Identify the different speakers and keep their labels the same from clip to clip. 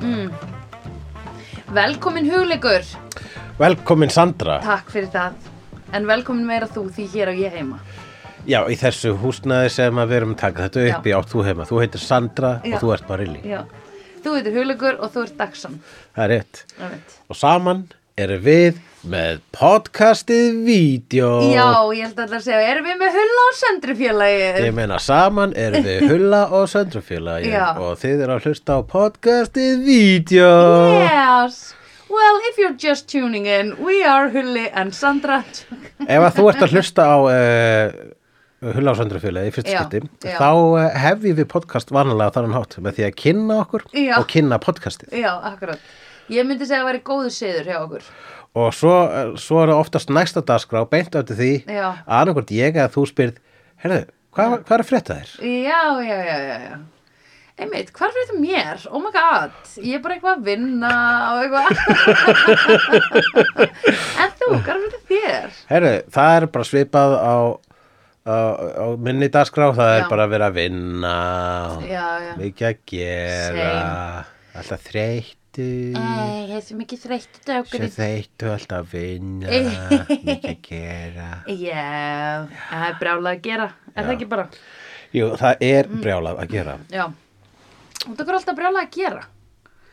Speaker 1: Mm. Velkomin hugleikur,
Speaker 2: Velkomin Sandra.
Speaker 1: takk fyrir það En velkomin meira þú því hér á ég heima
Speaker 2: Já, í þessu húsnaði sem að við erum að taka þetta upp
Speaker 1: Já.
Speaker 2: í átt þú heima. Þú heitir Sandra
Speaker 1: Já.
Speaker 2: og þú ert Marilli.
Speaker 1: Já, þú heitir hugleikur og þú ert dagsann
Speaker 2: Það er rétt.
Speaker 1: Já,
Speaker 2: Og saman erum við með podcastið Vídeó.
Speaker 1: ég held að það segja, erum við með hulla á sendrifjölagi?
Speaker 2: Ég meina saman erum við Hulla og Söndrufélagi
Speaker 1: Já.
Speaker 2: og þið eru að hlusta á podcastið Vídeó.
Speaker 1: Yes Well, if you're just tuning in, we are Hulli and Sandra
Speaker 2: Ef að þú ert að hlusta á uh, Hulla og Söndrufélagi í fyrsta
Speaker 1: Já,
Speaker 2: skipti,
Speaker 1: já.
Speaker 2: þá eh, hefjum við podcast vanlega þannig hátt með því að kynna okkur
Speaker 1: Já.
Speaker 2: og kynna podcastið.
Speaker 1: Já, akkurat Ég myndi segja að það væri góðu siður hjá okkur
Speaker 2: og svo, svo er það oftast næsta dagskrá beint eftir því
Speaker 1: Já.
Speaker 2: að annarkvort ég eða þú spyrð herðu, hvað, hvað er að frétta þér?
Speaker 1: Já, já, já, já, já. Einmitt, hvað fyrir þetta mér? Oh my god, ég er bara eitthvað að vinna og eitthvað. en þú, hvað fyrir þetta þér?
Speaker 2: Herðu, það er bara svipað á, á, á minni dagskrá það
Speaker 1: Já.
Speaker 2: er bara að vera að vinna og
Speaker 1: Já, já.
Speaker 2: mikið að gera alltaf
Speaker 1: Æ,
Speaker 2: þreyttu
Speaker 1: Eh, ég er svo mikið þreytt dagur
Speaker 2: svo
Speaker 1: í...
Speaker 2: þreyttu alltaf að vinna mikið að gera
Speaker 1: Já, Eh, það er brjálað að gera, er það ekki bara?
Speaker 2: Jú, það er
Speaker 1: Mm.
Speaker 2: brjálað að gera
Speaker 1: Já. Og það er alltaf brjálað að gera.
Speaker 2: að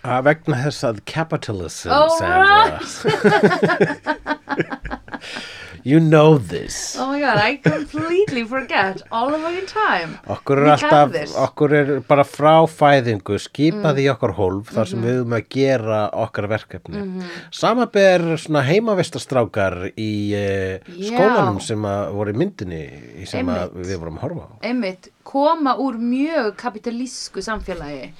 Speaker 2: Ah, vegna þess að capitalism
Speaker 1: All
Speaker 2: Sandra, you know this
Speaker 1: Oh my god, I completely forget all the fucking time.
Speaker 2: Okkur er
Speaker 1: We have
Speaker 2: alltaf,
Speaker 1: this. Mm.
Speaker 2: okkur er bara frá fæðingu skipað í okkar hólf þar
Speaker 1: Mhm.
Speaker 2: sem við höfum að gera okkar verkefni. Mm -hmm. Samaber svona heimavistastrákar í eh,
Speaker 1: Já.
Speaker 2: skólanum sem að voru í myndinni í sem að
Speaker 1: Einmitt.
Speaker 2: við vorum að horfa á.
Speaker 1: Einmitt, koma úr mjög kapitalísku samfélagi.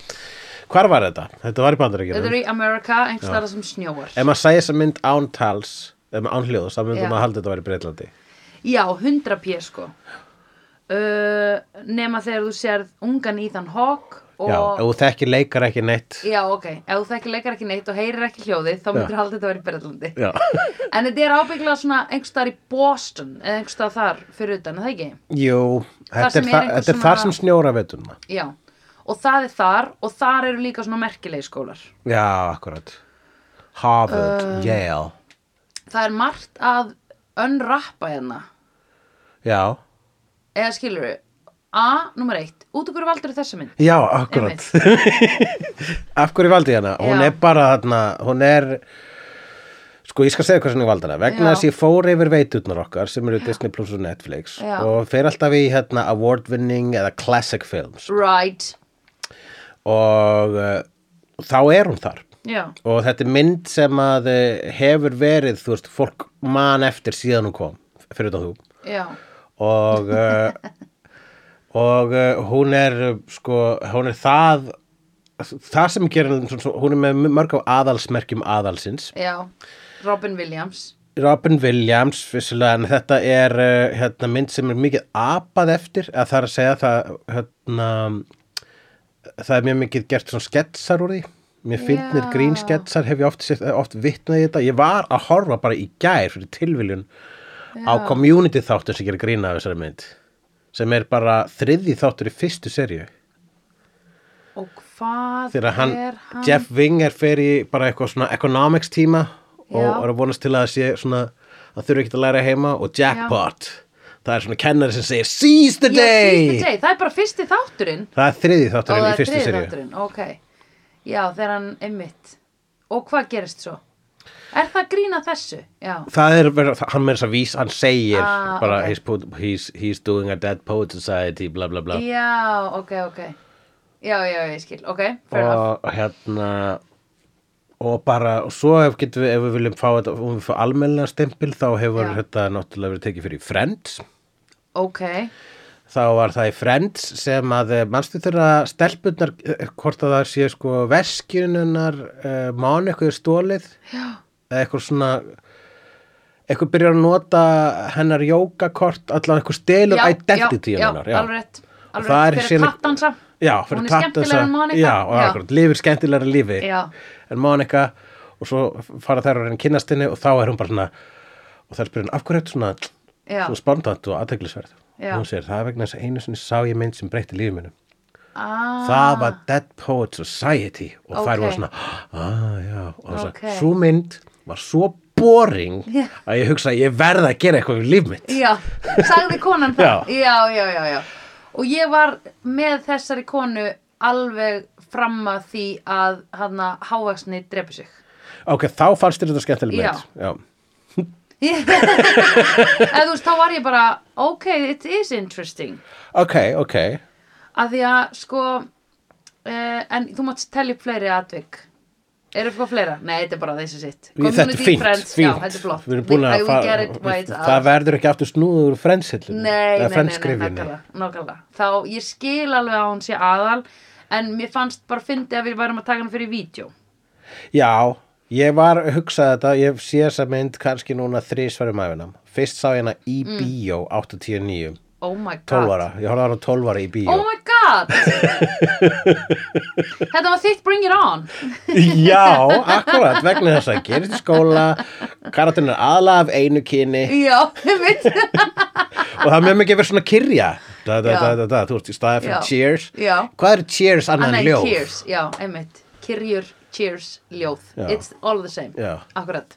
Speaker 2: Hvar var þetta? Þetta var í
Speaker 1: Þetta
Speaker 2: bandaríkjunum.
Speaker 1: er í Amerika, einhvers þar sem snjóar.
Speaker 2: Ef maður sæði þessa mynd án tals, ef maður án hljóðs, þá myndum
Speaker 1: Já.
Speaker 2: maður að halda þetta var í Breitlandi.
Speaker 1: Já, 100 pér sko. Uh, nema þegar þú sér ungan Ethan Hawke
Speaker 2: Já,
Speaker 1: og...
Speaker 2: ef þú þekkir leikar ekki neitt.
Speaker 1: Já, ok. Ef þú þekkir leikar ekki neitt og heyrir ekki hljóðið, þá myndir haldið þetta að vera í Berlandi.
Speaker 2: Já.
Speaker 1: En þetta er ábygglega svona einhvers staðar í Boston eða einhvers staðar þar fyrir utan, er það ekki?
Speaker 2: Jú, þetta
Speaker 1: sem
Speaker 2: er,
Speaker 1: er einhver
Speaker 2: þa þetta er
Speaker 1: svona-
Speaker 2: þar sem snjóra veturna.
Speaker 1: Já. Og það er þar og þar eru líka svona merkilegi skólar.
Speaker 2: Já, akkurat. Harvard,
Speaker 1: Uh,
Speaker 2: Yale.
Speaker 1: Það er margt að önrappa hérna.
Speaker 2: Já,
Speaker 1: Eða skilur við, A, nummer eitt, út okkur valdur þessa mynd.
Speaker 2: já, akkurat Af hverju valdi ég hana? Hún
Speaker 1: Já.
Speaker 2: er bara þarna, hún er Sko, ég skal segja hvað sem ég valdi hana
Speaker 1: Já.
Speaker 2: Vegna þess að ég fór yfir veiturnar okkar sem eru Disney Plus og Netflix
Speaker 1: Já.
Speaker 2: og fer alltaf í hérna award-winning eða classic films
Speaker 1: Right.
Speaker 2: og uh, þá er hún þar
Speaker 1: Já.
Speaker 2: og þetta er mynd sem að eh, hefur verið, þú veist, fólk man eftir síðan hún kom, fyrir þetta þú
Speaker 1: Já.
Speaker 2: og uh, og uh, hún er uh, sko, hún er það það sem gerir hann svona- svona- hún er með mörg á aðalsmerkjum aðalsins
Speaker 1: Já, Robin Williams
Speaker 2: Robin Williams vissulega en þetta er uh, hérna, mynd sem er mikið apað eftir að það er að segja það hérna, það er mjög mikið gert svona sketsar úr því mér finnir
Speaker 1: Já.
Speaker 2: grínsketsar hef ég oft, séð- oft vitnað í þetta ég var að horfa bara í gær fyrir tilviljun á community þáttur sem gerir grína af þessari mynd sem er bara þriðji þáttur í fyrstu serju
Speaker 1: Og hvað
Speaker 2: þegar hann,
Speaker 1: er hann?
Speaker 2: Jeff Winger fer í bara eitthvað svona economics tíma og
Speaker 1: Já.
Speaker 2: er að vonast til að það sé svona að þurfa ekki að læra heima og jackpot það er svona kennari sem segir seize the
Speaker 1: Já, Seize
Speaker 2: day
Speaker 1: the Day, það er bara fyrsti þátturinn
Speaker 2: það er þriði
Speaker 1: Ó,
Speaker 2: þátturinn
Speaker 1: það
Speaker 2: í
Speaker 1: er
Speaker 2: fyrstu
Speaker 1: þriði
Speaker 2: serju
Speaker 1: þátturinn, ok Já, þegar hann einmitt Og hvað gerist svo? Er það grína þessu? Já,
Speaker 2: það er, verið- það- hann með þess að vís hann segir
Speaker 1: Ah,
Speaker 2: bara
Speaker 1: ok.
Speaker 2: he's, put, he's, he's doing a dead poet society bla bla bla
Speaker 1: já, ok, ok Já, já, ég skil, ok, fair enough
Speaker 2: og hérna og bara, og svo ef, getum við, ef við viljum fá þetta, um við fá almennlega stempil þá hefur
Speaker 1: Já.
Speaker 2: þetta náttúrulega verið tekið fyrir í Friends
Speaker 1: Ok,
Speaker 2: þá var það í Friends sem að eh, manstu þeirra stelpunnar eh, hvort að það sé sko veskinunar uh, mánu eitthvað er stólið Já. eða eitthvað svona eitthvað byrjar að nota hennar jókakort allan eitthvað stelur
Speaker 1: já,
Speaker 2: identity
Speaker 1: já, já,
Speaker 2: hennar,
Speaker 1: alveg rétt Alveg
Speaker 2: það er
Speaker 1: rétt, fyrir
Speaker 2: síðan-
Speaker 1: pattansa
Speaker 2: Já, fyrir
Speaker 1: Hún er
Speaker 2: Patta
Speaker 1: skemmtilegri
Speaker 2: þessa-
Speaker 1: en Monica.
Speaker 2: Já, og
Speaker 1: Já.
Speaker 2: akkurat, lifir skemmtilegra lífi
Speaker 1: Já.
Speaker 2: En Monika Og svo fara þær að reyna kynnast henni Og þá er hún bara svona Og þær spyrir hann, af hverju eftir svona
Speaker 1: Já.
Speaker 2: Svona spontant og aðteglisverð
Speaker 1: Já.
Speaker 2: Hún segir, það er vegna þess að einu sinni sá ég mynd sem breytti lífi minum
Speaker 1: ah,
Speaker 2: það var Dead Poets Society og
Speaker 1: Ok.
Speaker 2: þær voru svona ah, já, og það
Speaker 1: Ok.
Speaker 2: svo mynd var svo boring
Speaker 1: Já.
Speaker 2: að ég hugsa að ég verða að gera eitthvað um líf mitt
Speaker 1: Já, sagði konan það já. já, já, já, Og ég var með þessari konu alveg fram að því að hana hávaksni drepi sig
Speaker 2: ok, þá fannst þér þetta skemmtileg mynd já.
Speaker 1: Eða þú veist, þá var ég bara ok, it is interesting
Speaker 2: ok, ok
Speaker 1: að því að sko eh, en þú mátt telja upp fleiri atvik er eitthvað fleira? Nei, þetta er bara þessi sitt
Speaker 2: þetta er
Speaker 1: Community
Speaker 2: fínt,
Speaker 1: friends,
Speaker 2: fínt.
Speaker 1: já, þetta er flott
Speaker 2: Við erum búin
Speaker 1: I
Speaker 2: að
Speaker 1: will
Speaker 2: fara,
Speaker 1: get it by its
Speaker 2: það
Speaker 1: out.
Speaker 2: verður ekki aftur snúður frendshillinu
Speaker 1: Nei, nei, nei, nei,
Speaker 2: frendskrifinni
Speaker 1: nákvæmlega, nákvæmlega. Þá ég skil alveg að hún sé aðal en mér fannst bara fyndi að við værum að taka hann fyrir vídeo.
Speaker 2: Já, ég var að hugsa þetta, ég sé þessa mynd kannski núna þrísvarum æfinam. Fyrst sá ég hana í
Speaker 1: Mm.
Speaker 2: bíó 89,
Speaker 1: Oh my god.
Speaker 2: 12 ára, ég horfði á hana 12 ára í bíó.
Speaker 1: Oh my god. Þetta var þitt bring it on.
Speaker 2: Já, akkurat, vegna þess að gerist í skóla, karatinn er aðlega af einu kyni
Speaker 1: Já, mitt.
Speaker 2: og það er mjög mikið verið svona kyrja. Da, da,
Speaker 1: Já.
Speaker 2: da, da, da, þú veist, í staði
Speaker 1: Já.
Speaker 2: fyrir cheers.
Speaker 1: Já.
Speaker 2: Hvað er cheers annan
Speaker 1: Annað
Speaker 2: ljóð?
Speaker 1: cheers, já, einmitt. Kyrjur, cheers, ljóð.
Speaker 2: Já.
Speaker 1: It's all the same.
Speaker 2: Já.
Speaker 1: Akkurat.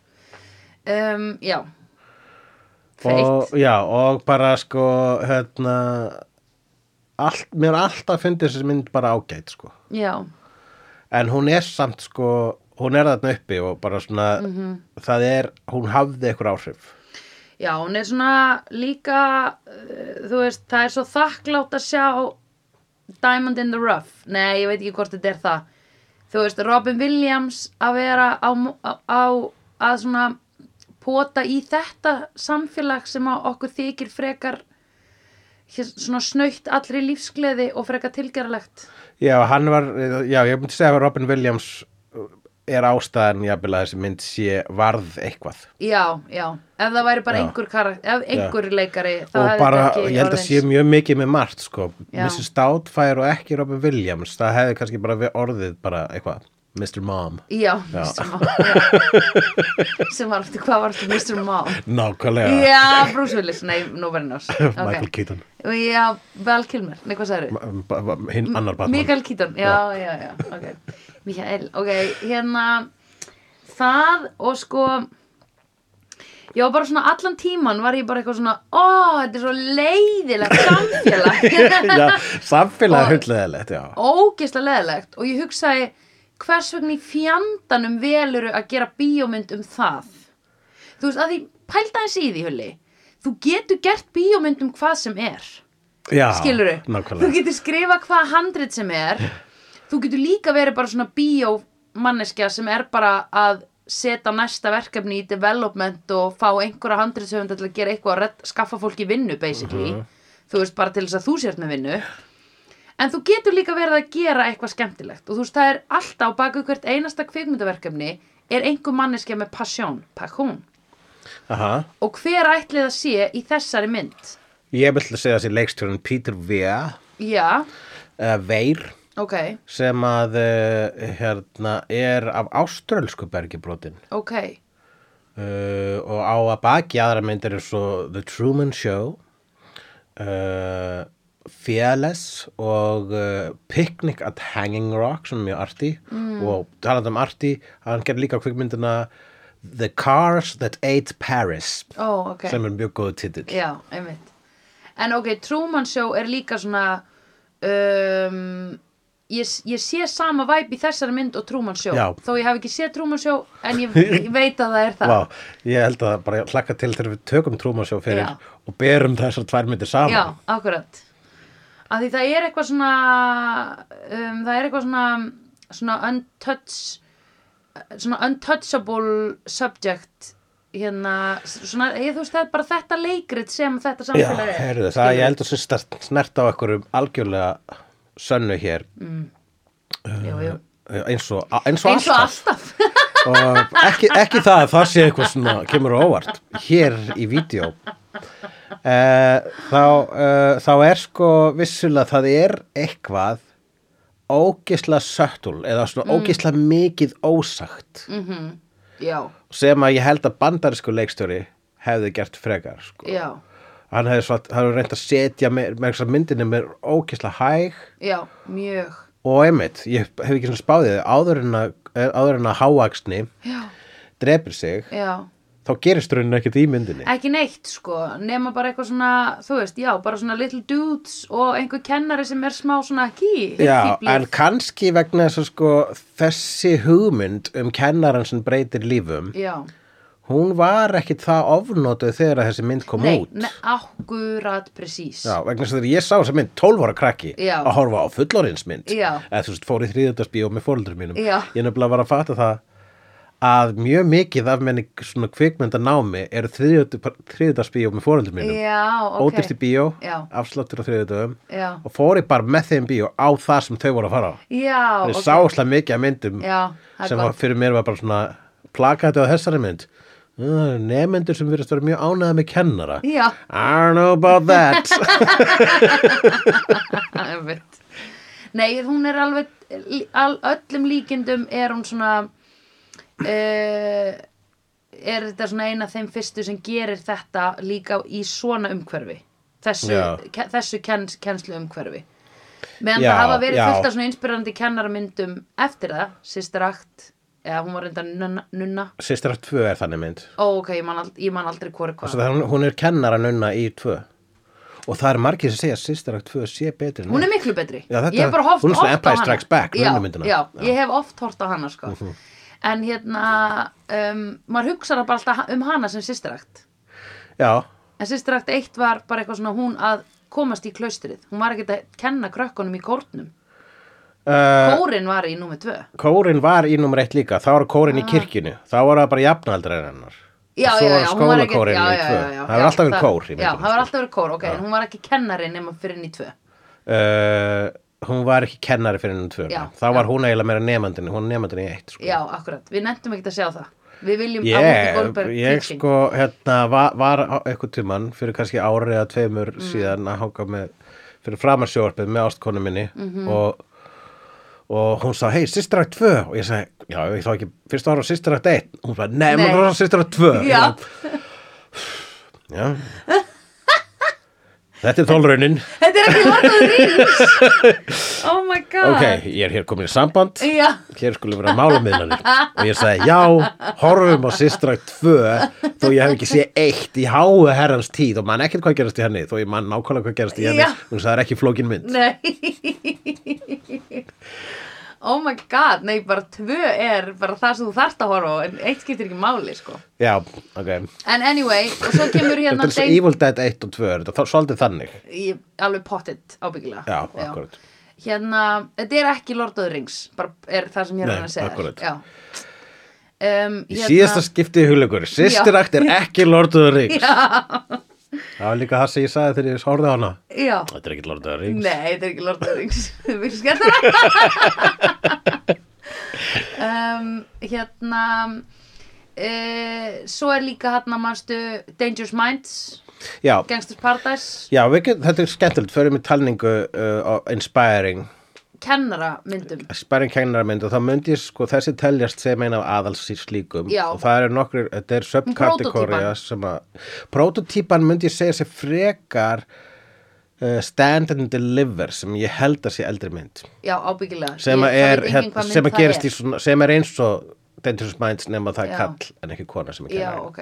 Speaker 1: Um, já. Feitt.
Speaker 2: og, já, og bara sko hérna allt, mér er alltaf fyndið þessi mynd bara ágæt sko.
Speaker 1: Já,
Speaker 2: en hún er samt sko hún er þarna uppi og bara svona
Speaker 1: Mhm.
Speaker 2: það er, hún hafði einhver áhrif
Speaker 1: já, hún er svona líka, uh, þú veist, það er svo þakklátt að sjá Diamond in the Rough. Nei, ég veit ekki hvort þetta er það. Þú veist, Robin Williams að vera á, mo- á, á að svona pota í þetta samfélag sem að okkur þykir frekar hér- svona snöytt allri lífsgleði og frekar tilgerlegt.
Speaker 2: já, hann var, já, ég myndi segja að Robin Williams er ástæðan jafnvel að þessi mynd sé varð eitthvað
Speaker 1: Já, já, ef það væri bara
Speaker 2: Já.
Speaker 1: einhver, karak- ef einhver leikari þá
Speaker 2: og
Speaker 1: hefði
Speaker 2: bara,
Speaker 1: þetta ekki
Speaker 2: ég held að
Speaker 1: orðið
Speaker 2: sé
Speaker 1: eins.
Speaker 2: mjög mikið með margt sko,
Speaker 1: Já.
Speaker 2: Mrs. Doubtfire og ekki Robin Williams, það hefði kannski bara við orðið bara eitthvað, Mr. Mom
Speaker 1: Já,
Speaker 2: Já.
Speaker 1: Mr. Mom já. sem var eftir, hvað var eftir Mr. Mom?
Speaker 2: nákvæmlega
Speaker 1: Já, Bruce Willis, nei, Nobody Knows
Speaker 2: Michael
Speaker 1: okay.
Speaker 2: Keaton
Speaker 1: Já, Val Kilmer, nei, hvað sagði
Speaker 2: M- ba- ba- hinn annar Batman
Speaker 1: Mikael Keaton, já, já, já, ok Mikael, ok, hérna það og sko já, bara svona allan tíman var ég bara eitthvað svona ó, þetta er svo leiðilegt samfélag
Speaker 2: já, samfélag
Speaker 1: Og-
Speaker 2: hundleðilegt já.
Speaker 1: ógeðslega leðilegt og ég hugsaði hvers vegna í fjandanum veluru að gera bíómynd um það þú veist að því pælda hans í því hulli þú getur gert bíómynd um hvað sem er
Speaker 2: já,
Speaker 1: skiluru, þú
Speaker 2: nákvæmlega
Speaker 1: getur skrifa hvað handrit sem er þú getur líka verið bara svona bíómanneskja sem er bara að setja næsta verkefni í development og fá einhverja handritsöfunda til að gera eitthvað að redd, skaffa fólki vinnu basically
Speaker 2: Mhm.
Speaker 1: þú veist bara til þess að þú sért með vinnu en þú getur líka verið að gera eitthvað skemmtilegt og þú veist það er alltaf á baku hvert einasta kvikmyndaverkefni er einhver manneskja með pasjón, pasjón
Speaker 2: Aha.
Speaker 1: og hver ætlið að sé í þessari mynd
Speaker 2: ég vil segja þessi leikstjórn Peter Weir
Speaker 1: já,
Speaker 2: uh, Veir
Speaker 1: ok,
Speaker 2: sem að uh, hérna, er af áströlsku bergibrotin
Speaker 1: ok
Speaker 2: uh, og á að baki aðra myndir er svo The Truman Show uh, Fearless og uh, Picnic at Hanging Rock sem er mjög arti mm. og talað um arti hann gerir líka kvikmyndina The Cars That Ate Paris
Speaker 1: Ó, ok.
Speaker 2: sem er mjög góð titill
Speaker 1: Já, einmitt. En ok, Truman Show er líka svona, um, ég, ég sé sama væp í þessari mynd og Truman Show.
Speaker 2: Já.
Speaker 1: Þó ég hef ekki séð Truman Show, en ég, ég veit að það er það.
Speaker 2: Vá, ég held að bara hlakka til þegar við tökum Truman Show fyrir
Speaker 1: Já.
Speaker 2: og berum þessar tvær myndir saman
Speaker 1: Já, akkurat. Af því það er eitthvað svona, um, það er eitthvað svona, svona untouch, svona untouchable subject hérna, svona, ég þú veist það er bara þetta leikrit sem þetta
Speaker 2: Já,
Speaker 1: samfélagi er.
Speaker 2: heyrðu, það
Speaker 1: Skilurðu?
Speaker 2: ég held að sem start- snert á einhverjum algjörlega sönnu hér
Speaker 1: Jú, jú.
Speaker 2: eins og, eins og
Speaker 1: Eins og alltaf.
Speaker 2: og ekki, ekki það að það sé eitthvað svona kemur á óvart hér í vídeo uh, þá, uh, þá er sko vissulega það er eitthvað ógisla söttul eða svona mm. ógisla mikið ósagt
Speaker 1: Já,
Speaker 2: sem að ég held að bandarísku leikstjóri hefði gert frekar sko.
Speaker 1: já,
Speaker 2: hann hefði svart, hann hefði reynt að setja með, með þessar myndinni með ókisla hæg
Speaker 1: já, mjög
Speaker 2: og einmitt, ég hef ekki svona spáðið áður en að, eh, áður en að háaksni
Speaker 1: já,
Speaker 2: drepir sig,
Speaker 1: já
Speaker 2: þá gerist raunin ekkert í myndinni
Speaker 1: ekki neitt sko, nema bara eitthvað svona þú veist, já, bara svona little dudes og einhver kennari sem er smá svona ký
Speaker 2: Já, en kannski vegna þess að sko þessi hugmynd um kennaran sem breytir lífum,
Speaker 1: já,
Speaker 2: hún var ekkit það ofnotuð þegar að þessi mynd kom
Speaker 1: nei,
Speaker 2: út.
Speaker 1: nei, akkurat presís
Speaker 2: Já, vegna þess að þegar ég sá þessa mynd 12 ára krakki
Speaker 1: Já.
Speaker 2: að horfa á fullorðinsmynd
Speaker 1: Já.
Speaker 2: eða þú veist, fór í þriðjöldarsbíó með fóreldur mínum
Speaker 1: Já.
Speaker 2: ég nefnilega var að fatta það að mjög mikið af menni svona kvikmynda námi eru þriðjöldarsbíó með fóreldur mínum
Speaker 1: Já, ok
Speaker 2: ódýrt í bíó,
Speaker 1: Já.
Speaker 2: afsláttur á þriðjöldum
Speaker 1: Já,
Speaker 2: og fór ég bara með þeim í bíó á það sem þau voru að fara á
Speaker 1: já,
Speaker 2: Þeir
Speaker 1: ok.
Speaker 2: sá slag mikið af myndum
Speaker 1: Já, það er
Speaker 2: sem var,
Speaker 1: gott.
Speaker 2: fyrir mér var bara svona plakatið á þessari mynd Uh, nemendur sem virðast vera mjög ánæða með kennara
Speaker 1: Já.
Speaker 2: I don't know about that
Speaker 1: Einmitt. Nei, hún er alveg al, öllum líkindum er hún svona uh, er þetta svona eina þeim fyrstu sem gerir þetta líka í svona umhverfi þessu,
Speaker 2: Já.
Speaker 1: ke, þessu kens, kenslu umhverfi meðan
Speaker 2: Já,
Speaker 1: það hafa verið
Speaker 2: já.
Speaker 1: fullt af svona inspirandi kennaramyndum eftir það, sýstir akt eða hún var reynda nunna, nunna.
Speaker 2: Sistra 2 er þannig mynd
Speaker 1: ó ok, ég man, ald, ég man aldrei hvori
Speaker 2: Svo
Speaker 1: hvað
Speaker 2: það, er- hún er kennara nunna í 2 og það er margir sem segja að Sistra 2 sé betri en
Speaker 1: hún er
Speaker 2: nunna.
Speaker 1: miklu betri
Speaker 2: Já, þetta-
Speaker 1: ég hef bara hort,
Speaker 2: hún er
Speaker 1: hort
Speaker 2: svona
Speaker 1: á
Speaker 2: Empire
Speaker 1: hana.
Speaker 2: Strikes Back,
Speaker 1: já,
Speaker 2: mönnumyndina.
Speaker 1: já,
Speaker 2: Já. Mhm.
Speaker 1: ég hef oft hort á hana sko. en hérna um, maður hugsaði bara alltaf um hana sem sýstirakt
Speaker 2: Já,
Speaker 1: en sýstirakt eitt var bara eitthvað svona hún að komast í klaustrið hún var ekkert að kenna krökkunum í kórnum
Speaker 2: uh,
Speaker 1: kórin var í númer tvö
Speaker 2: kórin var í nummer 1 líka þá var kórin í kirkjunu, þá var það bara jafnaldra en hennar
Speaker 1: Ah. já,
Speaker 2: Svo
Speaker 1: já,
Speaker 2: var
Speaker 1: já, hún var ekkert-
Speaker 2: skólakórinn
Speaker 1: já,
Speaker 2: í
Speaker 1: já,
Speaker 2: 2
Speaker 1: já, já,
Speaker 2: það var
Speaker 1: já,
Speaker 2: alltaf verið kór í
Speaker 1: já,
Speaker 2: myndinni,
Speaker 1: það var
Speaker 2: sko.
Speaker 1: alltaf verið kór, ok, en hún var ekki kennari nema fyrir henni í tvö
Speaker 2: uh, hún var ekki kennari fyrir hennar tvö
Speaker 1: Já,
Speaker 2: þá
Speaker 1: já.
Speaker 2: var hún eiginlega meira nefandin hún er nefandin í eitt sko.
Speaker 1: já, akkurat, við nefndum ekkert að sjá það við viljum Ámundi
Speaker 2: ég,
Speaker 1: Goldberg
Speaker 2: ég
Speaker 1: teaching.
Speaker 2: sko hérna, var, var á- eitthvað tíman fyrir kannski ári eða tveimur
Speaker 1: Mm.
Speaker 2: síðan að hanga með fyrir framarsjóarpið með ástkonu minni
Speaker 1: Mhm.
Speaker 2: og, og hún sagði, hei, sýstirakt 2 og ég sagði, já, ég þá ekki fyrst ára á sýstirakt 1 hún sagði, nei,
Speaker 1: Nei.
Speaker 2: maður var á sýstirakt 2
Speaker 1: já,
Speaker 2: já Þetta er þólraunin.
Speaker 1: þetta er ekki Lord of the Rings oh my god
Speaker 2: Ok, ég er hér komin í samband.
Speaker 1: Já,
Speaker 2: hér skulle vera málamiðlanir og ég sagði já, horfum á sýstra 2 þó ég hef ekki séð eitt í háu herrans tíð og mann ekkert hvað gerast í henni þó ég mann nákvæmlega hvað gerast í henni
Speaker 1: Já.
Speaker 2: hún sagði það er ekki flókin mynd
Speaker 1: nei Oh my god, nei, bara tvö er bara það sem þú þarft að horfa á en eitt skiptir ekki máli, sko
Speaker 2: já, ok,
Speaker 1: En anyway, og svo kemur hérna
Speaker 2: þetta er svo Evil Dead 1 og 2 er þetta er svolítið þannig
Speaker 1: Ég- Alveg pottitt, ábyggilega
Speaker 2: já, akkurat
Speaker 1: Hérna, þetta er ekki Lord of the Rings bara er það sem ég er
Speaker 2: Nei,
Speaker 1: að reyna að segja þér.
Speaker 2: akkúrat.
Speaker 1: Já um,
Speaker 2: í síðasta skipti hugleikur, sýstirakt er ekki Lord of the Rings það var líka það sem ég sagði þegar ég horfði á hana
Speaker 1: Já,
Speaker 2: þetta er ekki Lord of the Rings
Speaker 1: Nei, þetta er ekki Lord of the Rings Þetta er miklu skemmtilega um, Hérna uh, Svo er líka hérna manstu Dangerous Minds
Speaker 2: já,
Speaker 1: Gangsters Paradise
Speaker 2: já við, getum- þetta er skemmtilegt, förum í talningu uh, á Inspiring
Speaker 1: Kennara myndum
Speaker 2: sparring kennarmynd og þá myndi ég sko þessi teljast sem eina af aðals í slíkum
Speaker 1: Já.
Speaker 2: og það eru nokkur, þetta er subkategória
Speaker 1: Prótótýpan.
Speaker 2: sem að prototýpan myndi ég segja sér frekar uh, stand and deliver sem ég held að sé eldri mynd
Speaker 1: Já, ábyggilega
Speaker 2: sem
Speaker 1: Ég-
Speaker 2: að
Speaker 1: það
Speaker 2: er,
Speaker 1: veit enginn
Speaker 2: hérna,
Speaker 1: hvað mynd
Speaker 2: sem að
Speaker 1: það er.
Speaker 2: gerist í svona, sem er eins og Dangerous Minds nema
Speaker 1: Já.
Speaker 2: það er kall en ekki kona sem er
Speaker 1: Já,
Speaker 2: kennari
Speaker 1: ok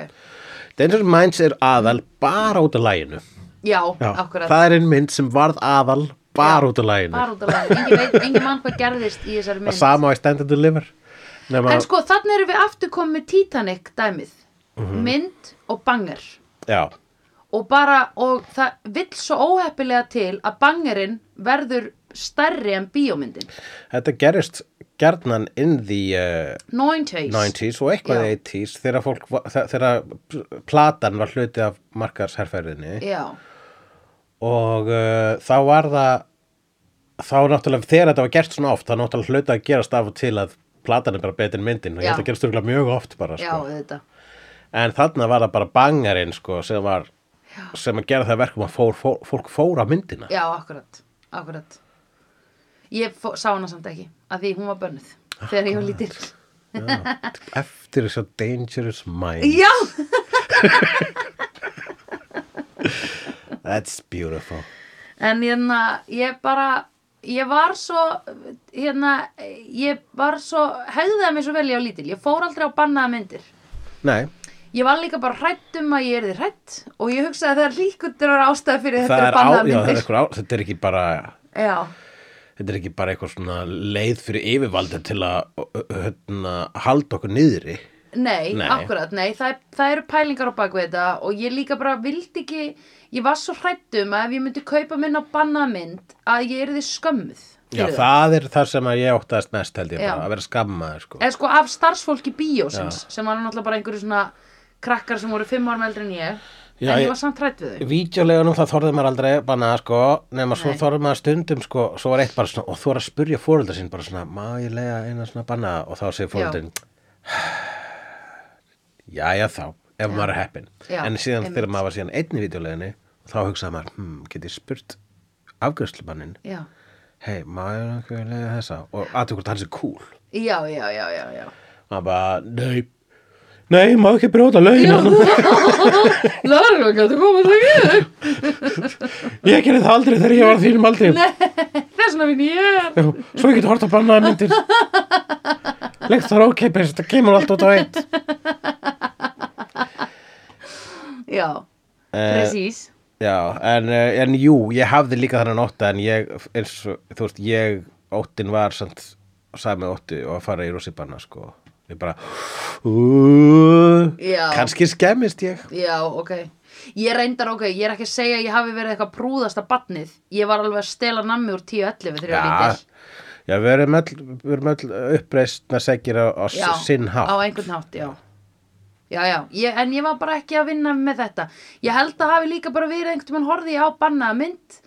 Speaker 2: Dangerous Minds er aðal bara út af læginu
Speaker 1: Já,
Speaker 2: Já.
Speaker 1: akkurat
Speaker 2: það er einn mynd sem varð aðal bara
Speaker 1: Já,
Speaker 2: út af læginu
Speaker 1: Bara út af laginu Engin veit, engin mann hvað gerðist í þessari
Speaker 2: það
Speaker 1: mynd
Speaker 2: sama á í stand and deliver nema,
Speaker 1: En sko, þannig erum við aftur komið með Titanic dæmið
Speaker 2: Mhm.
Speaker 1: Mynd og banger
Speaker 2: já
Speaker 1: og bara, og það vill svo óheppilega til að bangerinn verður stærri en bíómyndin
Speaker 2: Þetta gerist gjarnan in the uh,
Speaker 1: 90s,
Speaker 2: 90s og eitthvað
Speaker 1: Já.
Speaker 2: 80s þegar, fólk, va- þe- þegar platan var hluti af markarsherrferðinni
Speaker 1: já,
Speaker 2: og uh, þá var það þá náttúrulega þegar þetta var gert svona oft þá náttúrulega hluti að gerast af og til að platan er bara betur en myndin og ég
Speaker 1: Já.
Speaker 2: held að gerast örugglega mjög oft bara
Speaker 1: já,
Speaker 2: sko.
Speaker 1: þetta
Speaker 2: en þarna var það bara bangarinn sko, sem var sem að gera það að verkum að fór, fór, fólk fór á myndina
Speaker 1: já, akkurat, akkurat ég fó, sá hana samt ekki að því hún var bönnuð þegar ég var lítil
Speaker 2: eftir þess að Dangerous Mind
Speaker 1: já,
Speaker 2: That's beautiful.
Speaker 1: En hérna, ég bara, ég var svo, hérna, ég var svo, hegðaði mig svo vel ég á lítil. Ég fór aldrei á bannaða myndir.
Speaker 2: Nei,
Speaker 1: Ég var líka bara hrætt um að ég erði hrætt og ég hugsaði að það er líkundur að ástæða fyrir þetta eru
Speaker 2: það er á,
Speaker 1: bannaða
Speaker 2: já, það er
Speaker 1: myndir.
Speaker 2: einhver á, þetta er ekki bara,
Speaker 1: Já,
Speaker 2: þetta er ekki bara eitthvað svona leið fyrir yfirvaldur til að ö- ö- hérna, halda okkur niðri.
Speaker 1: nei,
Speaker 2: Nei.
Speaker 1: akkurat, nei, það, er- það eru pælingar á bakvið þetta og ég líka bara vildi ekki, ég var svo hrætt um að ef ég myndi kaupa minn á bannaða mynd að ég erði skömmuð.
Speaker 2: Já,
Speaker 1: fyrir það.
Speaker 2: það er það sem að ég óttaðist mest held ég
Speaker 1: Já.
Speaker 2: bara, að vera skammaður sko.
Speaker 1: eða sko af starfsfólki bíósins sem var náttúrulega bara einhverju svona krakkar sem voru fimm árum eldri en ég
Speaker 2: Já,
Speaker 1: en ég
Speaker 2: ég-
Speaker 1: var samt hrætt við þau
Speaker 2: Vídeolegunum það þorði maður aldrei banna sko, nema svo
Speaker 1: Nei.
Speaker 2: þorði maður stundum sko, svo var eitt bara svona, og þú var að spurja fóreldra sín bara svona, má ég lega eina svona banna og þá segir fóreldrin Jæja þá, ef maður er heppin
Speaker 1: Já,
Speaker 2: en síðan
Speaker 1: einmitt.
Speaker 2: þegar maður var síðan einn í vídeolegunni þá hugsaði maður, hm, get ég spurt afgjörslumannin,
Speaker 1: já,
Speaker 2: hei, má ég ekki lega þessa og aðtökur hvort hann sé cool
Speaker 1: já, já, já, já, já.
Speaker 2: og hann bara, nei Nei, má ekki brjóta lögin
Speaker 1: Lörgum, gætu koma það við
Speaker 2: Ég gerði það aldrei þegar ég var á þínum aldrei
Speaker 1: þess vegna vinn ég er
Speaker 2: Já, svo ég get hort að bannaða myndir Legt þar ókeipis, þetta kemur allt út á eitt
Speaker 1: já, Eh, presís
Speaker 2: Já, en, eh, en jú, ég hafði líka þannig ótta en ég, eins og, þú veist, ég óttin var samt sami ótti og að fara í rússibanna, sko Ég bara, úúúú,
Speaker 1: Já.
Speaker 2: kannski skemmist ég
Speaker 1: já, ok ég reyndar, ok, ég er ekki að segja að ég hafi verið eitthvað prúðasta batnið ég var alveg að stela nammi úr 10-11 þegar ég var lítil
Speaker 2: já, við erum öll, við erum öll uppreistna segir á, á
Speaker 1: já,
Speaker 2: sinn hátt
Speaker 1: á einhvern hátt, já já, já, ég, en ég var bara ekki að vinna með þetta ég held að hafi líka bara verið einhvern mann horfði ég á bannaða mynd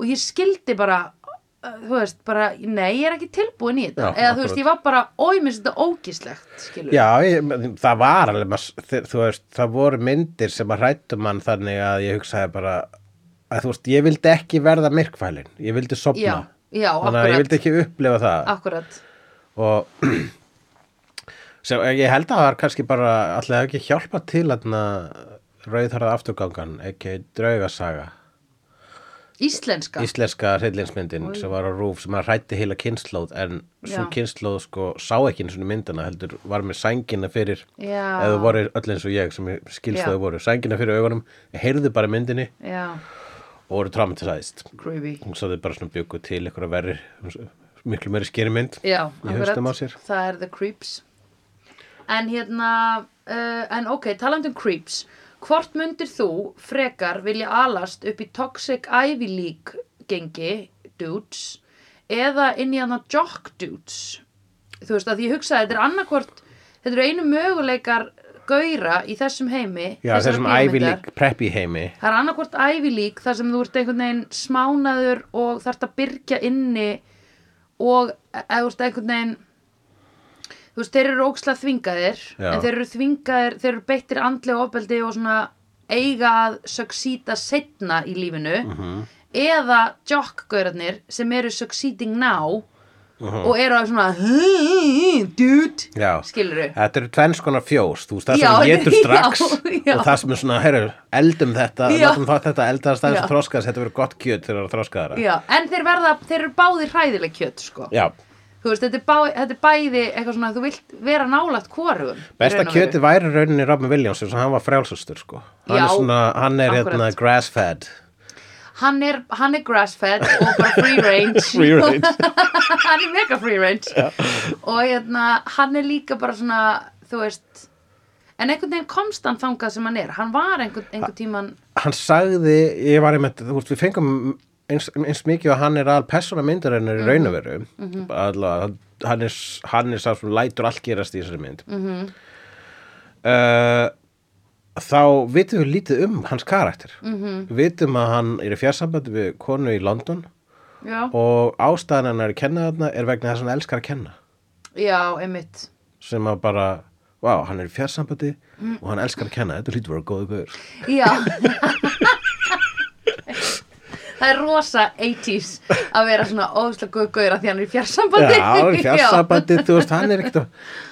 Speaker 1: og ég skildi bara uh, þú veist, bara, nei, ég er ekki tilbúin í þetta
Speaker 2: Já,
Speaker 1: eða þú veist,
Speaker 2: akkurat.
Speaker 1: ég var bara, ói, mér finnst þetta ógíslegt skilur,
Speaker 2: Já, ég, það var alveg, maður, þi- þú veist, það voru myndir sem að hrættu mann þannig að ég hugsaði bara að þú veist, ég vildi ekki verða myrkfælin, ég vildi sofna.
Speaker 1: Já, já,
Speaker 2: Þannig að
Speaker 1: akkurat.
Speaker 2: ég
Speaker 1: Ah.
Speaker 2: vildi ekki upplefa það
Speaker 1: akkurat
Speaker 2: og sem, ég held að það var kannski bara alltaf ekki hjálpa til að rauðharða afturgangan, ekki draugasaga,
Speaker 1: íslenska,
Speaker 2: íslenska hryllinsmyndin sem var á rúf sem að hrætti heila kynnslóð en svo
Speaker 1: Já.
Speaker 2: kynnslóð sko sá ekki eins og myndina heldur var með sængina fyrir
Speaker 1: Já.
Speaker 2: eða voru öll eins og ég sem ég skilst
Speaker 1: Já.
Speaker 2: þau voru sængina fyrir augunum, heyrðu bara myndinni
Speaker 1: já,
Speaker 2: og voru traumatisaðist
Speaker 1: creepy
Speaker 2: og svo þau bara svona byggu til eitthvað verri miklu meiri skeri mynd
Speaker 1: Já,
Speaker 2: Í hausnum á sér.
Speaker 1: akkurat, það er The Creeps En hérna, uh, en ok, talandi um Creeps Hvort myndir þú frekar vilja alast upp í Toxic Ivy League gengi, dudes eða inn í hana jock dudes Þú veist að ég hugsaði, þetta er annarkvort þetta eru einu möguleikar gaura í þessum heimi
Speaker 2: Já,
Speaker 1: þessarar
Speaker 2: þessum Ivy
Speaker 1: bíómyndar.
Speaker 2: League preppi heimi
Speaker 1: Það er annarkvort Ivy League þar sem þú ert einhvern veginn smánaður og þarft að byrgja inni og eða þú ert einhvern veginn þú veist, þeir eru ókslega þvingaðir
Speaker 2: Já.
Speaker 1: en þeir eru þvingaðir, þeir eru beittir andlega ofbeldi og svona eiga að succeeda setna í lífinu
Speaker 2: Mhm.
Speaker 1: -hmm. eða jokkgaurarnir sem eru succeeding now og eru að svona dude,
Speaker 2: Mhm. Já,
Speaker 1: skilurðu
Speaker 2: þetta eru tvenns konar fjós þú veist það
Speaker 1: Já,
Speaker 2: sem þú getur
Speaker 1: já,
Speaker 2: strax
Speaker 1: já.
Speaker 2: og það sem er svona, heyrðu, eldum þetta
Speaker 1: Já.
Speaker 2: látum það þetta eldast aðeins
Speaker 1: Já.
Speaker 2: og þroskaðast þetta verður gott kjöt þegar það þroskaðara
Speaker 1: Já, en þeir verða, þeir eru báðir hræðileg kjöt sko
Speaker 2: Já,
Speaker 1: þú veist, þetta er, bá, þetta er bæði eitthvað svona, þú vilt vera nálægt hvorum
Speaker 2: besta kjöti væri í rauninni Robin Williams eins og hann var frjálsustur sko hann
Speaker 1: Já,
Speaker 2: er svona, hann er hérna
Speaker 1: akkurat.
Speaker 2: grass fed
Speaker 1: hann er, hann er grass-fed og bara free range
Speaker 2: Free range.
Speaker 1: hann er mega free range og hérna, hann er líka bara svona þú veist en einhvern veginn komst hann þangað sem hann er hann var einhvern, einhvern tíman
Speaker 2: hann sagði, ég var einmitt, þú veist, við fengum eins, eins mikið og hann er aðal persóna myndarinnar
Speaker 1: Mhm.
Speaker 2: í raunaveru mm -hmm. allavega, hann er, hann er sá sem lætur allt gerast í þessari mynd mm
Speaker 1: Mhm.
Speaker 2: -hmm. þá vitum við lítið um hans karakter mm
Speaker 1: Mhm.
Speaker 2: -hmm. vitum að hann er í fjársambandi við konu í London
Speaker 1: já,
Speaker 2: og ástæðan hann er að kenna þarna er vegna þess að hann elskar að kenna
Speaker 1: já einmitt
Speaker 2: sem að bara, vá, hann er í fjársambandi
Speaker 1: Mm.
Speaker 2: og hann elskar að kenna, þetta hlýtur að vera góðu guður
Speaker 1: já það er rosa 80s að vera svona óðslega guðgauður að því hann er í fjarsambandi
Speaker 2: Já, hann er fjarsabandi, þú veist, hann er ekkert að,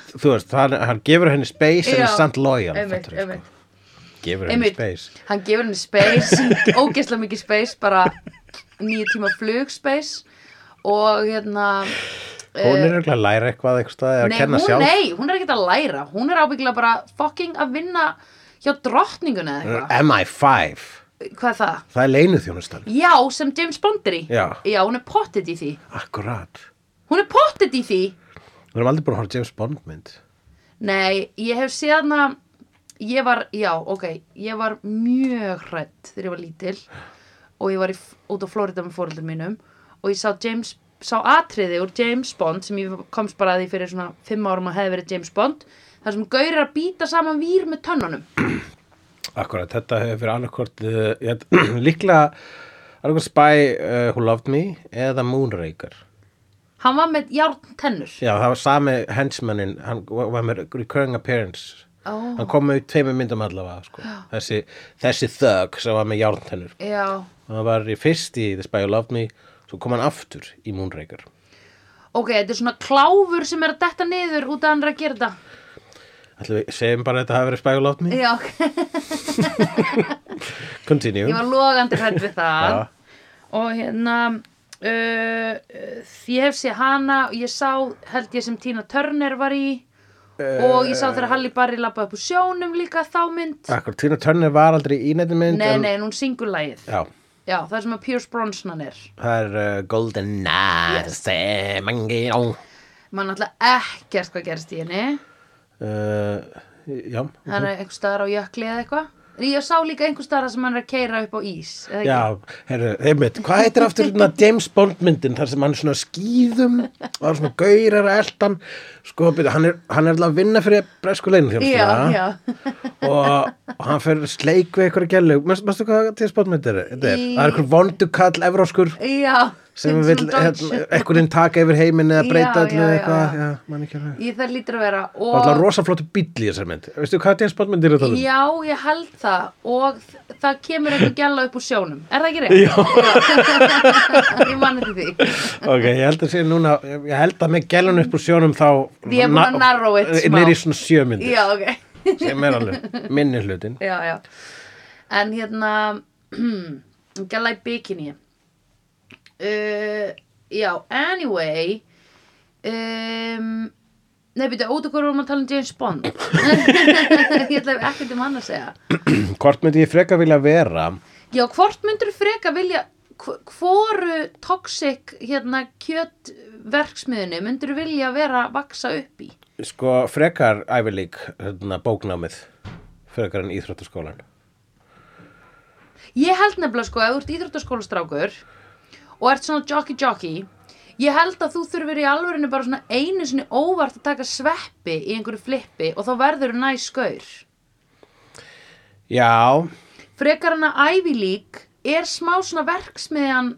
Speaker 2: þú veist, hann, hann gefur henni space en
Speaker 1: Já,
Speaker 2: er samt lojal
Speaker 1: einmitt,
Speaker 2: fattarðu,
Speaker 1: einmitt.
Speaker 2: gefur henni
Speaker 1: Einmitt.
Speaker 2: space
Speaker 1: hann gefur henni space ógeðslega mikið space bara nýju tíma flug space og hérna
Speaker 2: hún er örugglega að læra eitthvað eitthvað eða að
Speaker 1: Eh. nei,
Speaker 2: kenna
Speaker 1: hún,
Speaker 2: sjálf
Speaker 1: nei, hún er ekkert að læra hún er ábyggilega bara fucking að vinna hjá drottningun eða
Speaker 2: Hún er
Speaker 1: eitthvað
Speaker 2: MI5
Speaker 1: hvað er það?
Speaker 2: það er leinu þjónustan
Speaker 1: Já, sem James Bond er í
Speaker 2: já,
Speaker 1: hún er pottet í því
Speaker 2: akkurat
Speaker 1: hún er pottet í því
Speaker 2: við erum aldrei búin að horfa á James Bond mynd
Speaker 1: nei, ég hef séð hana ég var, já, ok ég var mjög hrætt þegar ég var lítil og ég var í, út á Florida með fóreldur mínum og ég sá James sá atriði úr James Bond sem ég komst bara að því fyrir svona fimm árum að hefði verið James Bond þar sem gaurir að býta saman vír með tönnunum
Speaker 2: Akkurat, þetta hefur verið annarkvort uh, líklega annarkvort Spy uh, Who Loved Me eða Moonraker.
Speaker 1: hann var með járn tennur
Speaker 2: Já, það var sami henchmanin, hann var með recurring appearance.
Speaker 1: Ó.
Speaker 2: Hann kom með í tveimur myndum allavega, sko. Þessi, þessi thug sem var með járntennur.
Speaker 1: já,
Speaker 2: Hann var í fyrst í The Spy Who Loved Me, svo kom hann aftur í Moonraker.
Speaker 1: ok, þetta er svona kláfur sem er að detta niður út af hann er að gera þetta
Speaker 2: Ætlum við segjum bara að þetta hafi verið Spy Who Loved Me?
Speaker 1: Já, ok,
Speaker 2: Continue.
Speaker 1: ég var logandi hrætt við það
Speaker 2: Já.
Speaker 1: og hérna uh, uh, ég hef séð hana og ég sá, held ég sem Tina Turner var í
Speaker 2: Eh,
Speaker 1: og ég sá þegar Halli Barri lappa upp úr sjónum líka þá mynd
Speaker 2: Akkurat, Tina Turner var aldrei í neitt mynd.
Speaker 1: Nei,
Speaker 2: en-
Speaker 1: nei, en hún syngur lagið
Speaker 2: Já.
Speaker 1: Já, það er sem að Pierce Brosnan er
Speaker 2: Það er uh, Golden Nights, yes. mangi, já.
Speaker 1: mann alltaf ekkert hvað gerst í henni
Speaker 2: Uh, já,
Speaker 1: hann er einhver staðar á jökli eða eitthvað En ég sá líka einhver staðar sem hann er að keira upp á ís eða ekki?
Speaker 2: já, herru, einmitt, hvað heitir aftur hérna James Bond myndin þar sem hann er svona á skýðum og það er svona gaurar að eldan, sko, byrja, hann er, hann er alltaf að vinna fyrir bresku leinu
Speaker 1: Já,
Speaker 2: og, og hann fer sleik við eitthvað gælu, mástu hvað James Bond mynd er, þetta er,
Speaker 1: Í-
Speaker 2: það er einhver vondukall evróskur
Speaker 1: já, já
Speaker 2: sem hérna-
Speaker 1: Svona
Speaker 2: vil
Speaker 1: dodge.
Speaker 2: einhvern veginn taka yfir heiminn eða
Speaker 1: Já,
Speaker 2: breyta öllu
Speaker 1: já, já,
Speaker 2: eitthvað,
Speaker 1: já.
Speaker 2: já, mann ekki alveg.
Speaker 1: Í það lítur að vera
Speaker 2: Og alltaf
Speaker 1: og,
Speaker 2: rosa flottu bíll í þessar mynd, veistu hvað James Bond mynd er að tala um?
Speaker 1: Já, ég held það og þ- það kemur einhver gæla upp úr sjónum Er það ekki reynd?
Speaker 2: Já.
Speaker 1: ég man eftir því
Speaker 2: Ok, ég held að sé núna, ég held að með gælun upp úr sjónum þá
Speaker 1: Við erum búin að narrow it smá.
Speaker 2: Nýri svona sjömyndir
Speaker 1: Já, ok
Speaker 2: sem er alveg minni hlutin
Speaker 1: Já, já En hérna gæla í bikini uh, Já, anyway um, Nei, byrja, út okkur vorum að tala um James Bond Ég ætla ekkert um hann að segja
Speaker 2: Hvort myndi ég freka vilja vera
Speaker 1: Já, hvort myndur freka vilja hv- hvoru toxic hérna kjötverksmiðinu myndur vilja vera að vaksa upp í
Speaker 2: Sko, frekar Ivy League hérna, bóknámið frekar en íþróttaskólan
Speaker 1: Ég held nefnilega sko, ef þú ert íþróttaskólastrákur og ert svona jockey jockey ég held að þú þurfir í alvörinu bara svona einu sinni óvart að taka sveppi í einhverju flippi og þá verður næ skaur
Speaker 2: Já,
Speaker 1: frekar hann að Ivy League er smá svona verksmiðjan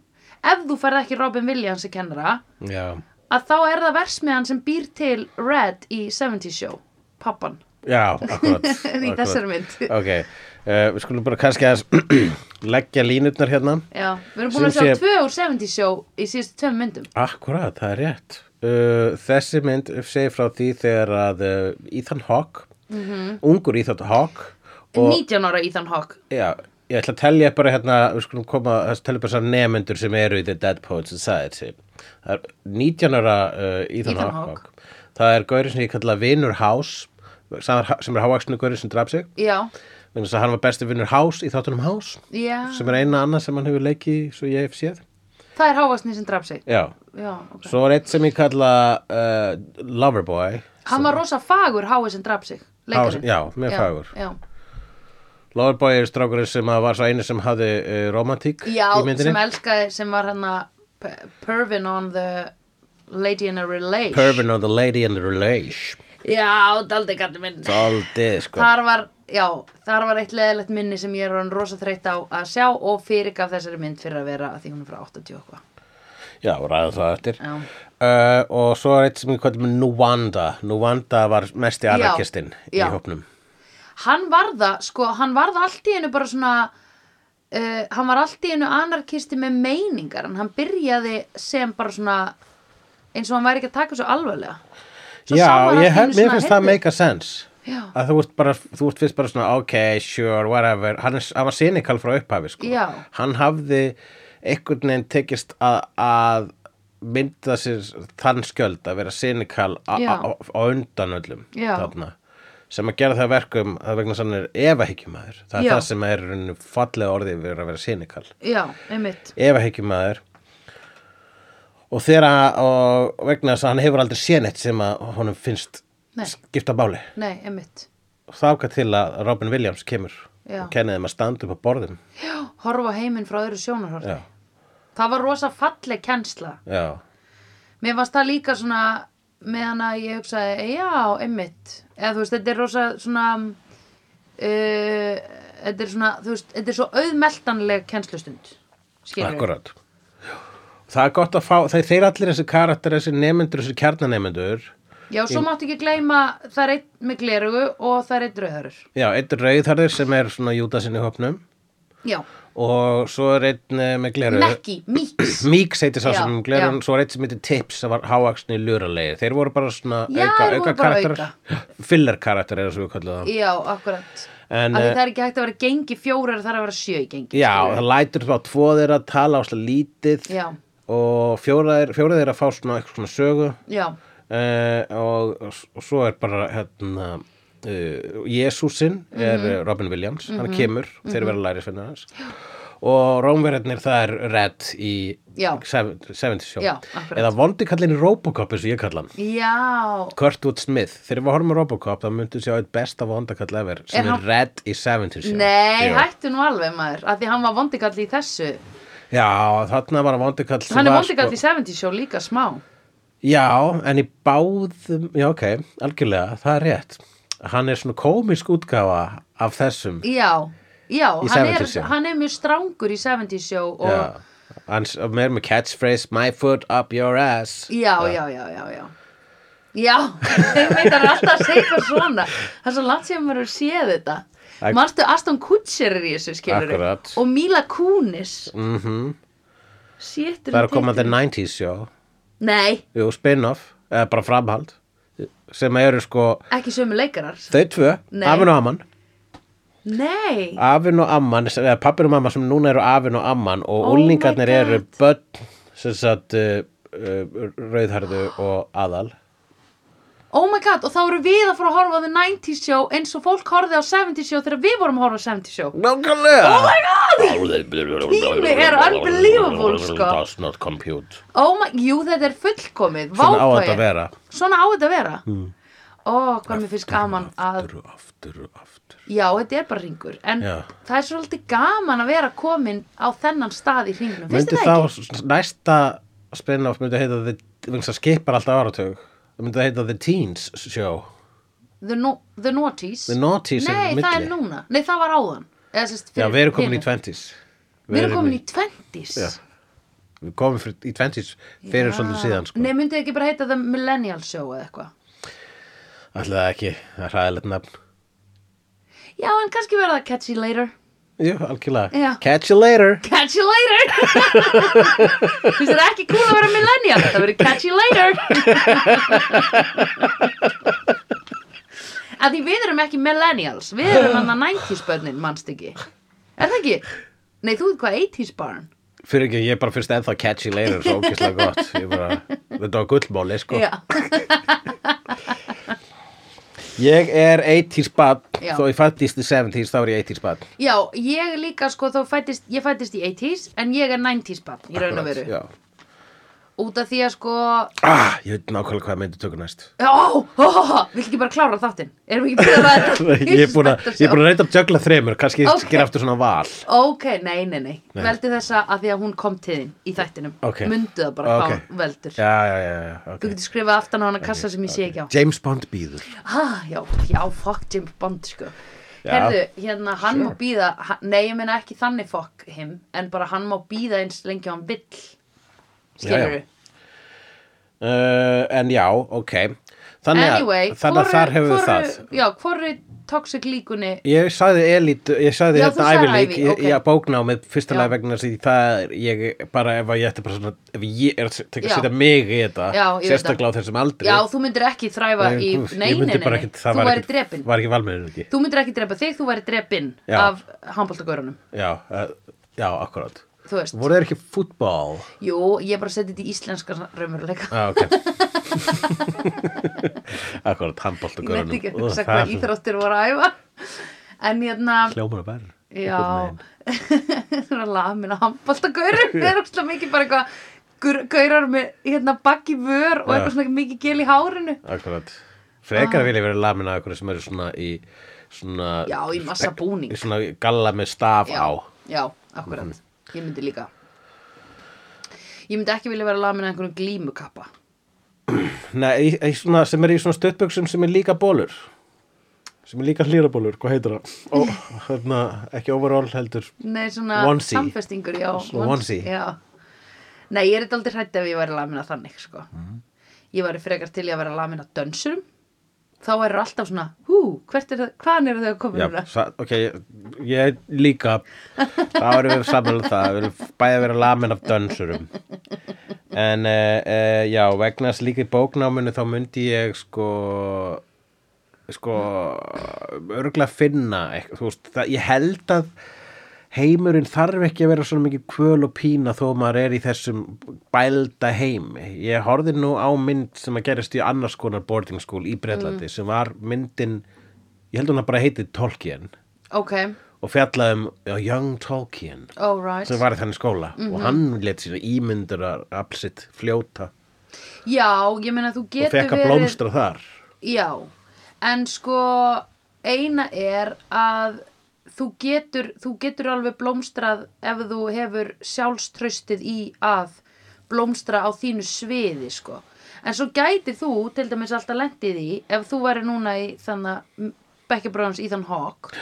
Speaker 1: ef þú færð ekki Robin Williams að kennara
Speaker 2: já
Speaker 1: að þá er það versmiðan sem býr til Red í 70's show pappan
Speaker 2: Já, akkurat
Speaker 1: í
Speaker 2: akkurat.
Speaker 1: þessari mynd
Speaker 2: Ok, uh, við skulum bara kannski að leggja línutnar hérna
Speaker 1: Já, við erum búin að
Speaker 2: Sem
Speaker 1: sjá
Speaker 2: sé-
Speaker 1: tvö úr 70's show í síðustu tveim myndum
Speaker 2: Akkurat, það er rétt. Uh, þessi mynd segir frá því þegar að uh, Ethan Hawke,
Speaker 1: Mhm.
Speaker 2: ungur Ethan Hawke, og
Speaker 1: 19 ára Ethan Hawke
Speaker 2: já, ég ætla að telja bara hérna, við skulum koma, þess telja bara þessar nemyndur sem eru í The Dead Poets Society. Það er 19 ára uh, Ethan,
Speaker 1: Ethan
Speaker 2: Hawke.
Speaker 1: Hawke.
Speaker 2: Það er gaurið sem ég kalla Vinur House, sem er, sem er hávaksinu gaurið sem draf sig,
Speaker 1: Já,
Speaker 2: vegna þess að hann var besti Vinur House í þáttunum House,
Speaker 1: já,
Speaker 2: sem er eina annað sem hann hefur leikið, svo ég hef séð.
Speaker 1: það er hávaksni sem draf sig
Speaker 2: Já,
Speaker 1: Já, ok
Speaker 2: Svo er eitt sem ég kalla uh, Loverboy
Speaker 1: Hann var rosa fagur hái sem draf sig leikarinn.
Speaker 2: Há- já, mjög fagur.
Speaker 1: Já,
Speaker 2: Loverboy er strákurinn sem að var svo einu sem hafði uh, romantík
Speaker 1: já
Speaker 2: í myndinni
Speaker 1: sem elskaði sem var hann að Pervin on the Lady in a Relay
Speaker 2: Pervin of the Lady and the Relation
Speaker 1: Já, daldi kallir minn
Speaker 2: Daldið sko
Speaker 1: þar var, já, þar var eitt leðilegt minni sem ég er hann rosa þreytt á að sjá og fyrirgaf þessari mynd fyrir að vera að því hún er frá 80 og eitthvað
Speaker 2: Já, ræðum það eftir
Speaker 1: Já.
Speaker 2: uh, Og svo er eitt sem ég kalla með Nuwanda Nuwanda var mesti anarkistinn í
Speaker 1: já.
Speaker 2: hópnum
Speaker 1: hann var það, sko, hann var það allt í einu bara svona uh, hann var allt í einu anarkisti með meiningar en hann byrjaði sem bara svona eins og hann væri ekki að taka svo alvarlega Svo sá
Speaker 2: Já,
Speaker 1: maður allt í
Speaker 2: ég,
Speaker 1: einu
Speaker 2: hef, mér
Speaker 1: svona,
Speaker 2: finnst það
Speaker 1: heyrðu,
Speaker 2: make a sense
Speaker 1: Já.
Speaker 2: að þú ert, bara, þú ert fyrst bara svona ok, sure, whatever hann, er, hann var sinikal frá upphafi sko.
Speaker 1: Já.
Speaker 2: hann hafði einhvern veginn tekist að, að mynda sér þann skjöld að vera sinikal á
Speaker 1: Já.
Speaker 2: á undan öllum
Speaker 1: Já.
Speaker 2: þarna, sem að gera það að verkum að vegna sann er efahyggjumaður það er
Speaker 1: Já.
Speaker 2: það sem er í rauninni fallega orðið við að vera sinikal
Speaker 1: Já, einmitt
Speaker 2: efahyggjumaður og þegar að- og vegna þess að hann hefur aldrei séð neitt sem að honum finnst
Speaker 1: Nei.
Speaker 2: skipta báli
Speaker 1: Nei, einmitt
Speaker 2: og þáka til að Robin Williams kemur
Speaker 1: Já.
Speaker 2: og kennið þeim að standa upp á borðum
Speaker 1: Já, horfa á heiminn frá öðru sjónarhort
Speaker 2: já,
Speaker 1: Það var rosa falleg kennsla
Speaker 2: já,
Speaker 1: Mér varst það líka svona meðan að ég hugsaði, já, einmitt eða þú veist, þetta er rosa svona uh, þetta er svona, þú veist, þetta er svo auðmeltanleg kennslustund skilur
Speaker 2: akkurat það er gott að fá, þeir, þeir allir þessi karakter þessi nemendur, þessi kjarnanemendur
Speaker 1: Já, svo máttu ekki gleyma það er einn með glerugu og það er einn rauðarur
Speaker 2: já, einn rauðharður sem er svona júdasinni hópnum
Speaker 1: Já,
Speaker 2: og svo er einn eh, með gleru
Speaker 1: mekki, mýks
Speaker 2: Míks heitir sá
Speaker 1: Já,
Speaker 2: sem glerun,
Speaker 1: já.
Speaker 2: svo er eitt sem heitir Tips sem var háaksni luralegi, þeir voru bara svona
Speaker 1: Já,
Speaker 2: auka,
Speaker 1: þeir voru
Speaker 2: auka
Speaker 1: bara
Speaker 2: karakterar, filler karakterar eins og við kallum það
Speaker 1: Já, akkurat
Speaker 2: En,
Speaker 1: Af því
Speaker 2: eh,
Speaker 1: það er ekki hægt að vera gengi fjórar það er að vera sjö í gengi
Speaker 2: Já,
Speaker 1: skilurðu.
Speaker 2: það lætur þá tvo þeirra að tala áslega lítið
Speaker 1: Já.
Speaker 2: og fjóra þeirra, fjóra þeirra að fá svona eitthvað svona sögu
Speaker 1: Já,
Speaker 2: eh, og, og svo er bara hérna uh, Jésúsin er eh,
Speaker 1: Mhm.
Speaker 2: Robin Williams, hann kemur þeir vera lærisvinnar hans og Rómverðarnir það er Red í
Speaker 1: Já.
Speaker 2: 70 sjó
Speaker 1: Já, akkurat.
Speaker 2: eða vondi kallin í Robocop eins og ég kalla hann
Speaker 1: já
Speaker 2: Kurtwood Smith, þegar við horfum á Robocop þá myndum sjá eitt besta vondakall ever sem
Speaker 1: Er
Speaker 2: er,
Speaker 1: hann-
Speaker 2: Red í 70 sjó
Speaker 1: Nei, hættu nú alveg maður að því hann var vondikall í þessu
Speaker 2: Já, þarna var hann vondikall sem
Speaker 1: Hann er
Speaker 2: var, sko,
Speaker 1: vondikall í 70 show líka smá
Speaker 2: Já, en í báðum, já ok, algjörlega, það er rétt. Hann er svona komisk útgáfa af þessum,
Speaker 1: Já, já,
Speaker 2: Í
Speaker 1: hann
Speaker 2: 70s
Speaker 1: er,
Speaker 2: show.
Speaker 1: hann er mjög strangur í 70 show og
Speaker 2: já, hann s- meir með catchphrase, my foot up your ass.
Speaker 1: Já, já, já, já, já. Já, þeim veit að alltaf að segja eitthvað svona. Það er svo langt sem maður hefur séð þetta.
Speaker 2: Ak-
Speaker 1: Manstu Aston Kutcher er í þessu skilur
Speaker 2: Akkurat.
Speaker 1: Og Mila Kunis.
Speaker 2: Mm
Speaker 1: Sétur
Speaker 2: Það er að koma the 90s show,
Speaker 1: Nei,
Speaker 2: jú, spin-off, eða bara framhald, sem eru sko,
Speaker 1: ekki sömu leikarar.
Speaker 2: þau tvö,
Speaker 1: Nei.
Speaker 2: afinn og amman,
Speaker 1: Nei,
Speaker 2: afinn og amman, sem- eða pappir og mamma sem núna eru afinn og amman og
Speaker 1: Oh my
Speaker 2: úlingarnir eru
Speaker 1: God.
Speaker 2: börn, sem sagt, uh, uh, rauðharðu og aðal.
Speaker 1: oh my god, og þá eru við að fara að horfa á the 90s show eins og fólk horfið á 70s show þegar við vorum að horfa á 70s show.
Speaker 2: Nákvæmlega! Oh my
Speaker 1: Tími er unbelievable, sko.
Speaker 2: Does not compute
Speaker 1: Oh my, jú, þetta er fullkomið.
Speaker 2: Svona á
Speaker 1: vákvæði.
Speaker 2: þetta að vera
Speaker 1: Svona á þetta að vera. Mm. Ó, hvað mér finnst gaman að
Speaker 2: Aftur og aftur og aftur
Speaker 1: Já, þetta er bara ringur En
Speaker 2: Já.
Speaker 1: það er svolítið gaman að vera komin á þennan stað í ringnum Finnst
Speaker 2: Myndi
Speaker 1: þér
Speaker 2: þá
Speaker 1: það ekki?
Speaker 2: s- næsta spin-off myndi heita The- vegna Það skipar alltaf áratug Það myndi það heita The Teens Show
Speaker 1: The, no, the Naughties
Speaker 2: The Naughties er
Speaker 1: Nei,
Speaker 2: milli.
Speaker 1: það er núna Nei, það var áðan Eða, sest,
Speaker 2: Já, við erum komin í 20s
Speaker 1: Við erum komin í 20s
Speaker 2: Já, Við komum fyrir- í 20s fyrir svolítið síðan sko.
Speaker 1: Ah. Nei, myndið ekki bara heita The Millennial Show eða eitthvað
Speaker 2: Ætli það ekki, það er hræðilegt nafn
Speaker 1: Já, en kannski verða það Catch You Later
Speaker 2: Jú, algjörlega
Speaker 1: Já.
Speaker 2: Catch you later
Speaker 1: Catch You Later Finnst þér ekki cool að vera Millennial Það verður Catch You Later Að því við erum ekki millennials Við erum hann að 90s börnin, manst ekki Er það ekki? Nei, þú veit hvað 80s barn
Speaker 2: Fyrir ekki, ég bara fyrst ennþá catchy later svo ógislega gott Ég bara, þetta var gullmáli sko
Speaker 1: Já,
Speaker 2: Ég er 80s bad
Speaker 1: Já.
Speaker 2: þó ég fættist í 70s þá er ég 80s bad
Speaker 1: já ég líka sko þó fættist, ég fættist í 80s en ég er 90s barn í raun og veru
Speaker 2: Já.
Speaker 1: Út af því að sko
Speaker 2: ah, Ég veit nákvæmlega hvað myndi tökur næst
Speaker 1: Ó, ó, ó, ó, vill ekki bara klára þáttinn? Erum við ekki búin að ræða
Speaker 2: Ég er búin að, ég er búin að reynda að jögla þremur kannski
Speaker 1: Ok.
Speaker 2: okay. gera aftur svona val
Speaker 1: Ok, nei, nei, nei, veldi þessa að því að hún kom til þín í þættinum
Speaker 2: Ok.
Speaker 1: Mundu það bara
Speaker 2: Ok.
Speaker 1: hvað hún veldur
Speaker 2: Já, já, já, já
Speaker 1: Þú
Speaker 2: okay.
Speaker 1: getur skrifað aftan á hana kassa sem ég sé ekki á
Speaker 2: James Bond býður
Speaker 1: ah, Já, já, fuck James Bond, sko
Speaker 2: Já.
Speaker 1: Herðu, hérna, hann má býða ha- Nei, ég meina ekki þannig fuck him En bara hann má býða eins lengi og hann vill Skilurðu?
Speaker 2: Já, uh, En já, ok Þannig að,
Speaker 1: Anyway,
Speaker 2: þannig að
Speaker 1: hvoru-
Speaker 2: þar hefur
Speaker 1: hvoru-
Speaker 2: það
Speaker 1: Já, hvorri toxic líkunni
Speaker 2: Ég sagði elít, ég sagði
Speaker 1: Já,
Speaker 2: þetta
Speaker 1: þú sagðir
Speaker 2: ævilík,
Speaker 1: Ivy,
Speaker 2: ég,
Speaker 1: ok.
Speaker 2: ég bóknámið fyrsta
Speaker 1: Já.
Speaker 2: lega vegna því það er ég bara ef að ég ætti bara svona, ef ég er að setja-
Speaker 1: Já.
Speaker 2: setja mig í þetta,
Speaker 1: Já, ég veit
Speaker 2: sérstaklega á þessum aldri,
Speaker 1: Já, þú myndir ekki þræfa
Speaker 2: Nei,
Speaker 1: í
Speaker 2: þú- ég
Speaker 1: neyninni,
Speaker 2: myndi
Speaker 1: þú
Speaker 2: bara ekkit- það var
Speaker 1: væri
Speaker 2: ekkit-
Speaker 1: drepin
Speaker 2: var ekki valmiður ekki.
Speaker 1: Þú myndir ekki drepa þig, þú væri drepin
Speaker 2: Já.
Speaker 1: af handbóltagörunum,
Speaker 2: Já, uh, já, akkurát.
Speaker 1: þú veist
Speaker 2: Voru þeir ekki fútbol?
Speaker 1: Jú, ég bara seti þetta í íslenska raumurleika
Speaker 2: Já, ok. akkurát, handbólt og
Speaker 1: Ég nefndi ekki
Speaker 2: görunum.
Speaker 1: að hugsa hvað íþróttir voru að æfa En hérna,
Speaker 2: Hljómar að verð.
Speaker 1: já Þú er að laða minna handbóltagörun Það er óslega mikið bara eitthvað gur- Gaurar með hérna baggi vör og
Speaker 2: Já.
Speaker 1: eitthvað svona mikið gel í hárinu
Speaker 2: Akkurát.
Speaker 1: Ah.
Speaker 2: Frekar vil ég vera lamin að akkurát sem eru svona í svona...
Speaker 1: Já, í massa búning.
Speaker 2: Í svona galla með staf
Speaker 1: já,
Speaker 2: á.
Speaker 1: já, akkurat
Speaker 2: Mhm.
Speaker 1: ég myndi líka ég myndi ekki vilja vera lamin að einhverjum glímukappa
Speaker 2: Nei, í, í svona, sem er í svona stuttböksum sem er líka bólur. Sem er líka hlýrabólur, hvað heitir það? Ó, hérna, ekki overall heldur.
Speaker 1: nei, svona
Speaker 2: Onesie.
Speaker 1: samfestingur já,
Speaker 2: Svona
Speaker 1: onesie,
Speaker 2: onesie.
Speaker 1: já. nei, ég er þetta aldrei hrætt ef ég væri lamin að þannig sko.
Speaker 2: Mhm.
Speaker 1: ég væri frekar til í að vera lamin að dönsurum þá er alltaf svona hú, hvert er það, hvaðan eru þau að koma
Speaker 2: Já,
Speaker 1: núna?
Speaker 2: sa, ok, ég- ég líka þá erum við samanlega það við viljum bæði vera lamin af dönsurum en uh, uh, já vegna þess líka í bóknáminu þá myndi ég sko sko örgla finna eitthvað, þú veist, það, ég held að heimurinn þarf ekki að vera svona mikið kvöl og pína þó maður er í þessum bælda heimi. Ég horfði nú á mynd sem að gerist í annars konar boarding school í
Speaker 1: Mm.
Speaker 2: Bretlandi sem var myndin, ég held hún að bara heiti Tolkien
Speaker 1: ok,
Speaker 2: og fjallaði um já, Young Tolkien
Speaker 1: alright Mhm.
Speaker 2: sem var í þannig skóla og hann let sína ímyndur að apsitt fljóta
Speaker 1: já, ég meina þú
Speaker 2: og
Speaker 1: getur
Speaker 2: fekk að
Speaker 1: verið
Speaker 2: blómstra þar.
Speaker 1: Já, en sko eina er að þú getur, þú getur alveg blómstrað ef þú hefur sjálfströstið í að blómstra á þínu sviði sko. En svo gætir þú til dæmis alltaf lendið í ef þú væri núna í þannig bekkjabráðans Ethan Hawke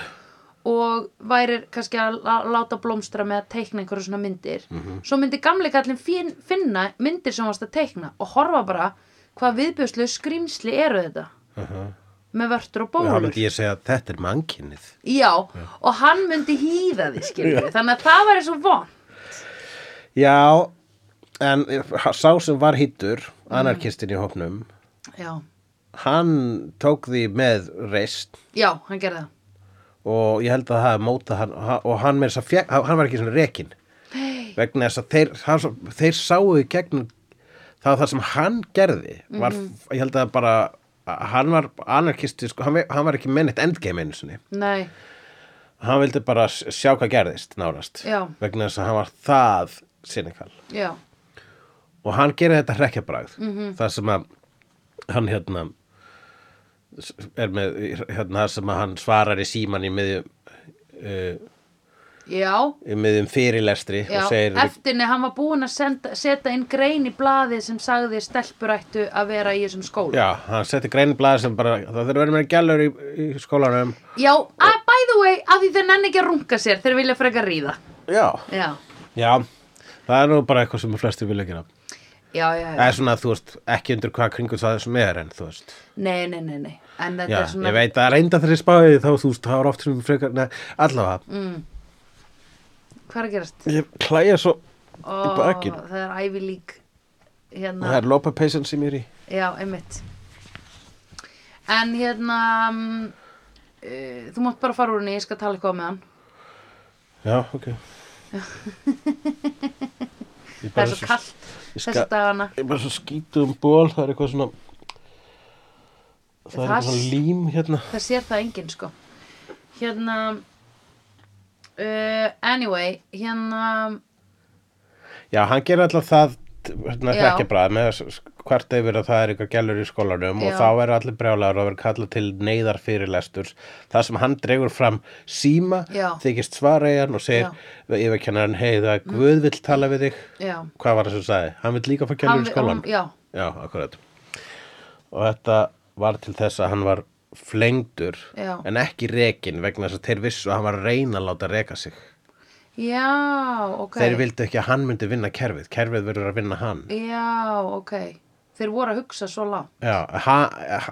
Speaker 1: og værir kannski að la- láta blómstra með að teikna einhverju svona myndir svo myndi gamli kallinn fin- finna myndir sem þú varst að teikna og horfa bara hvað viðbjörslu skrýmsli eru þetta með vörtur og
Speaker 2: Og
Speaker 1: bólur
Speaker 2: þá myndi ég segja að þetta er mannkinnið.
Speaker 1: já, og hann myndi hýða því skilur þannig að það væri svo von
Speaker 2: Já, en sá sem var hittur,
Speaker 1: Mhm.
Speaker 2: anarkistin í hopnum,
Speaker 1: já,
Speaker 2: hann tók því með reist
Speaker 1: já, hann gerði það
Speaker 2: og ég held að það hafi mótað hann og hann, meira að segja fékk, hann var ekki svona rekin vegna þess að þeir, hann, svo- þeir sáu í gegnum það, það sem hann gerði var, ég held að bara að hann var anarkisti sko, hann, ve- hann var ekki mennitt endgame einu sinni
Speaker 1: nei,
Speaker 2: hann vildi bara s- sjá hvað gerðist nárast
Speaker 1: Já.
Speaker 2: vegna þess að hann var það sinikal
Speaker 1: já,
Speaker 2: og hann gerir þetta hrekkjabragð mm
Speaker 1: Mhm.
Speaker 2: það sem að hann hérna s- er með hérna það sem að hann svarar í síman í miðjum uh,
Speaker 1: já
Speaker 2: í miðjum fyrirlestri
Speaker 1: Já,
Speaker 2: og segir
Speaker 1: eftirni hann var búinn að senda, setja inn grein í blaði sem sagði stelpurættu að vera í þessum skóla
Speaker 2: já, hann setti greinblað sem bara það þurfa að vera með gælur í, í skólanum
Speaker 1: Já, að, by the way, að því þeir nenni ekki að runga sér, þeir vilja frekar ríða.
Speaker 2: já,
Speaker 1: Já,
Speaker 2: já það er nú bara eitthvað sem flestir vilja gera
Speaker 1: já, já, já.
Speaker 2: það er svona, þú veist, ekki undir hvað kringu það sem er en þú veist
Speaker 1: Nei, nei, nei, nei. En þetta
Speaker 2: já,
Speaker 1: er svona...
Speaker 2: ég veit að reynda þeirri spáði þá þú veist, það var oft sem frekar neð, allavega,
Speaker 1: Mm. Hvað er að gerast?
Speaker 2: ég klæja svo
Speaker 1: Ó,
Speaker 2: í bakinn
Speaker 1: það er Ivy League, hérna,
Speaker 2: það er lópapeysan sem ég er í
Speaker 1: já, einmitt. En hérna, um, uh, þú mátt bara fara úr henni, ég skal tala eitthvað með hann.
Speaker 2: Já, ok Ég
Speaker 1: Það
Speaker 2: bara
Speaker 1: er svo kallt
Speaker 2: ég
Speaker 1: þessa
Speaker 2: skal-
Speaker 1: dagana.
Speaker 2: Ég er bara svo skítið um ból Það er eitthvað svona Það er
Speaker 1: Það-
Speaker 2: eitthvað svona lím hérna
Speaker 1: það sér það enginn sko hérna uh, anyway hérna
Speaker 2: Já, hann gerir alltaf það hérna,
Speaker 1: Já.
Speaker 2: Hrekkjabræð með s- s- hvert yfir að það er eitthvað gælur í skólanum
Speaker 1: Já.
Speaker 2: og þá eru allir brjálæður og verður kallað til neyðar fyrirlesturs það sem hann dregur fram síma
Speaker 1: Já.
Speaker 2: þykist svara í hann og segir
Speaker 1: Já.
Speaker 2: við yfirkennarinn, hei það er Guð vill tala við þig
Speaker 1: já,
Speaker 2: hvað var það sem sagði? Hann vill líka fá gælur í skólanum
Speaker 1: já,
Speaker 2: Já, akkurat. Og þetta var til þess að hann var flengdur
Speaker 1: Já.
Speaker 2: en ekki rekin vegna þess að þeir vissu að hann var að reyna að láta reka sig.
Speaker 1: já, ok
Speaker 2: Þeir vildu ekki að hann myndi vinna kerfið, kerfið verður að vinna hann.
Speaker 1: já, ok þeir voru að hugsa svo langt
Speaker 2: Já, hann,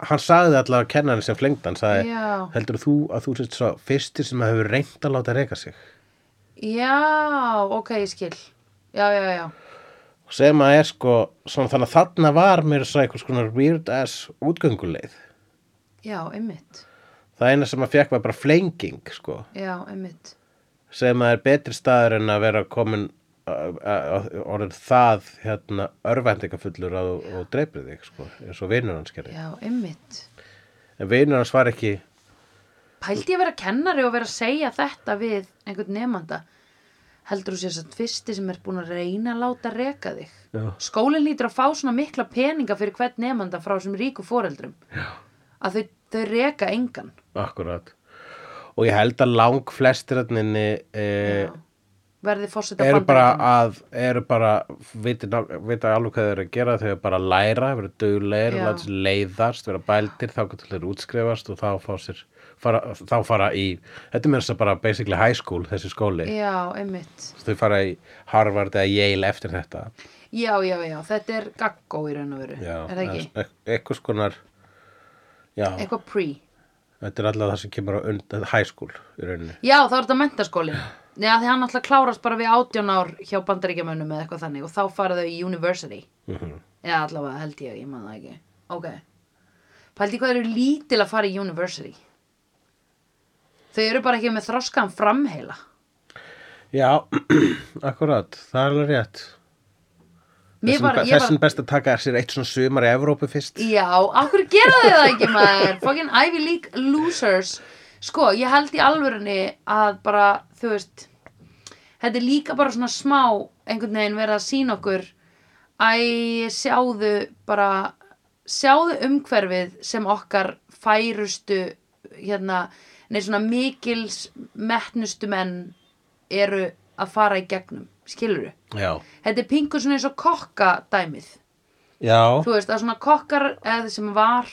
Speaker 2: hann sagði allavega kennan sem flengd, hann sagði
Speaker 1: Já.
Speaker 2: heldur þú að þú sért svo fyrsti sem hefur reynd að láta reyka sig
Speaker 1: já, ok, ég skil já, já, já,
Speaker 2: sem að er sko, svona þannig að þarna var mér svo einhvers konar weird ass útgönguleið
Speaker 1: já, einmitt
Speaker 2: það eina sem að fekk var bara flenging sko,
Speaker 1: já, einmitt
Speaker 2: sem að er betri staður en að vera komin uh, uh, uh, orðin það hérna örvendingafullur að þú- og dreipir þig sko, eins og vinur hans gerði
Speaker 1: já, einmitt
Speaker 2: en vinur hans var ekki
Speaker 1: Pældi ég að vera kennari og vera að segja þetta við einhvern nefnanda? Heldur þú sér satt fyrsti sem er búin að reyna að láta reka þig?
Speaker 2: Já.
Speaker 1: Skólinn lítur að fá svona mikla peninga fyrir hvern nefnanda frá þessum ríku foreldrum. Já. Að þau, þau reka engan.
Speaker 2: akkurat og ég held að lang flestir hann inni eh,
Speaker 1: Já. Verði fórseta
Speaker 2: eru bara að eru bara, vita, vita alveg hvað þeir eru að gera þau eru bara að læra, vera duglegir
Speaker 1: Já.
Speaker 2: og láta sér leiðast, vera bældir þá getur þeir útskrifast og þá fá sér fara, þá fara í, þetta er mér þess að bara basically high school, þessi skóli
Speaker 1: Já, einmitt.
Speaker 2: þau fara í Harvard eða Yale eftir þetta
Speaker 1: Já, já, já. Þetta er gaggó í raun og veru.
Speaker 2: já,
Speaker 1: er það ekki?
Speaker 2: eða svona eit- einhvers konar já,
Speaker 1: Eitthvað pre.
Speaker 2: þetta er alltaf það sem kemur á undan high school í rauninni
Speaker 1: Já, þá er þetta mentaskóli. Já, því hann alltaf klárast bara við 18 ár hjá bandaríkjamönnum eða eitthvað þannig og þá fara þau í university.
Speaker 2: Mhm.
Speaker 1: Já, allavega held ég, ég man það ekki. Ok. Pældi hvað eru lítil að fara í university? Þau eru bara ekki með þroskan framheila.
Speaker 2: já, akkurat, það er alveg rétt
Speaker 1: Mér
Speaker 2: Þessum,
Speaker 1: var,
Speaker 2: var,
Speaker 1: ég var,
Speaker 2: þessum best að taka sér eitt svona sumar í Evrópu fyrst
Speaker 1: já, okkur gera þau það ekki maður. Fucking Ivy League losers. Sko, ég held í alvörunni að bara, þú veist, þetta er líka bara svona smá einhvern veginn verið að sína okkur Æ, sjáðu bara, sjáðu umhverfið sem okkar færustu, hérna, nei svona mikils metnustu menn eru að fara í gegnum, skilur
Speaker 2: já,
Speaker 1: Þetta er pingu svona eins og kokka dæmið
Speaker 2: já.
Speaker 1: þú veist, að svona kokkar eða sem var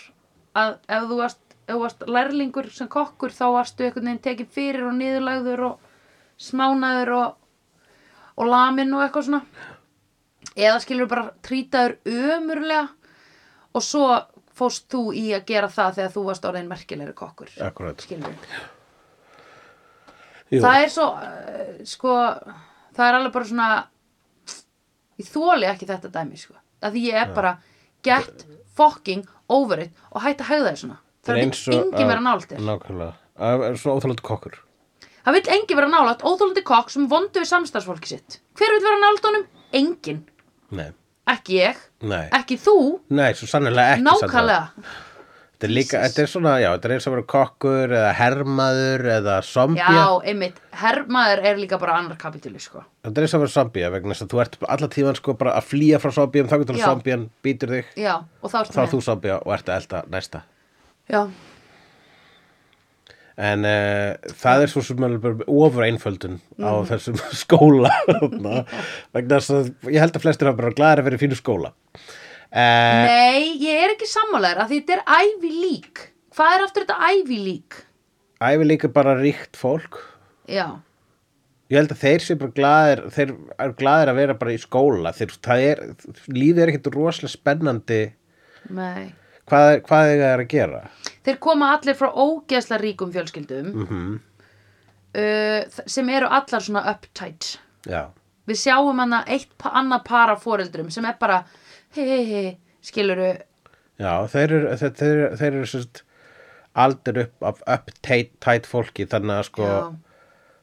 Speaker 1: að ef þú varst, ef þú varst lærlingur sem kokkur þá varstu einhvern veginn tekið fyrir og niðurlægður og smánaður og, og lamin og eitthvað svona eða skilur bara trýtaður ömurlega og svo fóst þú í að gera það þegar þú varst orðin merkilegri kokkur
Speaker 2: Akkurat.
Speaker 1: skilur
Speaker 2: Jú.
Speaker 1: það er svo uh, sko, það er alveg bara svona ég þóli ekki þetta dæmi sko. að því ég er bara get fucking over it og hætt að haugða þér svona það vil
Speaker 2: eins og
Speaker 1: engin
Speaker 2: að-
Speaker 1: vera nálægt þér
Speaker 2: Nákvæmlega. Það er svo óþálega kokkur.
Speaker 1: það vil engin vera nálægt óþólandi kokk sem vondu við samstarfsfólki sitt hver vil vera nálægt honum? engin,
Speaker 2: Nei.
Speaker 1: ekki ég
Speaker 2: Nei.
Speaker 1: ekki þú,
Speaker 2: Nei, svo sannlega ekki. Sandra.
Speaker 1: nákvæmlega
Speaker 2: Þetta er líka,
Speaker 1: Jesus.
Speaker 2: þetta er svona, já, þetta er eins og að vera kokkur eða hermaður eða zombie.
Speaker 1: já, einmitt, herrmaður er líka bara annar kapitúli sko.
Speaker 2: Þetta er eins og að vera zombie vegna þess að þú ert alla tíman sko bara að flýja frá zombie þá getur
Speaker 1: Já.
Speaker 2: þú zombie býtur þig,
Speaker 1: já, og þá ertu
Speaker 2: þá er
Speaker 1: með.
Speaker 2: þú zombie og ert að elda næsta.
Speaker 1: já,
Speaker 2: En uh, það er svo sem alveg bara ofur einföldun á
Speaker 1: Mhm.
Speaker 2: þessum skóla þarna. vegna þess að ég held að flestir hafa bara glæðir að vera í fínu skóla. Uh,
Speaker 1: Nei, ég er ekki sammálaður að þetta er Ivy League. Hvað er aftur þetta Ivy League?
Speaker 2: æfi líka bara ríkt fólk
Speaker 1: Já,
Speaker 2: Ég held að þeir sé bara glaðir, þeir eru glaðir að vera bara í skóla. Þeir, það er, lífið er ekkert rosalega spennandi
Speaker 1: nei.
Speaker 2: hvað, hvað þeir eru að gera.
Speaker 1: Þeir koma allir frá ógeðsla ríkum fjölskyldum
Speaker 2: Mhm.
Speaker 1: uh, þ- sem eru allar svona uptight.
Speaker 2: Já,
Speaker 1: Við sjáum hana eitt pa annað para foreldrum sem er bara hei, hei, hei, skiluru,
Speaker 2: já þeir eru, þeir, þeir, þeir eru sérst aldur upp af upptætt fólki þannig að sko
Speaker 1: Já.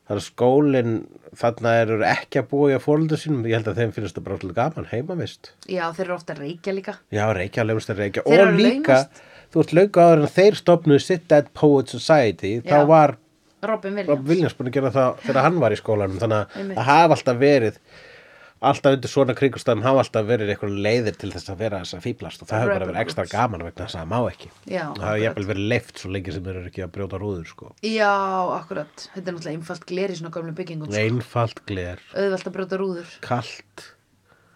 Speaker 2: þannig að skólinn þannig að þeir eru ekki að búa í að fóröldu sínum ég held að þeim finnst það bara svolítið gaman heimavist
Speaker 1: já, þeir eru ofta að reykja líka.
Speaker 2: já, reykja, laumast að reykja
Speaker 1: Þeir
Speaker 2: og
Speaker 1: eru
Speaker 2: líka,
Speaker 1: laumast.
Speaker 2: þú ert löngu áður en þeir stopnuðu sitt Dead Poet Society þá
Speaker 1: Já.
Speaker 2: var
Speaker 1: Robin Williams.
Speaker 2: Rob Williams búin að gera það þegar hann var í skólanum þannig að
Speaker 1: Einmitt.
Speaker 2: að hafa alltaf verið alltaf undir svona kringustæðum hafa alltaf verið eitthvað leiðir til þess að vera þess að fýblast og það hefur bara
Speaker 1: Rebel
Speaker 2: verið ekstra
Speaker 1: groups.
Speaker 2: gaman vegna þess að það má ekki
Speaker 1: Já,
Speaker 2: það hefur jafnvel verið leift svo lengi sem þeir eru ekki að brjóta rúður sko.
Speaker 1: Já, akkurat. Þetta er náttúrulega einfalt gler í svona gömlu byggingum. sko.
Speaker 2: einfalt gler,
Speaker 1: Auðvelt að brjóta rúður.
Speaker 2: kalt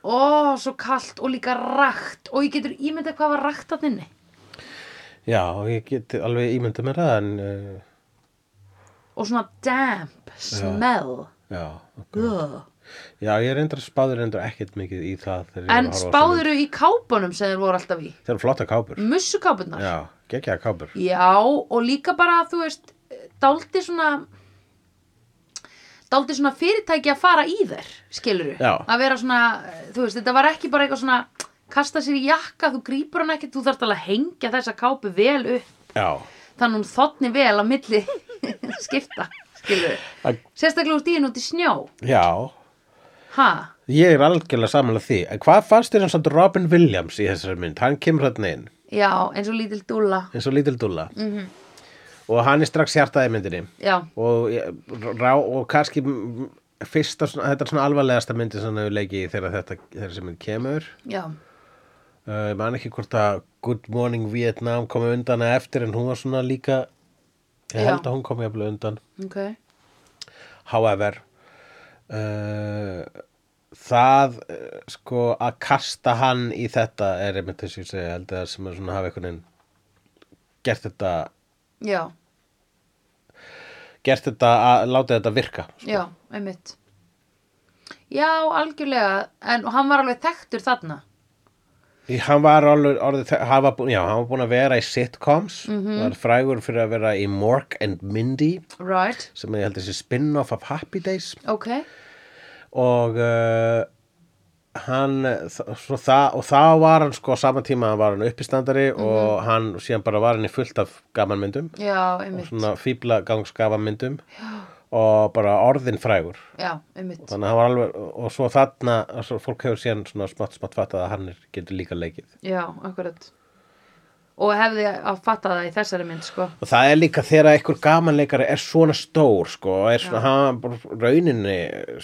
Speaker 1: Ó, svo kallt og líka rakt og ég getur ímyndað hvað var rakt að inni
Speaker 2: já, ég geti alveg ímyndað mér það en uh,
Speaker 1: og svona damp, smell
Speaker 2: já, ok.
Speaker 1: Ugh.
Speaker 2: Já, ég reyndar spáður reyndar ekkert mikið í það þegar
Speaker 1: En
Speaker 2: ég var að horfa á þessa mynd.
Speaker 1: spáðuru í kápunum sem þeir voru alltaf í
Speaker 2: Þeir eru flotta
Speaker 1: Mm.
Speaker 2: kápur
Speaker 1: Mussukápunar
Speaker 2: Já, geggjaða kápur
Speaker 1: Já, og líka bara, þú veist, dáldi svona dáldi svona fyrirtæki að fara í þær, skilur
Speaker 2: Já.
Speaker 1: Að vera svona, þú veist, þetta var ekki bara eitthvað svona kasta sér í jakka, þú grípur hann ekki, þú þarft alveg að hengja þessa kápu vel upp
Speaker 2: Já,
Speaker 1: þannig hún þotni vel á milli skipta, skilur
Speaker 2: að,
Speaker 1: Sérstaklega úr dýin út í snjó,
Speaker 2: já
Speaker 1: ha?
Speaker 2: Ég er algjörlega samanlega því En hvað fannst þér eins og Robin Williams í þessari mynd? Hann kemur þarna inn
Speaker 1: Já, eins og lítil dúlla,
Speaker 2: eins og lítil dúlla -hmm. og hann er strax hjartað í myndinni
Speaker 1: já,
Speaker 2: og, ég- rá, og kannski m- fyrsta, svona, þetta er svona alvarlegasta myndin sem hann hefur leikið í þegar þetta, þessi mynd kemur
Speaker 1: já,
Speaker 2: uh, ég man ekki hvort að Good Morning Vietnam komi undan eða eftir en hún var svona líka ég
Speaker 1: Já.
Speaker 2: held að hún komi jafnlega undan
Speaker 1: ok
Speaker 2: however uh, það uh, sko að kasta hann í þetta er einmitt þess að ég segja held að sem er svona hafa einhvern veginn gert þetta
Speaker 1: Já,
Speaker 2: gert þetta að láta þetta virka
Speaker 1: já, einmitt Já, algjörlega en og hann var alveg þekktur þarna
Speaker 2: Í- hann var alveg orðið, hann var, bú- já, hann var búin að vera í sitcoms var frægur fyrir að vera í Mork and Mindy
Speaker 1: Right,
Speaker 2: sem ég held þessi spin-off af Happy Days
Speaker 1: ok,
Speaker 2: og uh, hann þ- svo það, og þá var hann sko á sama tíma var hann uppistandari og hann síðan bara var hann í fullt af gamanmyndum
Speaker 1: já,
Speaker 2: og
Speaker 1: einmitt
Speaker 2: svona fíbla gangsgafanmyndum og bara orðin frægur
Speaker 1: Já, einmitt,
Speaker 2: þannig að hann var alveg og svo þarna, svo fólk hefur síðan svona smátt smátt fattað að hann er, getur líka leikið
Speaker 1: já, akkurat Og hefði að fatta það í þessari mynd, sko
Speaker 2: og það er líka þegar einhver gamanleikari er svona stór sko, og er svona, hann bara rauninni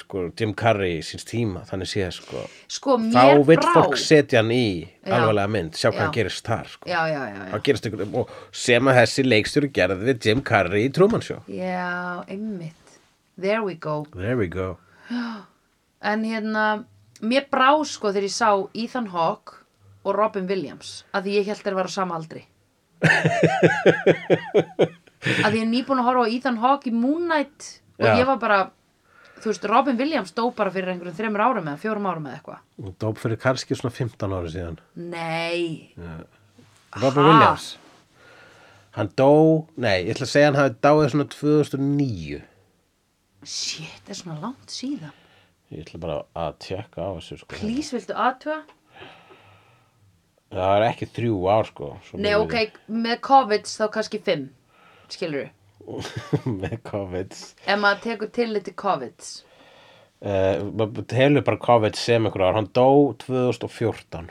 Speaker 2: sko, Jim Carrey síns tíma þannig séð sko,
Speaker 1: Sko, mér
Speaker 2: þá vill
Speaker 1: brá
Speaker 2: fólk setja hann í
Speaker 1: Já.
Speaker 2: alvarlega mynd, sjá hvað
Speaker 1: Já.
Speaker 2: hann gerist þar sko.
Speaker 1: Já, já, já, já
Speaker 2: Þá gerist ykkur, og sem að þessi leikstjóri gerði við Jim Carrey í Truman Show
Speaker 1: Já, einmitt There we go
Speaker 2: there we go
Speaker 1: En hérna, mér brá sko þegar ég sá Ethan Hawke og Robin Williams að því ég held þeir var á sama aldri að því ég er nýbúin að horfa á Ethan Hawke í Moon Knight og
Speaker 2: Já.
Speaker 1: ég var bara þú veist, Robin Williams dó bara fyrir einhverjum þremur árum eða fjórum árum eða eitthvað
Speaker 2: og dóp fyrir kannski svona 15 ári síðan
Speaker 1: Nei,
Speaker 2: Robert
Speaker 1: Ha?
Speaker 2: Williams hann dó, nei, ég ætla að segja hann hafi dáið svona 2009
Speaker 1: shit, það er svona langt síðan
Speaker 2: ég ætla bara að tjekka á þessu sko.
Speaker 1: Please, viltu aðtöga?
Speaker 2: það er ekki þrjú ár sko svo
Speaker 1: Nei,
Speaker 2: mikið.
Speaker 1: ok, með COVID þá kannski fimm, skilur við
Speaker 2: með COVID
Speaker 1: ef maður tekur til liti COVID
Speaker 2: uh, telur bara COVID sem ykkur ár hann dó 2014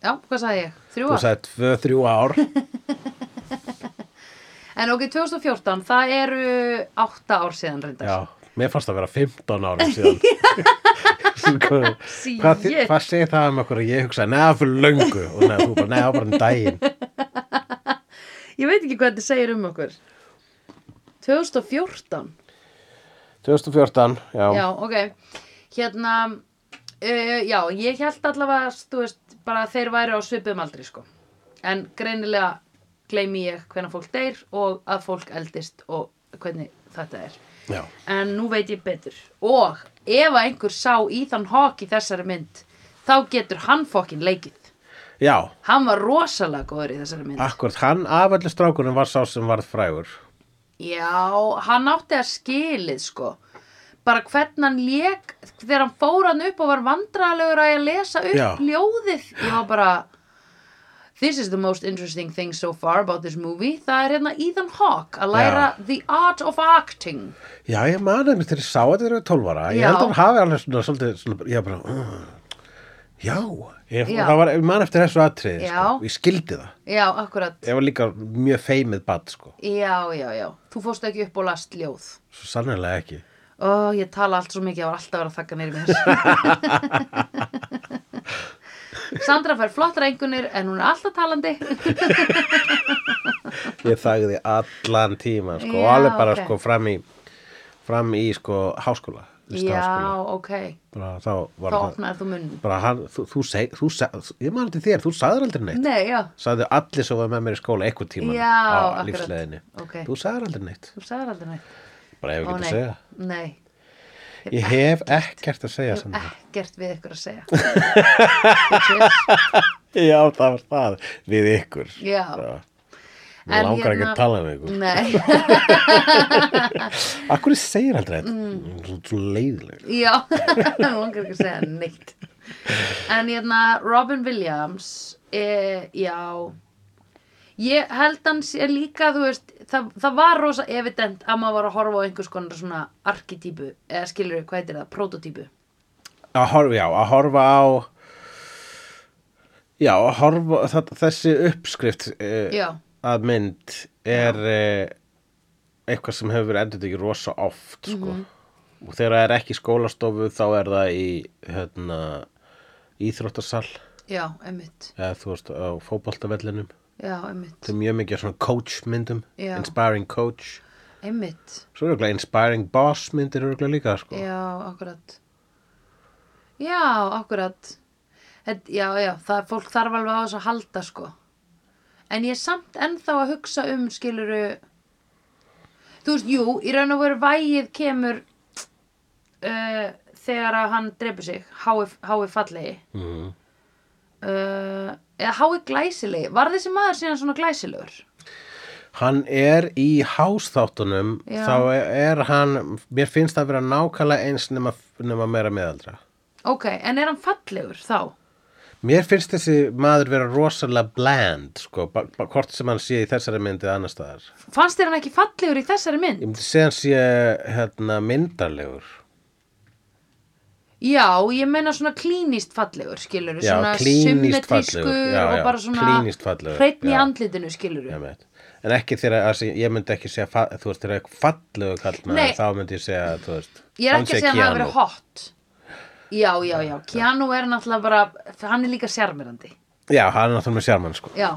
Speaker 1: Já, hvað sagði ég? Þrjú
Speaker 2: þú
Speaker 1: ár?
Speaker 2: sagði 2-3 ár
Speaker 1: En ok, 2014, það eru átta ár síðan reyndar.
Speaker 2: já, mér fannst það að vera 15 ára síðan sko,
Speaker 1: Shit.
Speaker 2: hvað, þi- hvað segir það um okkur að ég hugsa neða fyrir löngu og neða þú bara neða bara en daginn
Speaker 1: Ég veit ekki hvað þetta segir um okkur. 2014,
Speaker 2: 2014, já,
Speaker 1: já, ok. Hérna, uh, já, ég held allavega, þú veist, bara þeir væri á svipum aldri, sko. En greinilega gleymi ég hvenna fólk deyr og að fólk eldist og hvernig þetta er.
Speaker 2: já.
Speaker 1: En nú veit ég betur. Og ef að einhver sá Ethan Hawke í þessari mynd, þá getur hann fokkin leikið.
Speaker 2: já
Speaker 1: Hann var rosalega góður í þessari mynd.
Speaker 2: akkurat hann af öllu strákunum var sá sem varð frægur
Speaker 1: Já, hann átti að skilið sko bara hvern hann lék þegar hann fór hann upp og var vandræðalegur að ég lesa upp
Speaker 2: Já.
Speaker 1: ljóðið ég var bara This is the most interesting thing so far about this movie það er hérna Ethan Hawke að læra The Art of Acting
Speaker 2: Já, ég man einmitt þegar ég sá þetta þegar ég var 12 ára. Ég
Speaker 1: Já.
Speaker 2: held að hún hafi alveg svona, svolítið, svona, ég bara, uh, já, ég,
Speaker 1: Já.
Speaker 2: það var, ég man eftir þessu atriði, sko,
Speaker 1: Já.
Speaker 2: ég skildi það.
Speaker 1: Já, akkurat
Speaker 2: Ég var líka mjög feimið bad, sko,
Speaker 1: Já, já, já, þú fórst ekki upp og last ljóð
Speaker 2: svo sannlega ekki.
Speaker 1: Ó, ég tala allt svo mikið, ég var alltaf að vera að þakka neyri mér. Sandra fær flottar engunir en hún er alltaf talandi.
Speaker 2: Ég þagði allan tíma, sko,
Speaker 1: Já,
Speaker 2: og alveg bara,
Speaker 1: ok.
Speaker 2: sko, fram í, fram í, sko, háskóla,
Speaker 1: Já,
Speaker 2: listaháskóla.
Speaker 1: ok.
Speaker 2: sko. Bara þá var
Speaker 1: Þá
Speaker 2: það,
Speaker 1: opnaði þú munn.
Speaker 2: bara hann, þú, þú seg, þú seg, ég man eftir þér, þú sagðir aldrei neitt.
Speaker 1: Nei, já.
Speaker 2: Sagði allir sem var með mér í skóla eitthvað tíman
Speaker 1: Já,
Speaker 2: á
Speaker 1: akkurat.
Speaker 2: lífsleðinni.
Speaker 1: Ok.
Speaker 2: Þú sagðir aldrei neitt,
Speaker 1: Þú sagðir aldrei neitt.
Speaker 2: bara
Speaker 1: Ó,
Speaker 2: ef ég geta
Speaker 1: nei.
Speaker 2: að segja.
Speaker 1: Nei. hef
Speaker 2: Ég hef ekkert að segja
Speaker 1: hef
Speaker 2: sannig.
Speaker 1: ekkert við ykkur að segja Bitches.
Speaker 2: Já, það var það. Við ykkur.
Speaker 1: Já,
Speaker 2: Já.
Speaker 1: En
Speaker 2: Mér langar ekki
Speaker 1: hérna-
Speaker 2: að tala við ykkur.
Speaker 1: nei Mm.
Speaker 2: Akkur segir aldrei þetta? Mm. Svo- Svo leiðileg.
Speaker 1: Já, hann langar ekki að segja neitt En hérna, Robin Williams e, Já Ég held hann sé líka, þú veist það, það var rosa evident að maður var að horfa á einhvers konar svona arkitípu eða skilur við, hvað heitir það, prototípu
Speaker 2: Að horfa, já, að horfa á... Já, að horfa, það, þessi uppskrift uh,
Speaker 1: Já,
Speaker 2: að mynd er uh, eitthvað sem hefur verið endur ekki rosa oft, sko.
Speaker 1: Mhm.
Speaker 2: Og þegar það er ekki í skólastofu þá er það í, hérna, íþróttasal
Speaker 1: já, einmitt
Speaker 2: eða þú veist á fótboltavellinum.
Speaker 1: Já, einmitt,
Speaker 2: Það er mjög mikið af svona coach myndum,
Speaker 1: Já.
Speaker 2: inspiring coach.
Speaker 1: einmitt
Speaker 2: Svo eru eitthvað inspiring boss myndir eru eitthvað líka, sko.
Speaker 1: Já, akkurat Já, akkurat Þetta, Já, já, það, fólk þarf alveg á þess að halda sko En ég er samt ennþá að hugsa um skiluru Þú veist, jú, í raun og veru vægið kemur uh, þegar að hann dreipur sig hái hái fallegi
Speaker 2: Mhm.
Speaker 1: uh, eða hái glæsilegi Var þessi maður síðan svona glæsilegur?
Speaker 2: Hann er í hásþáttunum,
Speaker 1: Já.
Speaker 2: þá er, er hann, mér finnst það að vera nákvæmlega eins nema, nema meira meðaldra.
Speaker 1: Ok, en er hann fallegur þá?
Speaker 2: Mér finnst þessi maður vera rosalega bland, sko, ba- ba- hvort sem hann sé í þessari myndið annars staðar.
Speaker 1: Fannst þér hann ekki fallegur í þessari mynd?
Speaker 2: Ég myndi segja hann sé, hérna, myndarlegur.
Speaker 1: Já, ég meina svona klínist fallegur, skilur
Speaker 2: Já,
Speaker 1: svona
Speaker 2: klínískt fallegur,
Speaker 1: symmetrískur
Speaker 2: já,
Speaker 1: og
Speaker 2: já,
Speaker 1: bara svona
Speaker 2: klínískt fallegur,
Speaker 1: hreinn í
Speaker 2: já.
Speaker 1: andlitinu, skilur
Speaker 2: Ég veit. En ekki þegar, að, ég myndi ekki segja, fa- þú veist, þegar eitthvað fallegu kall
Speaker 1: Nei.
Speaker 2: þá myndi ég segja, þú veist,
Speaker 1: Ég er
Speaker 2: hann
Speaker 1: ekki að
Speaker 2: sé
Speaker 1: segja að hann hafa
Speaker 2: Keanu.
Speaker 1: verið hot Já, já, já, Keanu er náttúrulega bara, hann er líka sjarmirandi
Speaker 2: Já, hann er náttúrulega með sjarmann, sko.
Speaker 1: já.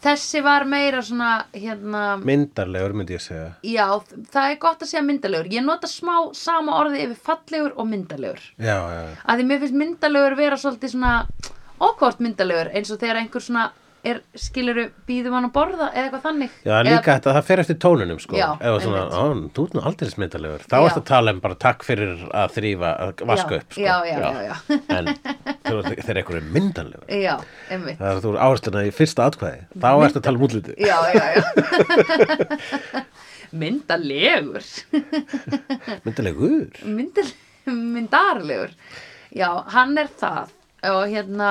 Speaker 1: þessi var meira svona, hérna
Speaker 2: Myndarlegur myndi ég segja.
Speaker 1: Já, það er gott að segja myndalegur Ég nota smá sama orði yfir fallegur og myndalegur
Speaker 2: Já, já, já.
Speaker 1: að því mér finnst myndalegur vera svolítið svona okkvort myndalegur eins og þegar einhver svona er, skiluru, býðum hann að borða eða eitthvað þannig
Speaker 2: Já, en líka þetta, það fer eftir tónunum sko
Speaker 1: Já,
Speaker 2: Ef það svona,
Speaker 1: einmitt.
Speaker 2: á, þú ert nú aldrei smittalegur Þá
Speaker 1: Já.
Speaker 2: ertu að tala um bara takk fyrir að þrýfa, að vaska
Speaker 1: Já,
Speaker 2: upp sko.
Speaker 1: já, já, já, já.
Speaker 2: En þegar þú- þegar einhver er myndanlegur
Speaker 1: Já, einmitt
Speaker 2: Það er þú áhersluna í fyrsta atkvæði Þá ertu að tala um útliti
Speaker 1: Já, já, já Myndalegur
Speaker 2: Myndalegur
Speaker 1: Myndal Myndarlegur Já, hann er það og hérna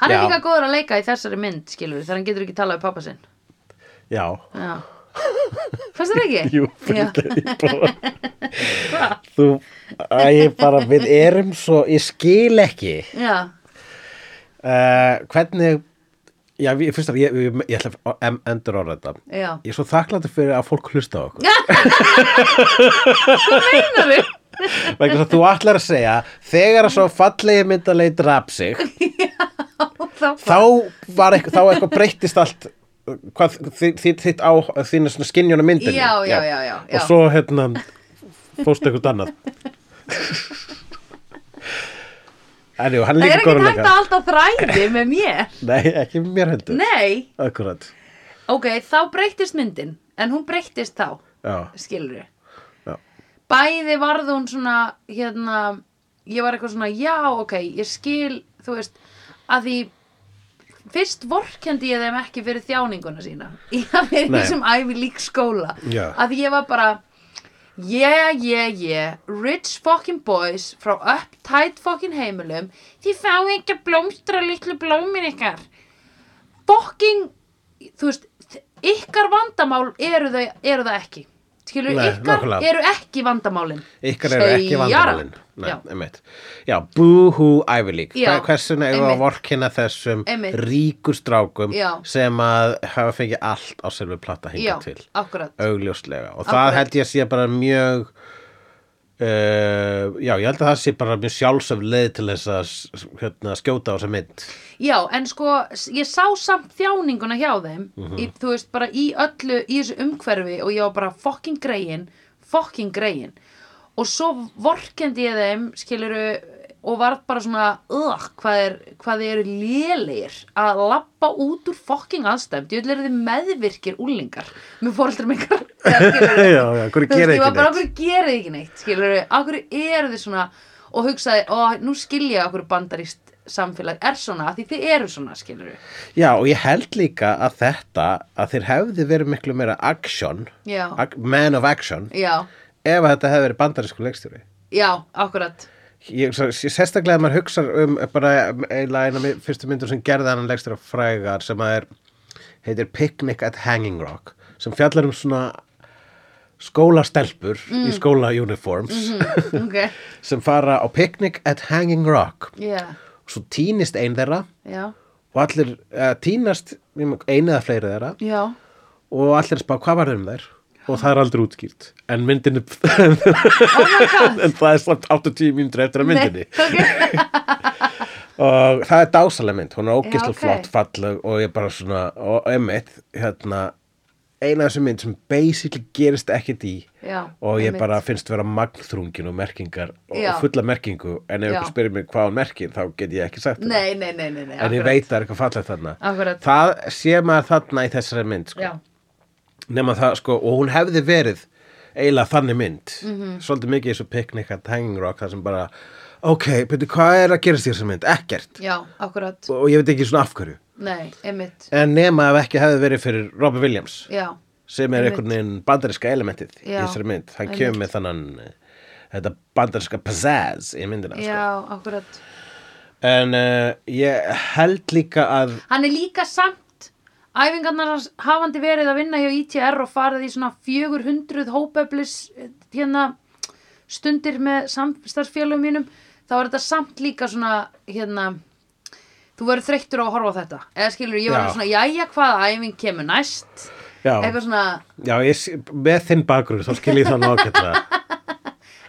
Speaker 1: Hann er
Speaker 2: Já.
Speaker 1: líka góður að leika í þessari mynd, skilur þegar hann getur ekki talað við pappa sinn
Speaker 2: Já,
Speaker 1: Já Fannst þér ekki?
Speaker 2: jú,
Speaker 1: Já,
Speaker 2: fyrirlega bara... Þú, að ég bara, við erum svo, ég skil ekki
Speaker 1: já,
Speaker 2: uh, Hvernig, já, ég, fyrst af, ég, ég, ég ætla að em- endur orða þetta
Speaker 1: já
Speaker 2: Ég er svo þakklandi fyrir að fólk hlusta á okkur
Speaker 1: Meinar þau?
Speaker 2: vegna þess að þú ætlar að segja þegar að svo fallegi myndalegi draf sig þá var eitthvað, þá eitthvað breyttist allt hvað, þi- þitt, þitt á þínu svona skinjuna myndinni
Speaker 1: Já, já, já, já, já.
Speaker 2: og svo hérna fórstu eitthvað annað en jú, hann er
Speaker 1: Það er
Speaker 2: líka
Speaker 1: ekki
Speaker 2: góður að
Speaker 1: hægt að
Speaker 2: leika
Speaker 1: halda þræði með mér
Speaker 2: nei, ekki mér heldur
Speaker 1: Nei,
Speaker 2: akkurat
Speaker 1: ok, þá breyttist myndin en hún breyttist þá,
Speaker 2: já,
Speaker 1: skilur þau
Speaker 2: já,
Speaker 1: bæði varð hún svona hérna, ég var eitthvað svona já, ok, ég skil, þú veist að því fyrst vorkendi ég þeim ekki fyrir þjáninguna sína í að vera í
Speaker 2: Nei.
Speaker 1: þessum ævi lík skóla
Speaker 2: Já.
Speaker 1: að því ég var bara yeah, yeah, yeah rich fucking boys frá uptight fucking heimilum þið fáið ekki að blómstra litlu blómin ykkar fucking þú veist, ykkar vandamál eru, þau, eru það ekki skilur,
Speaker 2: Nei,
Speaker 1: ykkar
Speaker 2: nákvæmlega.
Speaker 1: eru ekki vandamálin
Speaker 2: ykkar eru ekki
Speaker 1: Segja.
Speaker 2: vandamálin Nei,
Speaker 1: já,
Speaker 2: einmitt. já, búhú Ivy League
Speaker 1: Já,
Speaker 2: Hver- hversu nefnum
Speaker 1: einmitt.
Speaker 2: að vorkina þessum
Speaker 1: Einmitt.
Speaker 2: ríku strákum
Speaker 1: Já.
Speaker 2: sem að hafa fengið allt á selvi platta
Speaker 1: já,
Speaker 2: hinga til
Speaker 1: akkurat
Speaker 2: augljóslega og
Speaker 1: Akkurat.
Speaker 2: það held ég að sé bara mjög Uh, já, ég held að það sé bara mjög sjálfsöf leið til þess að s- hérna, skjóta á þessa mynd
Speaker 1: Já, en sko, s- ég sá samt þjáninguna hjá þeim, í, þú veist, bara í öllu, í þessu umhverfi og ég var bara fucking greiðin, fucking greiðin. Og svo vorkendi ég þeim, skiluru, og var bara svona ugh, hvað, er, hvað þið eru lélegir að lappa út úr fokking aðstæmt ég vil eru þið meðvirkir úlingar með fóreldrum ykkar Eða, skilurðu,
Speaker 2: já, já, hverju
Speaker 1: þú veist,
Speaker 2: gerir
Speaker 1: ég var
Speaker 2: ekki
Speaker 1: bara,
Speaker 2: neitt
Speaker 1: okkur gerði ekki neitt skilur við, okkur eru þið svona og hugsaði, ó, nú skilja okkur bandarist samfélag er svona af því þið eru svona, skilur við
Speaker 2: já, og ég held líka að þetta að þeir hefði verið miklu meira action
Speaker 1: já,
Speaker 2: ac man of action
Speaker 1: já,
Speaker 2: ef að þetta hefði verið bandarísku leikstjóri
Speaker 1: já, akkurat
Speaker 2: ég, svo, ég- sérstaklega að maður hugsa um bara eiginlega eina mi- fyrstu myndur sem gerði hann leikstjóra frægar sem að er heitir Picnic at Hanging Rock sem fjallar um svona skólastelpur í skólauniforms
Speaker 1: ok,
Speaker 2: sem fara á Picnic at Hanging Rock
Speaker 1: já,
Speaker 2: svo týnist ein þeirra
Speaker 1: já
Speaker 2: og allir uh, týnast einu eða fleiri þeirra
Speaker 1: já,
Speaker 2: og allir spá hvað var þeim þær og það er aldrei útskýrt en myndinu en það er samt 80 mínútur eftir að myndinni
Speaker 1: ok,
Speaker 2: og það er dásalega mynd, hún er ógislega
Speaker 1: Já, ok.
Speaker 2: flott falleg og ég bara svona og emmitt, hérna eina þessu mynd sem basically gerist ekkert í
Speaker 1: Já,
Speaker 2: og ég
Speaker 1: einmitt.
Speaker 2: bara finnst vera magnþrungin og merkingar og
Speaker 1: Já.
Speaker 2: og fulla merkingu en ef
Speaker 1: Já.
Speaker 2: ykkur spyrir mig hvað hún merkir þá get ég ekki sagt það
Speaker 1: nei, nei, nei, nei, nei
Speaker 2: en ég
Speaker 1: akkurat.
Speaker 2: veit það er eitthvað fallegt þarna
Speaker 1: Akkurat.
Speaker 2: það sé maður þarna í þessari mynd sko.
Speaker 1: já,
Speaker 2: nema það sko, og hún hefði verið eiginlega þannig mynd
Speaker 1: Mhm.
Speaker 2: svolítið mikið í þessu picnic at Hanging Rock þar sem bara, ok, betur hvað er að gerast í þessu mynd? Ekkert
Speaker 1: já, akkurat
Speaker 2: og, og ég veit ekki svona af hverju
Speaker 1: nei, einmitt,
Speaker 2: en nema ef ekki hefði verið fyrir Robin Williams
Speaker 1: já,
Speaker 2: sem er
Speaker 1: Einmitt.
Speaker 2: einhvern veginn bandariska elementið í
Speaker 1: Já,
Speaker 2: þessari mynd, hann
Speaker 1: einmitt.
Speaker 2: kemur með þannan eh, þetta bandariska pizzazz í myndina sko.
Speaker 1: já, akkurat
Speaker 2: en uh, ég held líka að
Speaker 1: Hann er líka samt æfingarnar hans hafandi verið að vinna hjá ITR og farið í svona 400 hópeflis eh, hérna stundir með samstarfsfélögum mínum þá er þetta samt líka svona hérna þú verður þreyttur á að horfa á þetta eða skilur ég var
Speaker 2: Já.
Speaker 1: svona jæja hvaða æfing kemur næst
Speaker 2: já,
Speaker 1: eitthvað svona
Speaker 2: já ég, sé- með þinn bakgrunn þá skil ég þannig ágætlega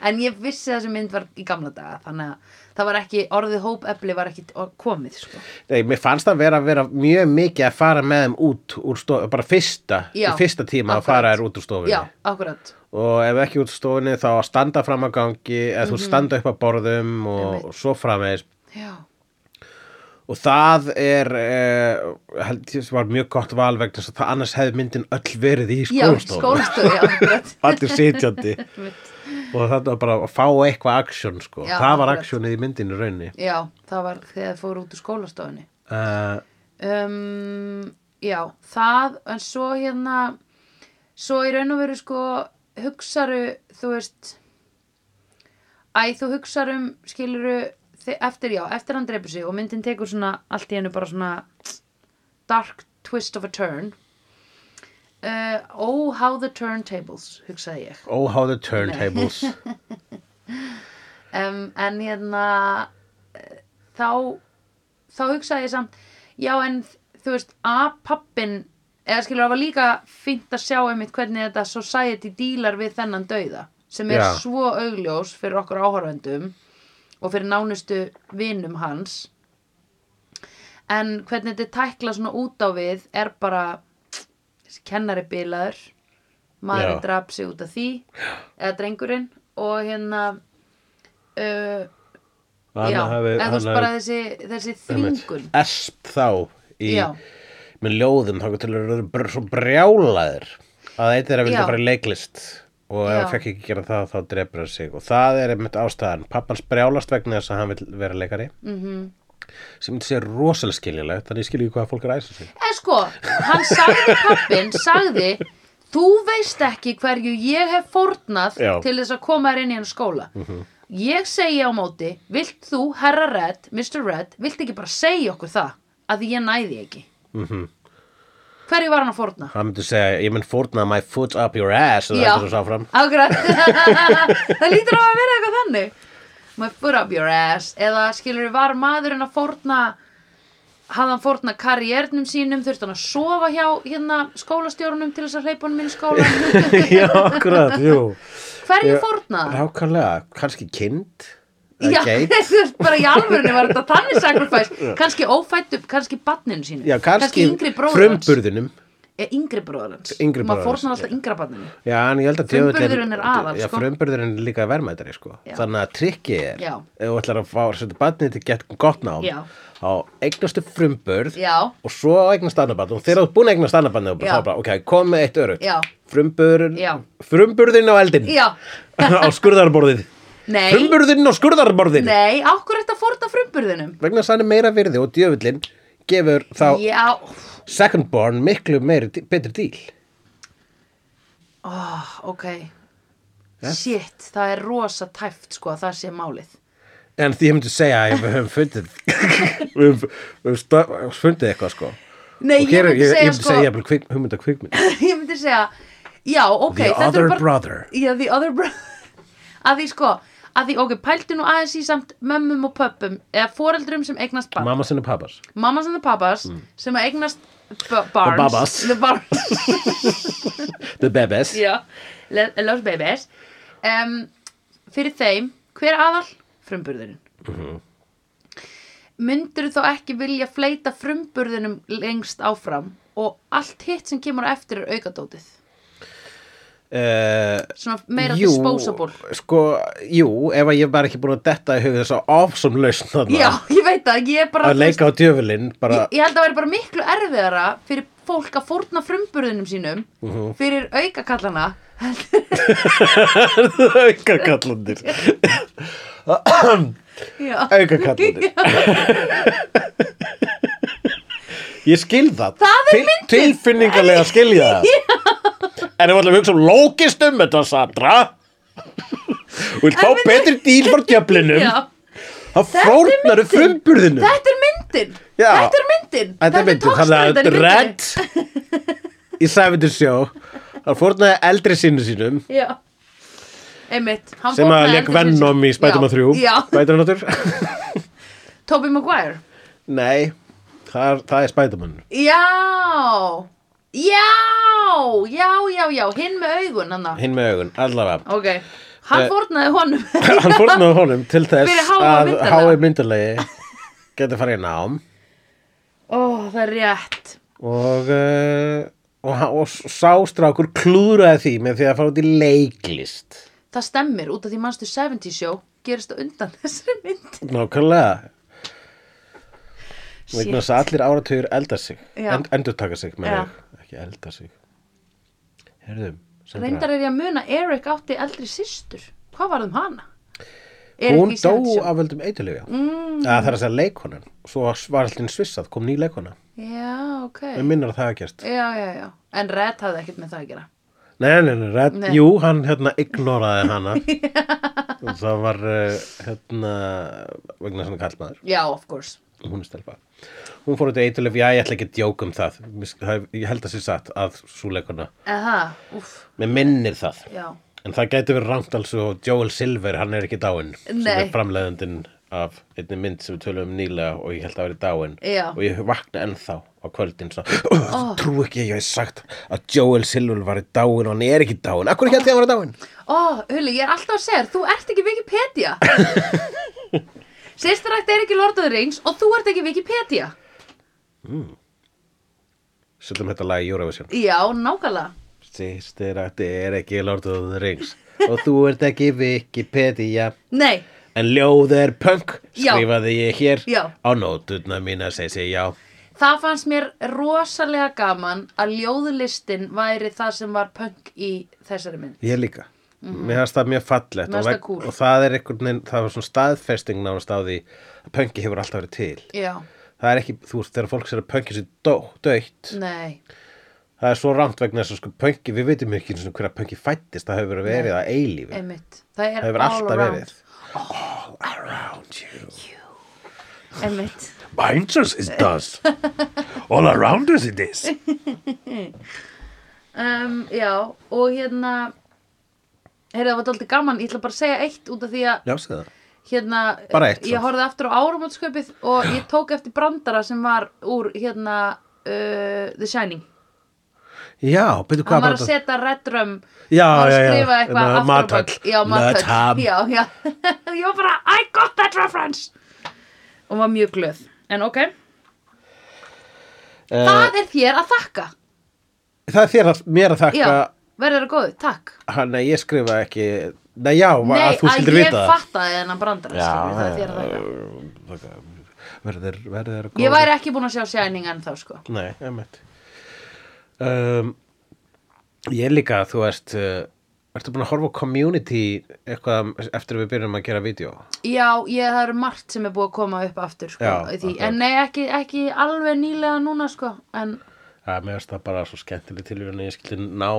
Speaker 1: en ég vissi þessi mynd var í gamla daga þannig að það var ekki orðið hópefli var ekki or- komið sko.
Speaker 2: Nei, mér fannst það vera, vera mjög mikið að fara með þeim út úr stofu, bara fyrsta,
Speaker 1: Já,
Speaker 2: í fyrsta tíma
Speaker 1: akkurat.
Speaker 2: að fara þér út úr stofunni.
Speaker 1: já, akkurat
Speaker 2: Og ef ekki út úr stofunni þá að standa fram að gangi, eða þú standa upp að borðum og,
Speaker 1: Mhm. Einmitt.
Speaker 2: og svo framvegis.
Speaker 1: já,
Speaker 2: Og það er, eh, held ég, var mjög gott val vegna þess að það annars hefði myndin öll verið í
Speaker 1: já
Speaker 2: skólastofunni.
Speaker 1: skólastofu já, akkurat
Speaker 2: Allir sitjandi
Speaker 1: Einmitt.
Speaker 2: og þetta var bara að fá eitthvað aksjón sko.
Speaker 1: Já,
Speaker 2: það var
Speaker 1: akkurat.
Speaker 2: aksjónið í myndinu raunni.
Speaker 1: Já, það var þegar þið fóru út úr skólastofunni.
Speaker 2: Uh,
Speaker 1: Um, já, það, en svo hérna, svo í raun og veru sko hugsaru, þú veist, æ, þú hugsarum, skiluru, þi- eftir, já, eftir hann dreipur sig og myndin tekur svona allt í hennu bara svona dark twist of a turn. Uh, oh, how the turntables, hugsaði ég.
Speaker 2: oh, how the turntables.
Speaker 1: um, en hérna eh, þá þá hugsaði ég samt já en þú veist að pappin eða skilur það var líka fínt að sjá einmitt hvernig þetta society dílar við þennan dauða sem er
Speaker 2: Já.
Speaker 1: svo augljós fyrir okkur áhorfendum og fyrir nánustu vinum hans en hvernig þetta er tækla svona út á við er bara þessi kennari bilaður maðurinn
Speaker 2: Já.
Speaker 1: draf sig út af því eða drengurinn og hérna uh, já, eða þú veist bara þessi, þessi þringun
Speaker 2: esp þá í,
Speaker 1: Já.
Speaker 2: með ljóðum þá til að vera br- svo brjálaðir að eitt er að vilja
Speaker 1: Já.
Speaker 2: fara í leiklist og ef
Speaker 1: Já.
Speaker 2: hann fekk ekki gera það þá drefur hann sig og það er einmitt ástæðan pappans brjálast vegna þess að hann vil vera leikari mm
Speaker 1: Mhm.
Speaker 2: -hmm. sem sé rosalega skiljalegt þannig ég skilji hvað fólk er að æsa sig
Speaker 1: eða sko, hann sagði pappin sagði, þú veist ekki hverju ég hef fórnað
Speaker 2: Já.
Speaker 1: til þess að koma þér inn í hann skóla ég segi á móti vilt þú, herra Red, Mr. Red vilt ekki bara segja okkur það að ég næði ekki mm -hmm. hverju var hann að fórna?
Speaker 2: hann myndi segja, ég mun fórna my foot up your ass og
Speaker 1: Já.
Speaker 2: það er svo áfram
Speaker 1: Akkurat Það lítur á að vera eitthvað þannig My foot up your ass Eða skilur var maðurinn að fórna hafði hann fórna karriernum sínum þurfti hann að sofa hjá hérna skólastjórnum til þess að hleypa honum inn í skólan
Speaker 2: já, akkurat, jú
Speaker 1: Hverju fórnaði? hann?
Speaker 2: rákanlega, kannski kind
Speaker 1: Já,
Speaker 2: eða geit
Speaker 1: bara í alvörinu var þetta þannig sacrifice kannski ófættu, kannski barninu sínu
Speaker 2: Já, kannski,
Speaker 1: yngri bróður hans.
Speaker 2: frumburðinum
Speaker 1: er yngri bróður hans
Speaker 2: Yngri
Speaker 1: maður
Speaker 2: bróðir
Speaker 1: fórnar
Speaker 2: hans,
Speaker 1: alltaf yngra banninu
Speaker 2: Já, en ég held að
Speaker 1: Frumburðurinn er aðal,
Speaker 2: Já,
Speaker 1: sko.
Speaker 2: frumburðurinn er líka verðmættari, sko
Speaker 1: Já.
Speaker 2: Þannig að trikki er
Speaker 1: Já.
Speaker 2: Ef þú ætlar að fá svolítið barnið til gett gott nám
Speaker 1: Já.
Speaker 2: Þá eignastu frumburð
Speaker 1: já,
Speaker 2: Og svo eignast annað barn Og þegar þú ert búin að eignast annað barn þá bara-
Speaker 1: Já.
Speaker 2: Þá bara, ok, kom með eitt örugt
Speaker 1: Já.
Speaker 2: Frumburðurinn
Speaker 1: Já.
Speaker 2: Frumburðurinn á eldin
Speaker 1: já,
Speaker 2: Á skurðarborðið
Speaker 1: nei
Speaker 2: Frumburðurinn á skurðarborðið
Speaker 1: nei, ákvör þetta fórna frumburðinum
Speaker 2: Vegna þess að hann er meira virði og djöfullinn Gefur þá
Speaker 1: já,
Speaker 2: second born miklu meiri, betri díl
Speaker 1: oh, ok shit, það er rosa tæft sko að það sé málið
Speaker 2: En því ég myndi segja að við höfum fundið við höfum, við höfum sta- fundið eitthvað sko
Speaker 1: nei,
Speaker 2: Og
Speaker 1: ég
Speaker 2: hér er-
Speaker 1: myndi
Speaker 2: ég, ég
Speaker 1: segja
Speaker 2: myndi
Speaker 1: sko
Speaker 2: segja jafnvel kvik, hugmynda kvikmynd
Speaker 1: ég myndi segja já, ok,
Speaker 2: The
Speaker 1: þetta
Speaker 2: other
Speaker 1: er bara
Speaker 2: brother.
Speaker 1: já, the other brother að því sko, að því, ok, pældu nú aðeins í samt mömmum og pöppum eða foreldrum sem eignast barn
Speaker 2: Mamma sinni pappas
Speaker 1: mammas and the papas sem að eignast b- barns
Speaker 2: Mm. babas.
Speaker 1: the barns
Speaker 2: The bebes
Speaker 1: já, le- los babies um, fyrir þeim hver aðal? frumburðurinn mm
Speaker 2: Mhm.
Speaker 1: myndur þá ekki vilja fleita frumburðinum lengst áfram og allt hitt sem kemur á eftir er aukadótið
Speaker 2: uh,
Speaker 1: svona meira disposable
Speaker 2: Sko, jú, ef að ég var ekki búin að detta í hug þess að awesome
Speaker 1: já,
Speaker 2: lausn þarna
Speaker 1: ég veit það, ég er bara
Speaker 2: Að leika á djöfullinn bara
Speaker 1: ég, ég held að það væri bara miklu erfiðara fyrir fólk að fórna frumburðinum sínum
Speaker 2: Mhm.
Speaker 1: fyrir aukakallana
Speaker 2: Aukakallandir
Speaker 1: já.
Speaker 2: Aukakallandir Ég skil það
Speaker 1: Það er
Speaker 2: Til, Tilfinningarlega skilja það En ef allir hugsa um lókistum Þetta Sandra Og vil fá
Speaker 1: En við-
Speaker 2: betri díl frá djöflinum
Speaker 1: já
Speaker 2: Það fórnar upp frumburðinu
Speaker 1: Þetta er myndin
Speaker 2: Já.
Speaker 1: Þetta er myndin
Speaker 2: Þetta er myndin, þannig að
Speaker 1: togstreitan í myndinni.
Speaker 2: Red í Savage Show hann fórnaði eldri sínu sínum
Speaker 1: Já Einmitt hann
Speaker 2: sem að
Speaker 1: fórnaði
Speaker 2: leik
Speaker 1: endursyns-
Speaker 2: Venom í Spiderman
Speaker 1: Já.
Speaker 2: 3
Speaker 1: Já,
Speaker 2: Spiderman 3
Speaker 1: Tobey Maguire
Speaker 2: Nei, það er, það er Spiderman
Speaker 1: Já Já, já, já, já Hinn með augun hann
Speaker 2: hinn með augun, allavega
Speaker 1: Ok, hann
Speaker 2: Eh,
Speaker 1: fórnaði honum
Speaker 2: hann fórnaði honum til
Speaker 1: Fyrir
Speaker 2: þess
Speaker 1: háa
Speaker 2: að
Speaker 1: myndarlega.
Speaker 2: hái myndalegi geti farið í nám
Speaker 1: Ó, það er rétt
Speaker 2: og uh, og, hann- og sástrákur klúðraði því með því að fara út í leiklist
Speaker 1: Það stemmir út af því mannstu 70 show gerist á undan þessari mynd
Speaker 2: nákvæmlega vegna
Speaker 1: Shit.
Speaker 2: þess að allir áratugur elda sig
Speaker 1: Já.
Speaker 2: end, endur taka sig með
Speaker 1: Já.
Speaker 2: ekki elda sig herðum
Speaker 1: Reyndar er ég að muna Erik átti eldri systur Hvað var um hana? Eric
Speaker 2: hún
Speaker 1: í 70
Speaker 2: dó
Speaker 1: Show.
Speaker 2: af völdum eitulifja mm. það er að segja leikonan svo var allir svissað, kom ný leikona
Speaker 1: Já, ok
Speaker 2: við minnar að það að gerst
Speaker 1: Já, já, já. En Red hafði ekkert með það að gera.
Speaker 2: nei, nei, nei, red,
Speaker 1: Nei.
Speaker 2: jú, hann hérna ignoraði hana og það var eh, hérna vegna svona kallmaður
Speaker 1: Já, of course.
Speaker 2: hún er stelpa hún fór út í eitulif, já ég ætla ekki að djóka um það Mér sk- það- ég held að sér satt að svo leikona
Speaker 1: Eða, úff,
Speaker 2: með minnir það
Speaker 1: já.
Speaker 2: En það gæti verið rangt alls og Joel Silver, hann er ekki dáinn sem
Speaker 1: Nei.
Speaker 2: er framleiðandinn af einni mynd sem við tölum um nýlega og ég held að verið dáinn
Speaker 1: Já.
Speaker 2: og ég vakna ennþá á kvöldin svo, oh. trú ekki, ég hef sagt að Joel Silver var dáinn og hann er ekki dáinn Akkur ekki að því að hann var dáinn
Speaker 1: Ó, Hulli, ég er alltaf að segja, þér, þú ert ekki Wikipedia. Sýstarækt er ekki Lord of the Rings og þú ert ekki Wikipedia.
Speaker 2: Settum þetta lag í Eurovision
Speaker 1: Já, nákvæmlega.
Speaker 2: Sýstir að þetta er ekki Lord of the Rings og þú ert ekki Wikipedia
Speaker 1: Nei,
Speaker 2: En ljóð er punk,
Speaker 1: Já.
Speaker 2: skrifaði ég hér
Speaker 1: Já.
Speaker 2: á nótuna mína, segi ég já
Speaker 1: það fannst mér rosalega gaman að ljóðlistin væri það sem var punk í þessari mynd.
Speaker 2: Ég líka. Mér finnst það mjög fallegt
Speaker 1: Mhm. Mér
Speaker 2: og,
Speaker 1: finnst það
Speaker 2: veg-
Speaker 1: kúl.
Speaker 2: og það er einhvern veginn, það var svona staðfesting nánast á því að pöngi hefur alltaf verið til.
Speaker 1: Já,
Speaker 2: Það er ekki, þú veist, þegar fólk sér að pöngi sér dó, döitt,
Speaker 1: nei,
Speaker 2: það er svo rámt vegna þess að sko pöngi, við veitum ekki eins og hverja pöngi fættist, það hefur verið verið að eilífi.
Speaker 1: einmitt. Það
Speaker 2: Það
Speaker 1: er
Speaker 2: hefur
Speaker 1: all
Speaker 2: alltaf
Speaker 1: around.
Speaker 2: verið. All around you.
Speaker 1: Einmitt.
Speaker 2: Behind us it does. All around us it is.
Speaker 1: um, Já, og hérna Heyrðu, það var dálítið gaman, ég ætla bara að segja eitt út af því að
Speaker 2: Já, segðu það.
Speaker 1: hérna,
Speaker 2: Bara eitt,
Speaker 1: ég
Speaker 2: samt.
Speaker 1: horfði aftur á árumótsköpið og ég tók eftir brandara sem var úr hérna uh, The Shining
Speaker 2: Já, byrju hvað
Speaker 1: hann var
Speaker 2: þetta-
Speaker 1: að setja reddrum
Speaker 2: Já,
Speaker 1: var að
Speaker 2: já, já.
Speaker 1: skrifa eitthvað
Speaker 2: Hérna,
Speaker 1: aftur á bak.
Speaker 2: Matall.
Speaker 1: já,
Speaker 2: Matab.
Speaker 1: matall já, já. ég var bara, I got that reference og var mjög glöð en ok,
Speaker 2: Eh,
Speaker 1: það er þér að þakka
Speaker 2: Eh, það er þér að mér að þakka
Speaker 1: Já, verður það góðu, takk
Speaker 2: ha, Nei, ég skrifa ekki Nei, já,
Speaker 1: Nei,
Speaker 2: að þú
Speaker 1: að
Speaker 2: skildir
Speaker 1: ég
Speaker 2: vita það
Speaker 1: fattaði þennan brandara
Speaker 2: Já,
Speaker 1: skilur, það er
Speaker 2: já,
Speaker 1: þér að þakka.
Speaker 2: já, Verður, verður
Speaker 1: Ég væri ekki búin að sjá Shining ennþá sko
Speaker 2: Nei, emmitt um, Ég líka, þú veist uh, Ertu búin að horfa á community eitthvað eftir að við byrjum að gera vídeo?
Speaker 1: Já, ég, það eru margt sem er búið að koma upp aftur sko,
Speaker 2: Já,
Speaker 1: því,
Speaker 2: akkurat.
Speaker 1: En nei, ekki, ekki alveg nýlega núna sko, En
Speaker 2: Það er meðast það bara svo skemmtileg tilvíðan ég skildi ná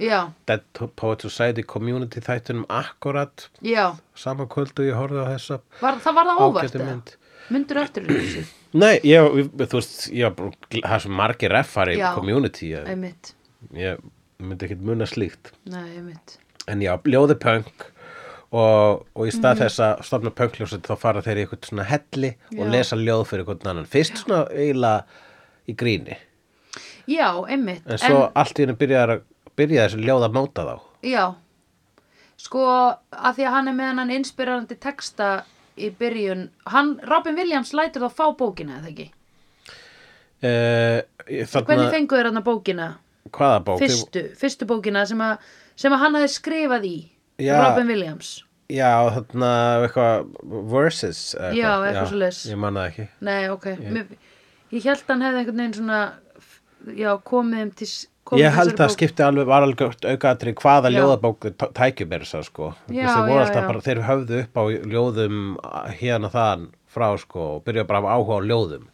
Speaker 1: já,
Speaker 2: Dead Poet Society community þættunum akkurat
Speaker 1: já
Speaker 2: sama kvöldu ég horfði á þessa
Speaker 1: var, Það var það óvart
Speaker 2: ágætu
Speaker 1: eða?
Speaker 2: mynd
Speaker 1: Myndur eftir þessu
Speaker 2: Nei, ég, þú veist, ég var bara, það er svo margir reffar í
Speaker 1: Já.
Speaker 2: community, ég,
Speaker 1: Einmitt,
Speaker 2: ég myndi ekkert muna slíkt.
Speaker 1: nei, einmitt
Speaker 2: En já, ljóði punk og, og í
Speaker 1: Mhm.
Speaker 2: stað þess að stofna punkljóset þá fara þeir í eitthvað svona helli og
Speaker 1: Já.
Speaker 2: lesa ljóð fyrir eitthvað annan. Fyrst svona eiginlega í gríni,
Speaker 1: Já, einmitt
Speaker 2: en svo allt í henni byrjaði að byrja þessi ljóð að móta þá.
Speaker 1: Já, sko að því að hann er með hann inspirerandi texta í byrjun hann, Robin Williams lætur þá fá bókina eða ekki
Speaker 2: Uh,
Speaker 1: Hvernig
Speaker 2: þarna,
Speaker 1: fengu þér hann bókina?
Speaker 2: hvaða bók?
Speaker 1: Fyrstu, fyrstu bókina sem að, sem að hann hafi skrifað í
Speaker 2: Já.
Speaker 1: Robin Williams
Speaker 2: Já, þarna eitthvað versus. eða
Speaker 1: Já, eitthvað svoleiðis.
Speaker 2: Ég man það ekki.
Speaker 1: Nei, ok Mér, Ég held hann hefði einhvern veginn svona f- Já, komið um til s- komið
Speaker 2: Ég held
Speaker 1: þessari
Speaker 2: að
Speaker 1: bók.
Speaker 2: skipti alveg var alveg aukaðatri hvaða
Speaker 1: Já.
Speaker 2: ljóðabók þau tækjum er þess að sko
Speaker 1: Já,
Speaker 2: þeir voru
Speaker 1: já,
Speaker 2: alltaf
Speaker 1: já.
Speaker 2: bara, þeir höfðu upp á ljóðum að- hérna þaðan frá sko og byrja bara að áhuga á ljóðum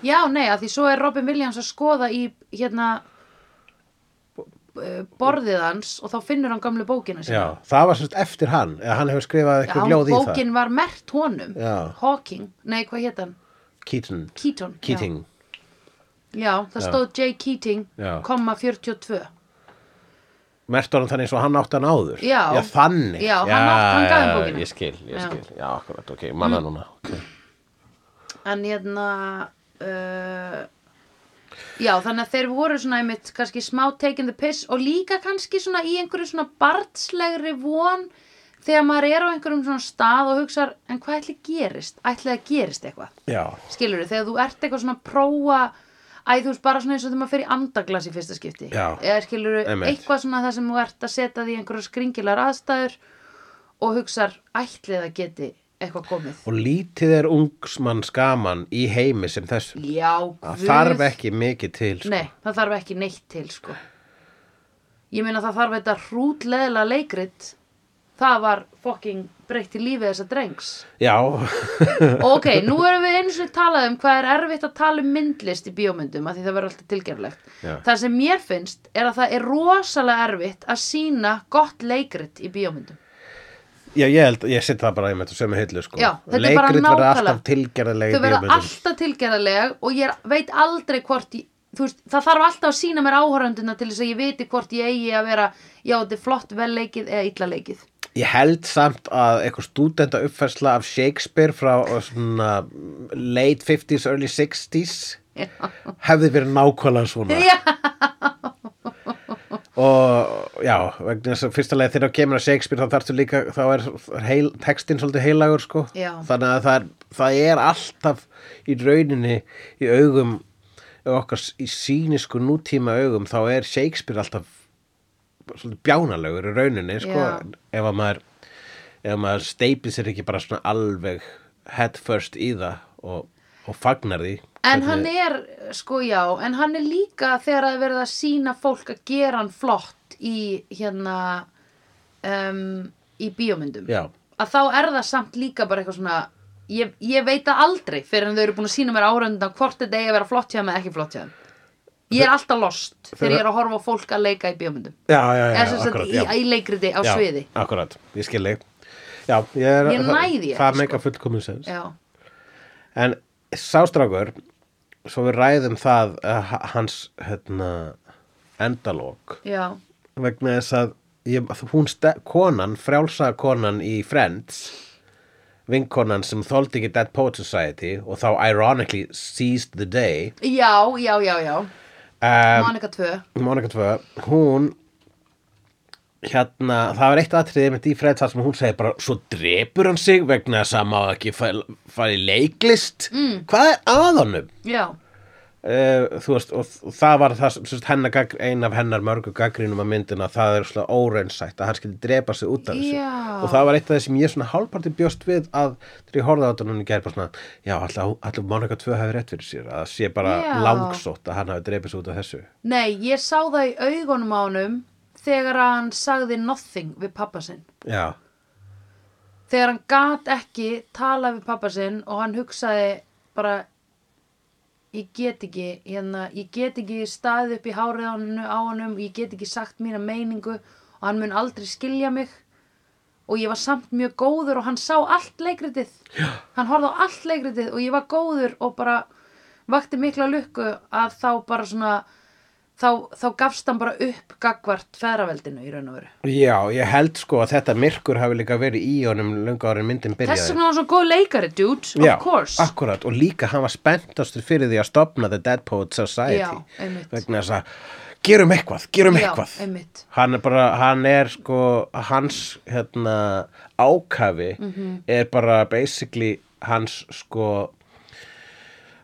Speaker 1: Já, nei, að því svo er Robin Williams að skoða í hérna eh, borðið hans og þá finnur hann gamlu bókina sína
Speaker 2: Já, það var sérst eftir hann eða hann hefur skrifað
Speaker 1: Já,
Speaker 2: eitthvað ljóð í
Speaker 1: bókin var mert honum
Speaker 2: Já.
Speaker 1: Hawking, nei hvað hétt hann?
Speaker 2: það Keaton,
Speaker 1: Keaton já.
Speaker 2: Keating
Speaker 1: Já, það stóð J. Keating,
Speaker 2: Já.
Speaker 1: komma 42
Speaker 2: Mertur hann þannig svo hann átti hann áður
Speaker 1: Já.
Speaker 2: þannig
Speaker 1: Já, hann átti- hann gaf þeim
Speaker 2: já,
Speaker 1: bókina.
Speaker 2: Ég skil, ég
Speaker 1: Já. Mm.
Speaker 2: skil, já, akkurat, ok, manna núna okay.
Speaker 1: En hérna uh, Já, þannig að þeir voru svona einmitt kannski smá taking the piss og líka kannski svona í einhverju svona barnslegri von þegar maður er á einhverjum svona stað og hugsar en hvað ætli gerist? Ætli það gerist eitthvað?
Speaker 2: Já,
Speaker 1: skilur þegar þú ert eitthvað svona að prófa Æ, þú veist bara svona eins og þegar maður fer í andaglas í fyrsta skipti.
Speaker 2: Já.
Speaker 1: Eða skilur
Speaker 2: Einmitt.
Speaker 1: eitthvað svona það sem þú ert að setja því einhverjar skringilar aðstæður og hugsar ætlið að geti eitthvað komið.
Speaker 2: og lítið er ungsmann skaman í heimi sem þessum
Speaker 1: Já,
Speaker 2: Það
Speaker 1: guð.
Speaker 2: þarf ekki mikið til sko.
Speaker 1: Nei, það þarf ekki neitt til, sko. Ég meina það þarf þetta hrútleðilega leikrit. Það var fucking breytti lífið þessa drengs.
Speaker 2: Já,
Speaker 1: Ok, nú erum við eins og talað um hvað er erfitt að tala um myndlist í bíómyndum að því það verður alltaf tilgeflegt.
Speaker 2: Já.
Speaker 1: Það sem mér finnst er að það er rosalega erfitt að sína gott leikrit í bíómyndum.
Speaker 2: Já, ég held, ég sitt það bara einmitt og sömu hillu sko.
Speaker 1: Já, þetta er bara
Speaker 2: Leikrit verða
Speaker 1: nákvæmlega.
Speaker 2: alltaf tilgerðarlega
Speaker 1: Þau verða alltaf tilgerðarlega og ég veit aldrei hvort ég, þú veist, það þarf alltaf að sína mér áhörönduna til þess að ég viti hvort ég eigi að vera, já, þetta er flott vel leikið eða illa leikið.
Speaker 2: Ég held samt að eitthvað stúdenda uppfærsla af Shakespeare frá uh, svona late 50s, early 60s
Speaker 1: Já.
Speaker 2: hefði verið nákvæmlega svona
Speaker 1: Já.
Speaker 2: og já, vegna þess að fyrsta leið þegar þú kemur að Shakespeare þá þarftu líka þá er heil, textin svolítið heilagur sko
Speaker 1: Já.
Speaker 2: þannig að það er, það er alltaf í rauninni í augum ef okkar s- í sínisku nútíma augum þá er Shakespeare alltaf svolítið bjánalegur í rauninni sko
Speaker 1: Já.
Speaker 2: ef að maður ef að maður steipið sér ekki bara svona alveg head first í það og, og fagnar því
Speaker 1: En
Speaker 2: hvernig-
Speaker 1: hann er, sko já, en hann er líka þegar að verða að sína fólk að gera hann flott í hérna um, í bíómyndum.
Speaker 2: Já.
Speaker 1: Að þá er það samt líka bara eitthvað svona, ég, ég veit það aldrei fyrir en þau eru búin að sína mér áröndan hvort þetta eigi að vera flott hjá þeim eða ekki flott hjá þeim. Ég er alltaf lost þegar ég er að horfa á fólk að leika í bíómyndum.
Speaker 2: já, já,
Speaker 1: Eða
Speaker 2: já, já,
Speaker 1: sem sagt
Speaker 2: akkurat,
Speaker 1: í,
Speaker 2: já.
Speaker 1: í leikriti á sviði.
Speaker 2: Já, akkurat, ég skil þig. Já, ég, er,
Speaker 1: Ég næ því
Speaker 2: það,
Speaker 1: ekki, sko.
Speaker 2: það meika fullkomum sens.
Speaker 1: Já,
Speaker 2: En sástrákur, svo við ræðum það uh, hans hérna, endalók
Speaker 1: já,
Speaker 2: vegna þess að ég, hún ste, konan, frjálsa konan í Friends vinkonan sem þoldi ekki Dead Poet Society og þá ironically seized the day
Speaker 1: já, já, já, já.
Speaker 2: um,
Speaker 1: Monika 2,
Speaker 2: Monika 2, hún hérna, það var eitt atriði með Friends þar sem hún segi bara svo drepur hann sig vegna þess að maður ekki fæ- fara í leiklist mm. hvað er að honum?
Speaker 1: já,
Speaker 2: uh, þú veist, og þ- það var það, sem sagt, hennar, gagn- ein af hennar mörgu gaggrínum að myndina, það er svona órensætt að hann skildi drepa sig út af þessu
Speaker 1: Já.
Speaker 2: og það var eitt af þeir sem ég svona hálfparti bjóst við að þegar ég horfði á þetta núna í gær bara svona já, allir Monika 2 hafi rétt fyrir sér að það sé bara
Speaker 1: Já.
Speaker 2: langsótt að hann hafi drepið sig út af þessu
Speaker 1: Nei, ég sá það í augunum á honum þegar hann sagði nothing við pappa sinn.
Speaker 2: já,
Speaker 1: Þegar hann gat ekki tala við pappa sinn og hann hugsaði bara ég get ekki, hérna, ég get ekki staðið upp í hárið á honum, á honum ég get ekki sagt mína meiningu og hann mun aldrei skilja mig og ég var samt mjög góður og hann sá allt leikritið Já. hann horfði á allt leikritið og ég var góður og bara vakti mikla lukku að þá bara svona þá, þá gafst hann bara upp gagvart feðraveldinu í raun og veru
Speaker 2: já, ég held sko að þetta myrkur hafi líka verið í honum löngu árin myndin byrjaði
Speaker 1: þess vegna var hann svona góð leikari, dude,
Speaker 2: Já,
Speaker 1: of course
Speaker 2: akkurat, og líka hann var spenntastur fyrir því að stopna The Dead Poet Society
Speaker 1: Já, einmitt.
Speaker 2: vegna þess að gerum eitthvað, gerum
Speaker 1: Já,
Speaker 2: um eitthvað
Speaker 1: einmitt.
Speaker 2: hann er bara, hann er sko hans hérna ákafi
Speaker 1: Mhm.
Speaker 2: er bara basically hans sko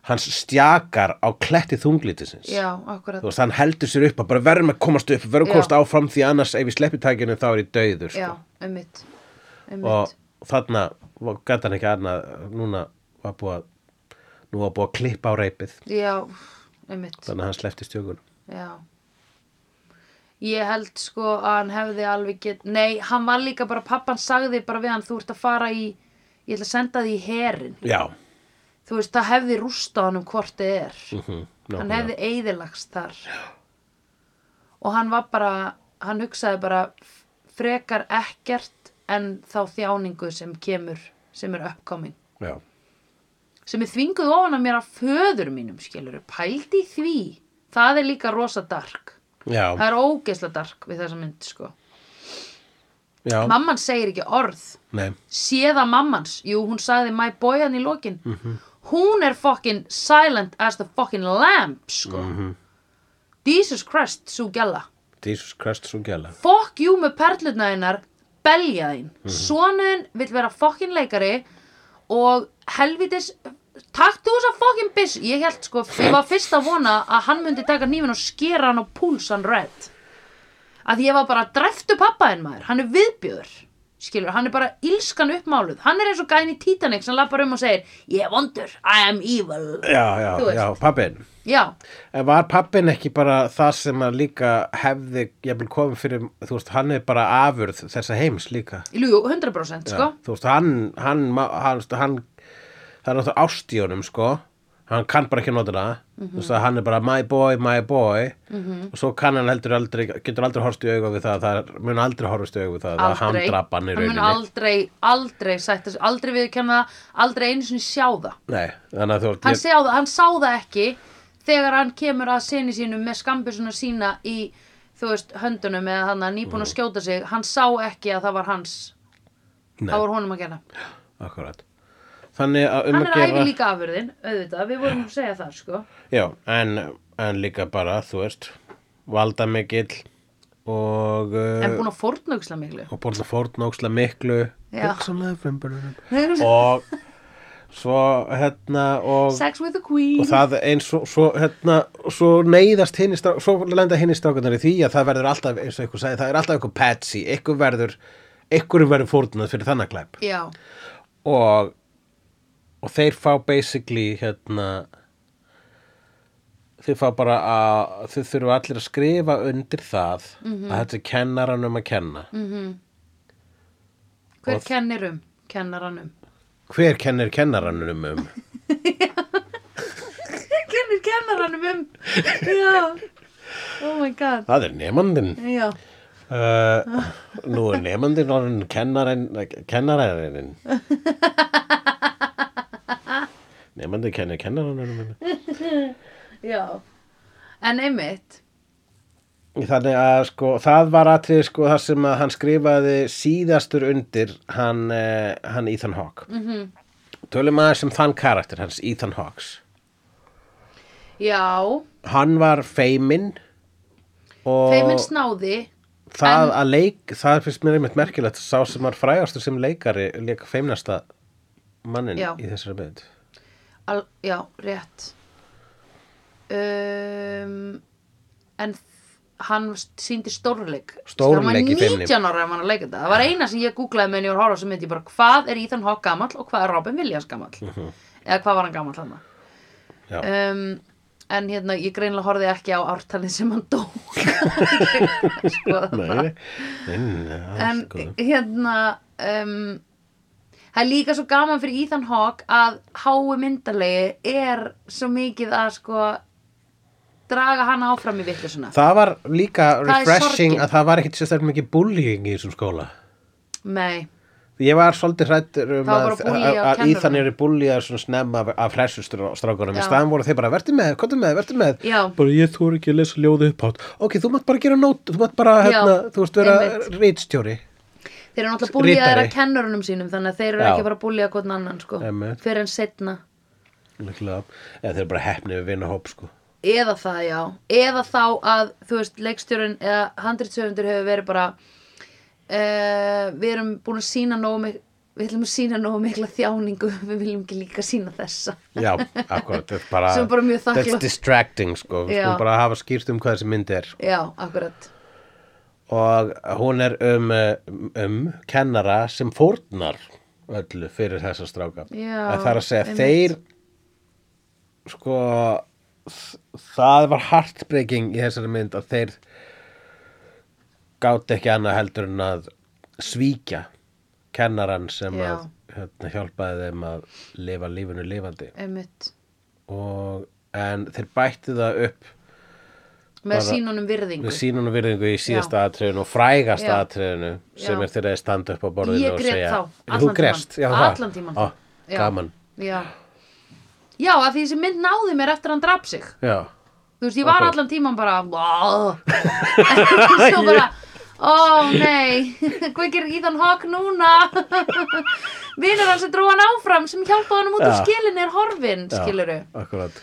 Speaker 2: hans stjakar á kletti þunglítisins
Speaker 1: Já, akkurat
Speaker 2: þú veist, hann heldur sér upp að bara verðum að komast upp, verðum
Speaker 1: Já.
Speaker 2: að komast áfram því annars ef við sleppi tækinu þá er ég döður sko
Speaker 1: Já, einmitt,
Speaker 2: og
Speaker 1: einmitt.
Speaker 2: þarna gæti hann ekki annað núna var búið að nú var búið að klippa á reypið
Speaker 1: Já, einmitt
Speaker 2: þannig að hann sleppti stjókun
Speaker 1: Já Ég held sko að hann hefði alveg get Nei, hann var líka bara, pappan sagði bara við hann Þú ert að fara í, ég ætla að senda því í herin
Speaker 2: já,
Speaker 1: Þú veist, það hefði rústa hann um hvort þið er Hann
Speaker 2: mhm, nákvæmlega.
Speaker 1: hefði eigðilagst þar Og hann var bara, hann hugsaði bara f- Frekar ekkert en þá þjáningu sem kemur Sem er uppkomin
Speaker 2: já,
Speaker 1: Sem er þvinguð ofan að mér af föður mínum skilur Pældi í því Það er líka rosa dark
Speaker 2: já,
Speaker 1: Það er ógeðsla dark við þessa mynd, sko.
Speaker 2: já
Speaker 1: Mamman segir ekki orð.
Speaker 2: nei,
Speaker 1: Séða mammans, jú, hún sagði my boy hann í lokin. Hún er fucking silent as the fucking lamp, sko. Jesus Christ, sú gæla.
Speaker 2: Jesus Christ svo gæla
Speaker 1: Fuck you með perlutna hennar, belja þín. Mm Sonuðin vill vera fucking leikari og helvitis, takk þú þessa fucking biss. Ég held, sko, ég var fyrst að vona að hann myndi taka nýfin og skera hann á púlsan redd. að ég var bara dreftu pappaðinn maður, hann er viðbjöður skilur, hann er bara ílskan uppmáluð hann er eins og gæn í Titanic sem lappar um og segir ég er vondur, I am evil
Speaker 2: já, já,
Speaker 1: Þú veist.
Speaker 2: já, pappin
Speaker 1: já,
Speaker 2: en var pappin ekki bara það sem að líka hefði, ég vil koma fyrir þú veist, hann er bara afurð þessa heims líka
Speaker 1: ljú, 100% sko
Speaker 2: Já, þú veist, hann, hann, ma- hann, þú veist, hann það er náttúrulega ást í honum, sko hann kann bara ekki að nota það
Speaker 1: Mhm.
Speaker 2: þú veist, að hann er bara my boy, my boy og svo kann hann heldur aldrei getur aldrei horfst í auga við það, það er- mun aldrei horfst í auga við það, það er hann
Speaker 1: aldrei,
Speaker 2: drappan í
Speaker 1: hann mun
Speaker 2: rauninni
Speaker 1: aldrei, aldrei sætta, sig- aldrei viðurkenna það, aldrei einu sinni sjá það
Speaker 2: Nei, þannig að þú veist,
Speaker 1: hann,
Speaker 2: ég,
Speaker 1: sjá það, hann sá það ekki þegar hann kemur að sinni sínum með skambusuna sína í þú veist, höndunum eða hann að nýbúin að
Speaker 2: Mm.
Speaker 1: skjóta sig hann sá ekki að það var hans
Speaker 2: Nei.
Speaker 1: það var honum að gera
Speaker 2: akkurat þannig að um
Speaker 1: hann
Speaker 2: að
Speaker 1: er æfi
Speaker 2: gera
Speaker 1: líka afurðin, auðvitað, við vorum að segja það, sko.
Speaker 2: já, en, en líka bara, þú veist valda mikill og,
Speaker 1: En
Speaker 2: uh,
Speaker 1: búin að fórnauksla miklu.
Speaker 2: og borða fórnóksla miklu
Speaker 1: Já.
Speaker 2: hugsanlega frumburðunum og svo hérna og,
Speaker 1: Sex with the
Speaker 2: og
Speaker 1: queen.
Speaker 2: það eins og svo, hérna, svo neyðast hinn svo lenda hinn í strákunar í því að það verður alltaf eins og ykkur sagði, það er alltaf ykkur patsy ykkur verður, ykkur verður fórnað fyrir þannig glæp
Speaker 1: Já,
Speaker 2: og, og þeir fá basically hérna þeir fá bara að þau þurfa allir að skrifa undir það að þetta er kennaranum að kenna
Speaker 1: hver
Speaker 2: Og-
Speaker 1: kennir um? Kennar hann um.
Speaker 2: hver kennir kennaranum um
Speaker 1: Hver kennir kennar hann um? Já. Oh my god.
Speaker 2: það er nefandinn
Speaker 1: Já.
Speaker 2: Uh, nú er nefndin orðin kennarin, kennararinn nefndin kennir kennararinn
Speaker 1: Já. En einmitt.
Speaker 2: þannig að sko það var atrið sko þar sem að hann skrifaði síðastur undir hann, uh, hann Ethan Hawke mm
Speaker 1: Mhm.
Speaker 2: -hmm. tölum aðeins sem þann karakter hans Ethan Hawkes
Speaker 1: Já.
Speaker 2: hann var feimin og
Speaker 1: Feiminn snáði.
Speaker 2: það að leik það finnst mér einmitt merkilegt sá sem var frægastur sem leikari leika feimnasta mannin
Speaker 1: Já.
Speaker 2: í þessari mynd
Speaker 1: Al, já, rétt. um, en þ- hann síndi stórleik
Speaker 2: Stórleik í
Speaker 1: í
Speaker 2: filmnum.
Speaker 1: 19 ára ef hann að leika þetta það var eina sem ég googlaði með en ég var að horfa sem myndi ég bara hvað er Ethan Hawke gamall og hvað er Robin Williams gamall
Speaker 2: Mhm.
Speaker 1: eða hvað var hann gamall hann
Speaker 2: Já.
Speaker 1: um, en hérna ég greinilega horfði ekki á ártalið sem hann dó sko
Speaker 2: Nei, sko.
Speaker 1: það
Speaker 2: nei, nei, nei,
Speaker 1: en
Speaker 2: alls góð.
Speaker 1: hérna um, það er líka svo gaman fyrir Ethan Hawke að hái myndalegi er svo mikið að sko draga hann áfram í vitlu svona
Speaker 2: Það var
Speaker 1: Það
Speaker 2: líka
Speaker 1: er
Speaker 2: refreshing
Speaker 1: sorgin.
Speaker 2: að það var ekkit sérstaklega mikið bullying í þessum skóla.
Speaker 1: nei,
Speaker 2: Ég var svolítið hrættur
Speaker 1: Það
Speaker 2: um
Speaker 1: var
Speaker 2: að,
Speaker 1: bara bully
Speaker 2: að,
Speaker 1: á
Speaker 2: að í
Speaker 1: kennurum.
Speaker 2: þannig eru búlíðar svona snemma af, af hressusstrákunum. Í
Speaker 1: Já.
Speaker 2: staðan voru þeir bara, verði með, komdu með, verði með.
Speaker 1: Já.
Speaker 2: Bara ég þú ekki að lesa ljóðu upp átt. Ok, þú mátt bara gera nót, þú mátt bara,
Speaker 1: Já,
Speaker 2: hérna, þú veist, vera
Speaker 1: einmitt.
Speaker 2: rítstjóri.
Speaker 1: þeir eru náttúrulega búljaðir
Speaker 2: Ritari.
Speaker 1: að kennurunum sínum þannig að þeir eru
Speaker 2: Já.
Speaker 1: ekki bara að búlja hvernig annan sko
Speaker 2: Einmitt.
Speaker 1: fyrir en setna
Speaker 2: Líklega, eða þeir eru bara hefni við vinahóp, sko.
Speaker 1: eða það já, eða þá að þú veist, leikstjórun eða handritsöfundur hefur verið bara uh, við erum búin að sína nógu mik- við ætlum að sína nógu mikla þjáningu við viljum ekki líka sína þessa
Speaker 2: Já, akkurat, þetta er bara,
Speaker 1: Sem bara mjög þakklát.
Speaker 2: that's distracting, sko. Við
Speaker 1: Já.
Speaker 2: skulum bara hafa skýrt um hvað þessi myndi er.
Speaker 1: já, akkurat
Speaker 2: og hún er um, eh, um kennara sem fórnar öllu fyrir þessa stráka
Speaker 1: Já,
Speaker 2: það er að segja
Speaker 1: einmitt.
Speaker 2: þeir sko þ- það var heartbreaking í þessari mynd að þeir gátt ekki annað heldur en að svíkja kennaran sem
Speaker 1: Já.
Speaker 2: að hérna, hjálpaði þeim að lifa lífinu lifandi
Speaker 1: einmitt,
Speaker 2: og, en þeir bættu það upp
Speaker 1: með
Speaker 2: Bara-
Speaker 1: sínunum virðingu
Speaker 2: með sínunum virðingu í síðasta atriðinu og frægasta
Speaker 1: Já.
Speaker 2: atriðinu
Speaker 1: Já.
Speaker 2: sem er þeirra að standa upp á borðinu
Speaker 1: ég
Speaker 2: og
Speaker 1: grét
Speaker 2: segja
Speaker 1: þá,
Speaker 2: þú
Speaker 1: allan
Speaker 2: grest, já
Speaker 1: tíman
Speaker 2: það
Speaker 1: allan tíman
Speaker 2: Ó,
Speaker 1: Já.
Speaker 2: gaman,
Speaker 1: já. já, að því þessi mynd náði mér eftir að hann draf sig
Speaker 2: já
Speaker 1: þú veist, ég var
Speaker 2: Ókei.
Speaker 1: allan tíman bara "Vá." svo bara ó nei, hvað gerir Ethan Hawke núna vinur hans sem dró hann áfram sem hjálpaði hann út úr
Speaker 2: Já.
Speaker 1: skilin er horfin
Speaker 2: Já,
Speaker 1: skiluru
Speaker 2: akkurat,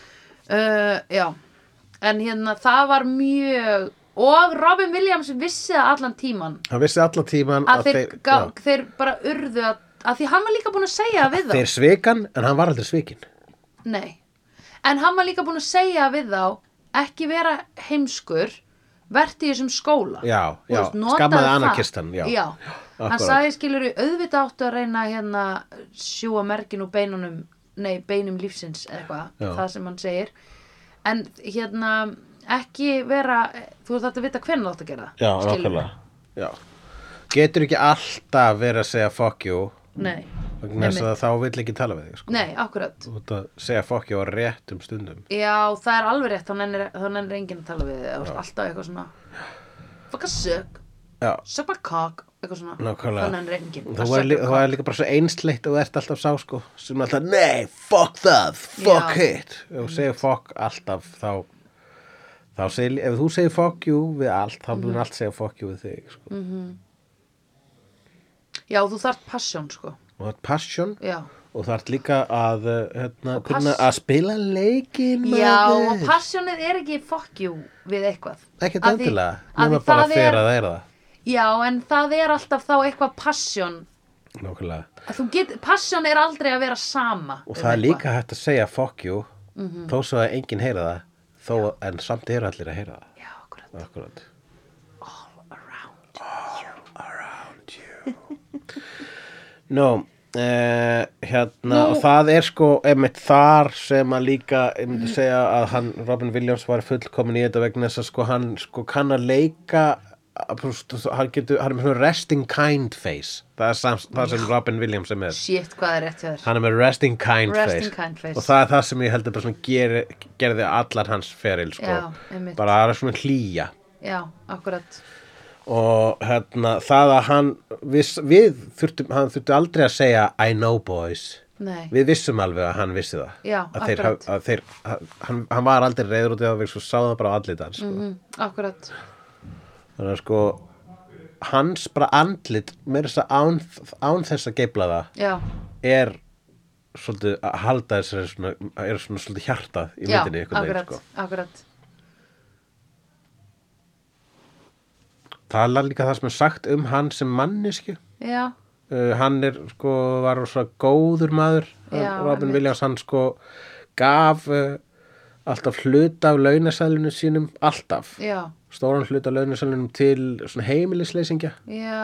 Speaker 1: uh, já, en hérna það var mjög og Robin Williams vissi það allan tíman
Speaker 2: hann vissi allan tíman
Speaker 1: að þeir, þeir,
Speaker 2: já,
Speaker 1: þeir bara urðu að, að því hann var líka búin að segja það við þá
Speaker 2: þeir svikan en hann var aldrei svikin
Speaker 1: Nei, en hann var líka búin að segja við þá ekki vera heimskur verti í þessum skóla
Speaker 2: Já,
Speaker 1: Þú
Speaker 2: já,
Speaker 1: veist, notaðu
Speaker 2: skammaði
Speaker 1: það.
Speaker 2: anarkistann, já.
Speaker 1: já.
Speaker 2: Akkúrat.
Speaker 1: Hann sagði skilur í auðvitað áttu að reyna hérna sjúa merkin úr beinunum nei, beinum lífsins eða
Speaker 2: Já.
Speaker 1: eitthvað það sem hann segir en hérna ekki vera þú þarft að vita hvernig þú átt að gera
Speaker 2: já,
Speaker 1: skilurðu.
Speaker 2: nákvæmlega já. getur ekki alltaf verið að segja fuck you
Speaker 1: Nei,
Speaker 2: vegna þess
Speaker 1: Einmitt.
Speaker 2: að þá vill ekki tala við þig sko.
Speaker 1: nei, akkurat
Speaker 2: þú ert að segja fuck you á réttum stundum
Speaker 1: Já, það er alveg rétt, þá nennir, þá nennir enginn að tala við þig, þú ert alltaf eitthvað svona Fuck a suck,
Speaker 2: já,
Speaker 1: suck my cock, eitthvað svona
Speaker 2: Nákvæmlega.
Speaker 1: Þá nennir enginn að
Speaker 2: Þú
Speaker 1: suck
Speaker 2: er, lí-
Speaker 1: my
Speaker 2: þú er líka bara svo einsleitt og ert alltaf sá sko sem er alltaf, nei, fuck það, fuck
Speaker 1: Já.
Speaker 2: it Ef þú segir fuck alltaf þá, þá segir, ef þú segir fuck you við allt, þá
Speaker 1: Mhm.
Speaker 2: mun allt segja fuck you við þig sko.
Speaker 1: Mm. cock. Já, þú þarft passion, sko
Speaker 2: og það er passion
Speaker 1: Já,
Speaker 2: og það er líka að uh, hérna,
Speaker 1: Og
Speaker 2: kunna
Speaker 1: pass-
Speaker 2: að spila leikin
Speaker 1: Já og passionið er ekki fuck you við eitthvað
Speaker 2: ekki
Speaker 1: Af því-
Speaker 2: endilega,
Speaker 1: af því
Speaker 2: nema bara
Speaker 1: það
Speaker 2: fyrir
Speaker 1: er-
Speaker 2: að það er það
Speaker 1: Já, en það er alltaf þá eitthvað passion
Speaker 2: nákvæmlega
Speaker 1: Að Þú get, passion er aldrei að vera sama
Speaker 2: og
Speaker 1: um
Speaker 2: það er
Speaker 1: eitthvað. Mhm.
Speaker 2: líka hægt að segja fuck you þó svo að enginn heyra það þó, en samt eru allir að heyra það
Speaker 1: Já, akkurat,
Speaker 2: Akkurat.
Speaker 1: around
Speaker 2: Nú, eh, hérna,
Speaker 1: Nú-
Speaker 2: og það er sko einmitt þar sem að líka, ég myndi segja að hann, Robin Williams var fullkomin í þetta vegna þess að sko hann sko kann að leika, að, þú veist, hann getur, hann er með svona resting kind face, það er sam, það sem Robin Williams er með.
Speaker 1: Shit, hvað er rétt hjá þér
Speaker 2: Hann er með resting kind,
Speaker 1: Resting
Speaker 2: face.
Speaker 1: kind face.
Speaker 2: og það er það sem ég heldur bara svona ger, gerði allan hans feril sko.
Speaker 1: Já, einmitt.
Speaker 2: bara það er svona hlýja
Speaker 1: Já, akkurat
Speaker 2: og hérna, það að hann við, við þurftum, hann þurfti aldrei að segja I know boys
Speaker 1: Nei,
Speaker 2: Við vissum alveg að hann vissi það
Speaker 1: Já,
Speaker 2: að þeir,
Speaker 1: akkurat.
Speaker 2: haf- að þeir, að, hann, hann var aldrei reyður út í það við svo sá það bara á andlit hans sko.
Speaker 1: mm, akkurat
Speaker 2: þannig að sko hans bara andlit meira þess að án, án þess að geifla það
Speaker 1: Já,
Speaker 2: er svolítið að halda þessari svona, er svona svolítið hjartað
Speaker 1: já,
Speaker 2: í myndinni einhvern veginn
Speaker 1: akkurat,
Speaker 2: sko.
Speaker 1: akkurat
Speaker 2: það er líka það sem er sagt um hann sem mannisku
Speaker 1: Já,
Speaker 2: uh, hann er sko var svo góður maður
Speaker 1: Já,
Speaker 2: Robin
Speaker 1: einmitt.
Speaker 2: Williams hann sko gaf uh, alltaf hluta af launasælunum sínum, alltaf
Speaker 1: já,
Speaker 2: stóran hluta af launasælunum til svona heimilisleysingja
Speaker 1: já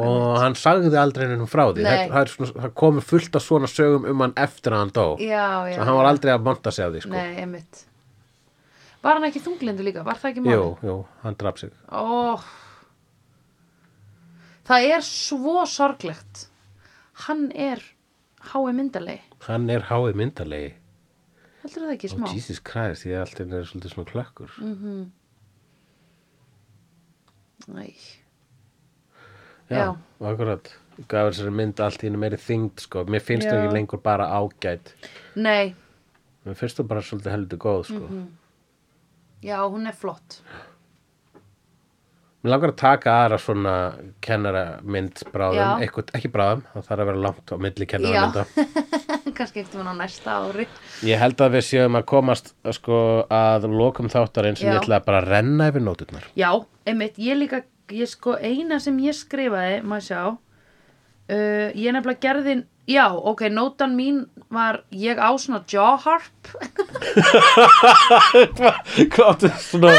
Speaker 2: og hann sagði aldrei hennum frá því
Speaker 1: Nei.
Speaker 2: það, það, er svona, það komið fullt af svona sögum um hann eftir að hann dó
Speaker 1: já, já,
Speaker 2: Svo hann var aldrei að monta sig af því sko.
Speaker 1: Nei, einmitt Var hann ekki þunglindu líka? Var það ekki
Speaker 2: jú,
Speaker 1: málið?
Speaker 2: jú, hann draf sig
Speaker 1: Ó Það er svo sorglegt Hann er hái myndalegi
Speaker 2: hann er háið myndalegi
Speaker 1: Heldur það ekki smá?
Speaker 2: oh, Jesus Christ, ég er alltaf er svolítið svona klökkur
Speaker 1: Æ,
Speaker 2: já,
Speaker 1: Já.
Speaker 2: akkurat gaf þessari mynd allt í henni meiri þyngd sko. mér finnst það
Speaker 1: Já.
Speaker 2: ekki lengur bara ágæt
Speaker 1: Nei,
Speaker 2: mér finnst það bara svolítið heldur góð sko.
Speaker 1: Mhm. já, hún er flott
Speaker 2: mér langar að taka aðra svona kennaramynd bráðum,
Speaker 1: Já.
Speaker 2: eitthvað, ekki bráðum það þarf að vera langt á milli kennaramynda
Speaker 1: Já. Kannski eftir hann á næsta ári
Speaker 2: Ég held að við séum að komast sko, að lokum þáttarinn sem
Speaker 1: Já.
Speaker 2: ég ætla að bara að renna yfir nóturnar.
Speaker 1: Já, einmitt, ég líka ég sko eina sem ég skrifaði maður sjá uh, ég nefnilega gerði Já, ok, nótan mín var ég á svona jaw harp
Speaker 2: Hvað áttu svona,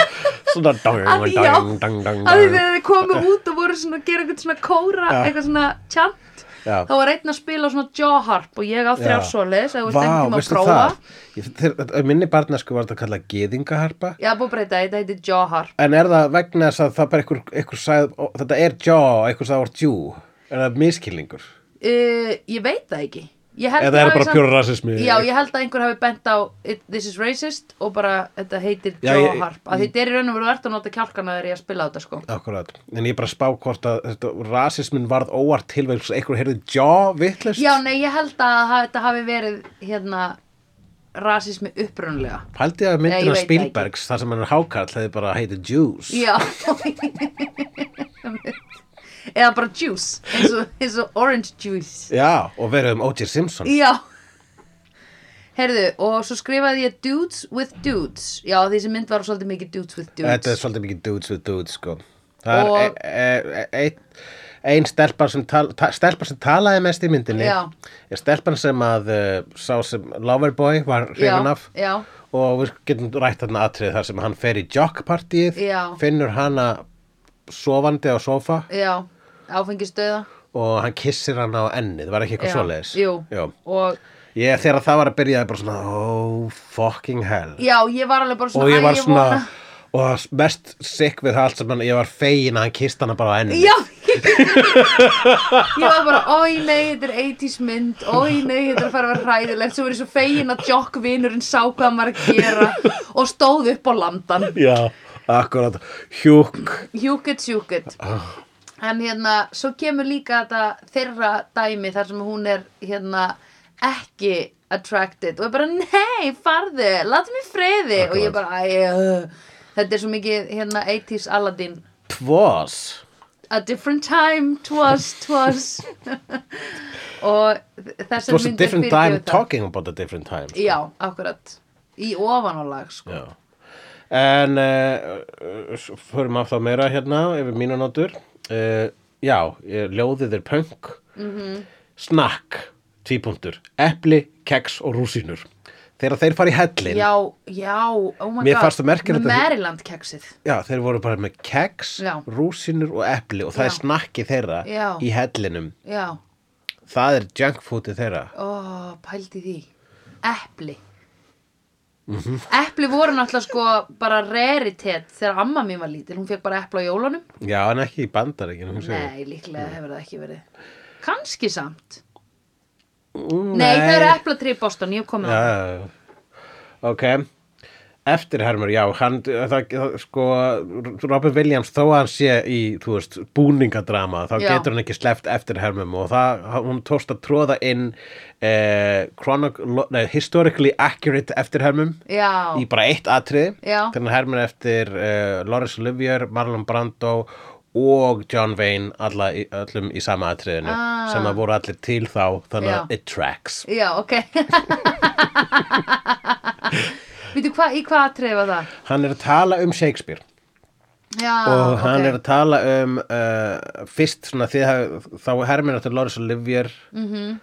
Speaker 2: svona dang,
Speaker 1: Af því já,
Speaker 2: dang, dang, dang,
Speaker 1: að því
Speaker 2: dang.
Speaker 1: þegar þið komu út og voru svona að gera eitthvað svona kóra,
Speaker 2: Já.
Speaker 1: eitthvað svona chant
Speaker 2: Já.
Speaker 1: þá var einn að spila á svona jaw harp og ég á
Speaker 2: Já.
Speaker 1: þrjársóliðis eða þú veist
Speaker 2: Vá,
Speaker 1: einhvern tíma að
Speaker 2: veistu
Speaker 1: prófa
Speaker 2: það? Ég, þeir, að minni barnesku var þetta að kalla geðingaharpa.
Speaker 1: Já, búið að breyta, þetta heiti jaw harp
Speaker 2: En er það vegna þess að það bara einhver, einhver sagði, ó, þetta er jaw, einhver sagði orð jú. Er það miskilningur?
Speaker 1: uh, Ég veit það ekki Ég held
Speaker 2: Eða
Speaker 1: að
Speaker 2: er
Speaker 1: hafi
Speaker 2: bara
Speaker 1: samt-
Speaker 2: pjóra rasismi?
Speaker 1: Já, ég held að einhver hafi bent á it, This is racist og bara þetta heitir
Speaker 2: Já,
Speaker 1: jaw
Speaker 2: ég-
Speaker 1: harp að þetta er í raun og veru ert að nota kjálkana þegar ég að spila á þetta sko
Speaker 2: Akkurat, en ég er bara að spá hvort að þetta, rasismin varð óvart tilvæg einhver heyrði jaw vittlust
Speaker 1: Já, nei, ég held að ha- þetta hafi verið hérna rasismi upprunlega
Speaker 2: Pældi
Speaker 1: Nei,
Speaker 2: að
Speaker 1: ég
Speaker 2: myndina
Speaker 1: veit það ekki.
Speaker 2: Spielbergs þar sem hann er hákarl hefði bara heitið Juice
Speaker 1: Já Eða bara juice eins og, eins og orange juice
Speaker 2: Já, og verið um O.J. Simpson
Speaker 1: Já Herðu, og svo skrifaði ég dudes with dudes Já, þessi mynd var svolítið mikið dudes with dudes
Speaker 2: Þetta er svolítið mikið dudes with dudes sko Það
Speaker 1: Og-
Speaker 2: er e- e- e- ein stelpar sem, tal, ta, stelpar sem talaði mest í myndinni
Speaker 1: Já.
Speaker 2: er stelpan sem að uh, sá sem Loverboy var hrifin af
Speaker 1: Já, já
Speaker 2: og við getum rætt þarna atrið þar sem hann fer í jockpartíið
Speaker 1: Já.
Speaker 2: finnur hana sofandi á sofa
Speaker 1: Já, áfengistöða
Speaker 2: og hann kissir hana á ennið var ekki eitthvað
Speaker 1: Já,
Speaker 2: svoleiðis
Speaker 1: Jú,
Speaker 2: Já.
Speaker 1: og
Speaker 2: Ég, þegar það var að byrja, ég bara svona, oh, fucking hell.
Speaker 1: já, ég var alveg bara svona
Speaker 2: og
Speaker 1: æ,
Speaker 2: ég var svona,
Speaker 1: vona-
Speaker 2: og mest sick við það allt saman, ég var fegin að hann kist hana bara á ennum.
Speaker 1: Já Ég var bara, oi nei, þetta er 80s mynd Oi nei, þetta er að fara að vera hræðilegt Svo var ég svo fegin að jokkvinurinn sá hvað hann var að gera Og stóð upp á landan
Speaker 2: Já, akkurat, hjúk.
Speaker 1: Hjúkett, hjúkett En hérna, svo kemur líka þetta þeirra dæmi þar sem hún er hérna ekki attracted og er bara, nei, farðu, látum mig friði og ég bara, æ, uh, þetta er svo mikið hérna 80s Aladdin
Speaker 2: Tvós.
Speaker 1: a different time, twas, twas og
Speaker 2: It
Speaker 1: þessar
Speaker 2: was a
Speaker 1: myndir
Speaker 2: different
Speaker 1: fyrirgefa
Speaker 2: time
Speaker 1: það.
Speaker 2: talking about a different time. sko.
Speaker 1: Já, akkurat Í ofanálag, sko
Speaker 2: Já. En, uh, förum af þá meira hérna, yfir mínunótur. Uh, já, eh, ljóðið er punk.
Speaker 1: Mhm.
Speaker 2: Snakk, tvípuntur, epli, keks og rúsínur. Þegar þeir fara í hellin,
Speaker 1: Já, já, oh my
Speaker 2: Mér
Speaker 1: god
Speaker 2: fannst það merkilegt að-
Speaker 1: Maryland keksið
Speaker 2: Já, þeir voru bara með keks,
Speaker 1: Já.
Speaker 2: rúsinur og epli og það
Speaker 1: Já.
Speaker 2: er snakki þeirra
Speaker 1: Já.
Speaker 2: í hellinum.
Speaker 1: Já,
Speaker 2: Það er junk foodið þeirra.
Speaker 1: ó, pældi því Epli Epli voru náttúrulega sko bara raritet þegar amma mín var lítil, hún fekk bara epli á jólunum
Speaker 2: Já, en ekki í bandaríkinu.
Speaker 1: Nei, líklega hefur það ekki verið Kanski samt
Speaker 2: Mm, Nei,
Speaker 1: Nei, það eru eplatrý í Boston, ég hef komið
Speaker 2: Já,
Speaker 1: á
Speaker 2: já, já. ok. Eftirhermur, já, hann, það, það, sko, Robin Williams, þó að hann sé í, þú veist, búningadrama, þá
Speaker 1: Já.
Speaker 2: getur hann ekki sleppt eftirhermum og það, hún tókst að tróða inn eh, chronog, nei, historically accurate eftirhermum.
Speaker 1: Já,
Speaker 2: í bara eitt atriði
Speaker 1: Já.
Speaker 2: þegar hann hermur eftir uh, Loris Olivier, Marlon Brando og John Wayne alla, í- öllum í sama atriðinu
Speaker 1: Ah.
Speaker 2: sem að voru allir til þá þannig
Speaker 1: Já.
Speaker 2: að it tracks
Speaker 1: Já, ok Vítu, hva, í hvað atriði var það?
Speaker 2: hann er að tala um Shakespeare
Speaker 1: Já,
Speaker 2: og hann
Speaker 1: Ah, ok.
Speaker 2: er að tala um uh, fyrst svona því að þá hermur eftir Loris Olivier
Speaker 1: Mhm.
Speaker 2: -hmm.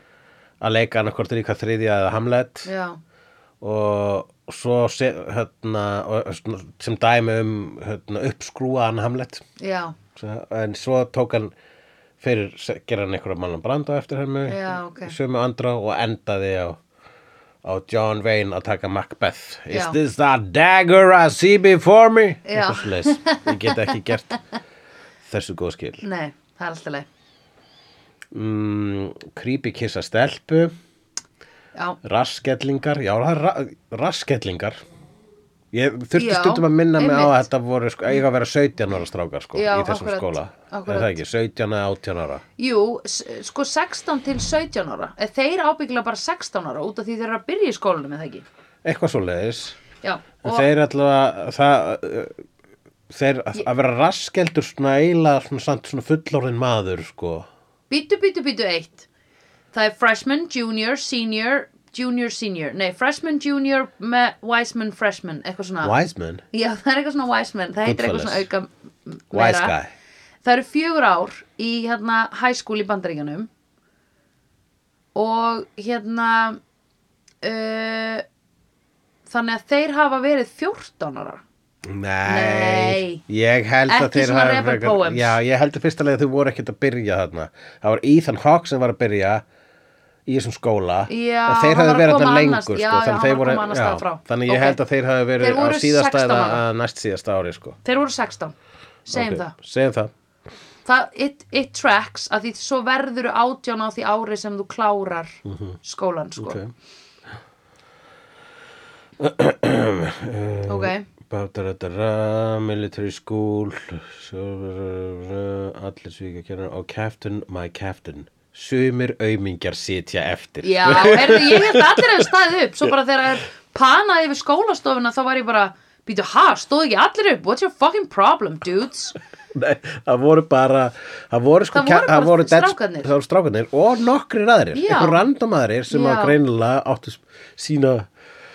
Speaker 2: að leika hann hvort er í hvað þriðja eða Hamlet
Speaker 1: Já,
Speaker 2: og og svo se, hérna, og- og svona sem dæmi um hérna, uppskrúaðan Hamlet
Speaker 1: já,
Speaker 2: Svo- en svo tók hann fyrir, se- gera hann einhverja mann branda eftir hennu,
Speaker 1: Já, ok.
Speaker 2: sömu andra og endaði á, á John Wayne að taka Macbeth Is
Speaker 1: Já.
Speaker 2: this that dagger I see before me?
Speaker 1: Já.
Speaker 2: Eitthvað svoleiðis. ég get ekki gert þessu góð skil
Speaker 1: nei, það er alltaf leið
Speaker 2: mm, creepy kissa stelpu
Speaker 1: já,
Speaker 2: raskellingar, já það er ra raskellingar ég þurfti
Speaker 1: Já,
Speaker 2: stundum að minna mig á að
Speaker 1: einmitt.
Speaker 2: þetta voru sko, eiga að vera 17 ára strákar sko,
Speaker 1: Já,
Speaker 2: í þessum
Speaker 1: akkurat,
Speaker 2: skóla
Speaker 1: akkurat.
Speaker 2: er það ekki, 17 eða 18 ára
Speaker 1: jú, s- sko 16 til 17 ára Eh, þeir ábyggilega bara 16 ára út af því þeir eru að byrja í skólanum eða ekki
Speaker 2: eitthvað svo leiðis
Speaker 1: já, og
Speaker 2: þeir allavega það, uh, þeir að vera raskeldur svona eiginlega svona, samt svona fullorðin maður sko
Speaker 1: Bítu, bítu, bítu, eitt. Það er freshman, junior, senior, junior, senior. Nei, freshman, junior, me, wiseman, freshman, eitthvað svona.
Speaker 2: wise man,
Speaker 1: Já, það er eitthvað svona wiseman, það heitir eitthvað svona auka m- meira.
Speaker 2: wise guy
Speaker 1: Það eru fjögur ár í hérna high school í bandaríkjanum og hérna uh, þannig að þeir hafa verið 14 ára.
Speaker 2: Nei,
Speaker 1: Nei.
Speaker 2: ég held að
Speaker 1: Ekki
Speaker 2: þeir
Speaker 1: svona
Speaker 2: hafi
Speaker 1: rebel
Speaker 2: frekar-
Speaker 1: poems.
Speaker 2: Já, ég held að fyrsta leið að þau voru ekkert að byrja þarna Það var Ethan Hawke sem var að byrja í þessum skóla
Speaker 1: Já,
Speaker 2: og
Speaker 1: hann
Speaker 2: þeir hafi
Speaker 1: var að
Speaker 2: verið
Speaker 1: koma
Speaker 2: þarna lengur
Speaker 1: annars-
Speaker 2: sko,
Speaker 1: já, já,
Speaker 2: þannig,
Speaker 1: hann
Speaker 2: þeir
Speaker 1: var að
Speaker 2: voru,
Speaker 1: koma annars staðar frá.
Speaker 2: þannig ég
Speaker 1: Ok.
Speaker 2: held að þeir hafi verið
Speaker 1: Þeir
Speaker 2: á
Speaker 1: voru
Speaker 2: síðasta
Speaker 1: 16
Speaker 2: eða
Speaker 1: ára.
Speaker 2: að næst síðasta ári sko.
Speaker 1: Þeir voru 16, segjum
Speaker 2: Ok,
Speaker 1: það.
Speaker 2: Segjum það
Speaker 1: það, it, it tracks að því svo verður átján á því ári sem þú klárar skólan sko
Speaker 2: Mhm. Ok.
Speaker 1: ok,
Speaker 2: Ba-da-da-da-da, Military school sjálfur- Allir svíka kjörnir Og captain, my captain Sumir aumingjar sitja eftir
Speaker 1: já, heyrðu, ég held að allir hefur staðið upp, svo bara þegar það er panaði yfir skólastofuna þá var ég bara býtu, ha, stóðu ekki allir upp, what's your fucking problem dudes,
Speaker 2: Nei, það voru bara það voru sko
Speaker 1: Það voru
Speaker 2: ke-
Speaker 1: bara
Speaker 2: dead-
Speaker 1: strákarnir.
Speaker 2: það voru strákarnir og nokkrir aðrir
Speaker 1: Já.
Speaker 2: einhver random aðrir sem að
Speaker 1: Já.
Speaker 2: greinilega áttu s- sína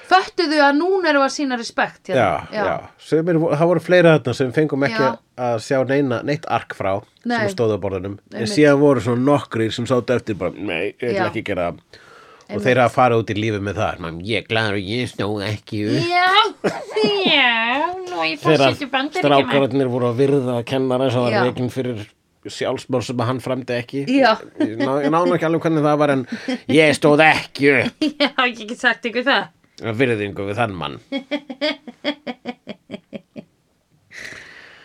Speaker 1: föttuðu að núna erum við að sína respekt hérna.
Speaker 2: já, já. Sem er, það voru fleira þarna sem fengum ekki
Speaker 1: Já.
Speaker 2: að sjá neina, neitt ark frá
Speaker 1: Nei.
Speaker 2: sem stóðu á borðunum en
Speaker 1: Einmitt.
Speaker 2: síðan voru svona nokkrir sem sátu eftir bara, nei, ég
Speaker 1: Já.
Speaker 2: ætla ekki að gera það og þeir að fara út í lífið með það Man, ég er glaður, ég stóð ekki upp
Speaker 1: já, já nú ég fór
Speaker 2: þegar
Speaker 1: sýttu bandaríkjum
Speaker 2: strákararnir voru að virða kennara sem var
Speaker 1: Já.
Speaker 2: reygin fyrir sjálfsmór sem að hann fremdi ekki
Speaker 1: Já.
Speaker 2: ég ná- ég nánu ekki alveg hvernig það var en ég stóð ekki upp
Speaker 1: já, ég get sagt ykkur það
Speaker 2: að virðingu við þann mann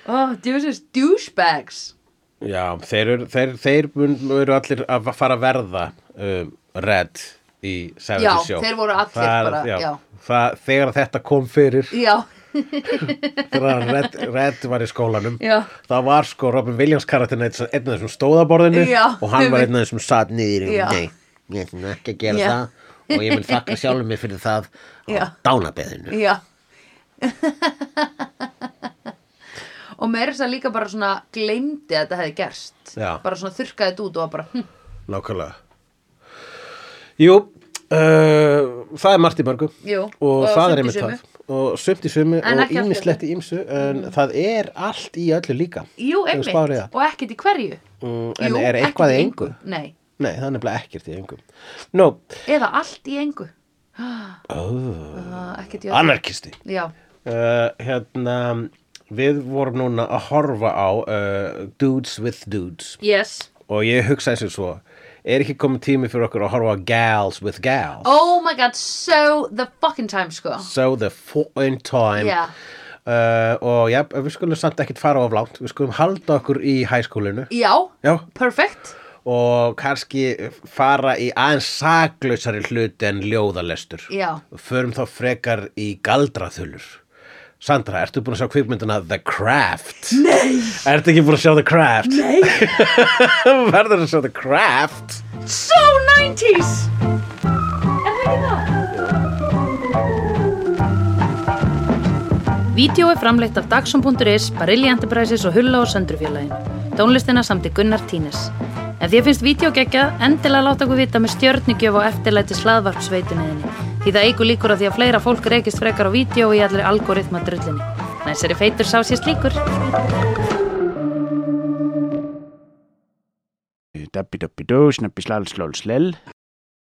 Speaker 1: oh, djúsins douchebags
Speaker 2: já, þeir eru, þeir, þeir mun, eru allir að fara að verða um, red í
Speaker 1: Já,
Speaker 2: 70 sjó
Speaker 1: þeir voru allir
Speaker 2: það, er-
Speaker 1: bara- já.
Speaker 2: Það, þegar þetta kom fyrir
Speaker 1: já,
Speaker 2: þegar red, red var í skólanum
Speaker 1: Já.
Speaker 2: það var sko Robin Williams karakterin einn einn af þessum stóðaborðinu
Speaker 1: Já,
Speaker 2: og hann var
Speaker 1: einmitt.
Speaker 2: einn af þessum satt niður í-
Speaker 1: Já.
Speaker 2: nei, ég ætla ekki að gera
Speaker 1: Já.
Speaker 2: það og ég vil þakka sjálfum mig fyrir það
Speaker 1: Já.
Speaker 2: á dánabeðinu
Speaker 1: Já Og meira þess að líka bara svona gleymdi að þetta hefði gerst
Speaker 2: Já.
Speaker 1: Bara svona þurrkaði þetta út og var bara hm,
Speaker 2: nákvæmlega jú uh, það er margt í mörgu
Speaker 1: Jú,
Speaker 2: og,
Speaker 1: og
Speaker 2: það er
Speaker 1: sumt í
Speaker 2: einmitt
Speaker 1: sumu.
Speaker 2: það og sumt í sumu
Speaker 1: En
Speaker 2: og
Speaker 1: ekki allt í Mhm.
Speaker 2: ímislegt í ímsu en það er allt í öllu líka
Speaker 1: Jú,
Speaker 2: Ef þú
Speaker 1: einmitt,
Speaker 2: spáir í það.
Speaker 1: og ekkert í hverju
Speaker 2: Mm, en
Speaker 1: Jú,
Speaker 2: er
Speaker 1: ekkert í
Speaker 2: eitthvað í engu?
Speaker 1: Nei,
Speaker 2: nei, það er nefnilega ekkert í engum no,
Speaker 1: eða allt í engu
Speaker 2: oh,
Speaker 1: uh, Ekkert í
Speaker 2: anarkisti
Speaker 1: öllu Já,
Speaker 2: uh, hérna við vorum núna að horfa á uh, Dudes with Dudes
Speaker 1: yes
Speaker 2: og ég hugsaði sér svo er ekki komið tími fyrir okkur að horfa á Gals with Gals
Speaker 1: Oh my god, so the fucking time sko
Speaker 2: so the foreign time
Speaker 1: Já.
Speaker 2: uh, og já, við skulum samt ekkit fara of langt við skulum halda okkur í hæskólinu
Speaker 1: Já,
Speaker 2: já,
Speaker 1: perfect
Speaker 2: og kannski fara í aðeins saklausari hluti en ljóðalestur
Speaker 1: Já.
Speaker 2: förum þá frekar í galdraþulur Sandra, ertu búin að sjá kvikmyndina The Craft? Nei! Ertu ekki búin að sjá The Craft? Nei! Verður að sjá The Craft?
Speaker 1: So 90s Er það ekki það? Vídeó er framleitt af Dagsum.is, Barilli Enterprises og Hulla og Söndrufjörlægin. Tónlistina samt í Gunnar Tínes. Ef því að finnst vídeo geggja, endilega láta okkur vita með stjörnigjöf og eftirlæti slaðvarpsveitunniðinni. Því það eigur líkur að því að fleira fólk reykist frekar á vídeo og í allir algoritma drullinni. Næsari feitur sá sér slíkur.
Speaker 3: Dabbi dabbi dó, snabbi slal slól slell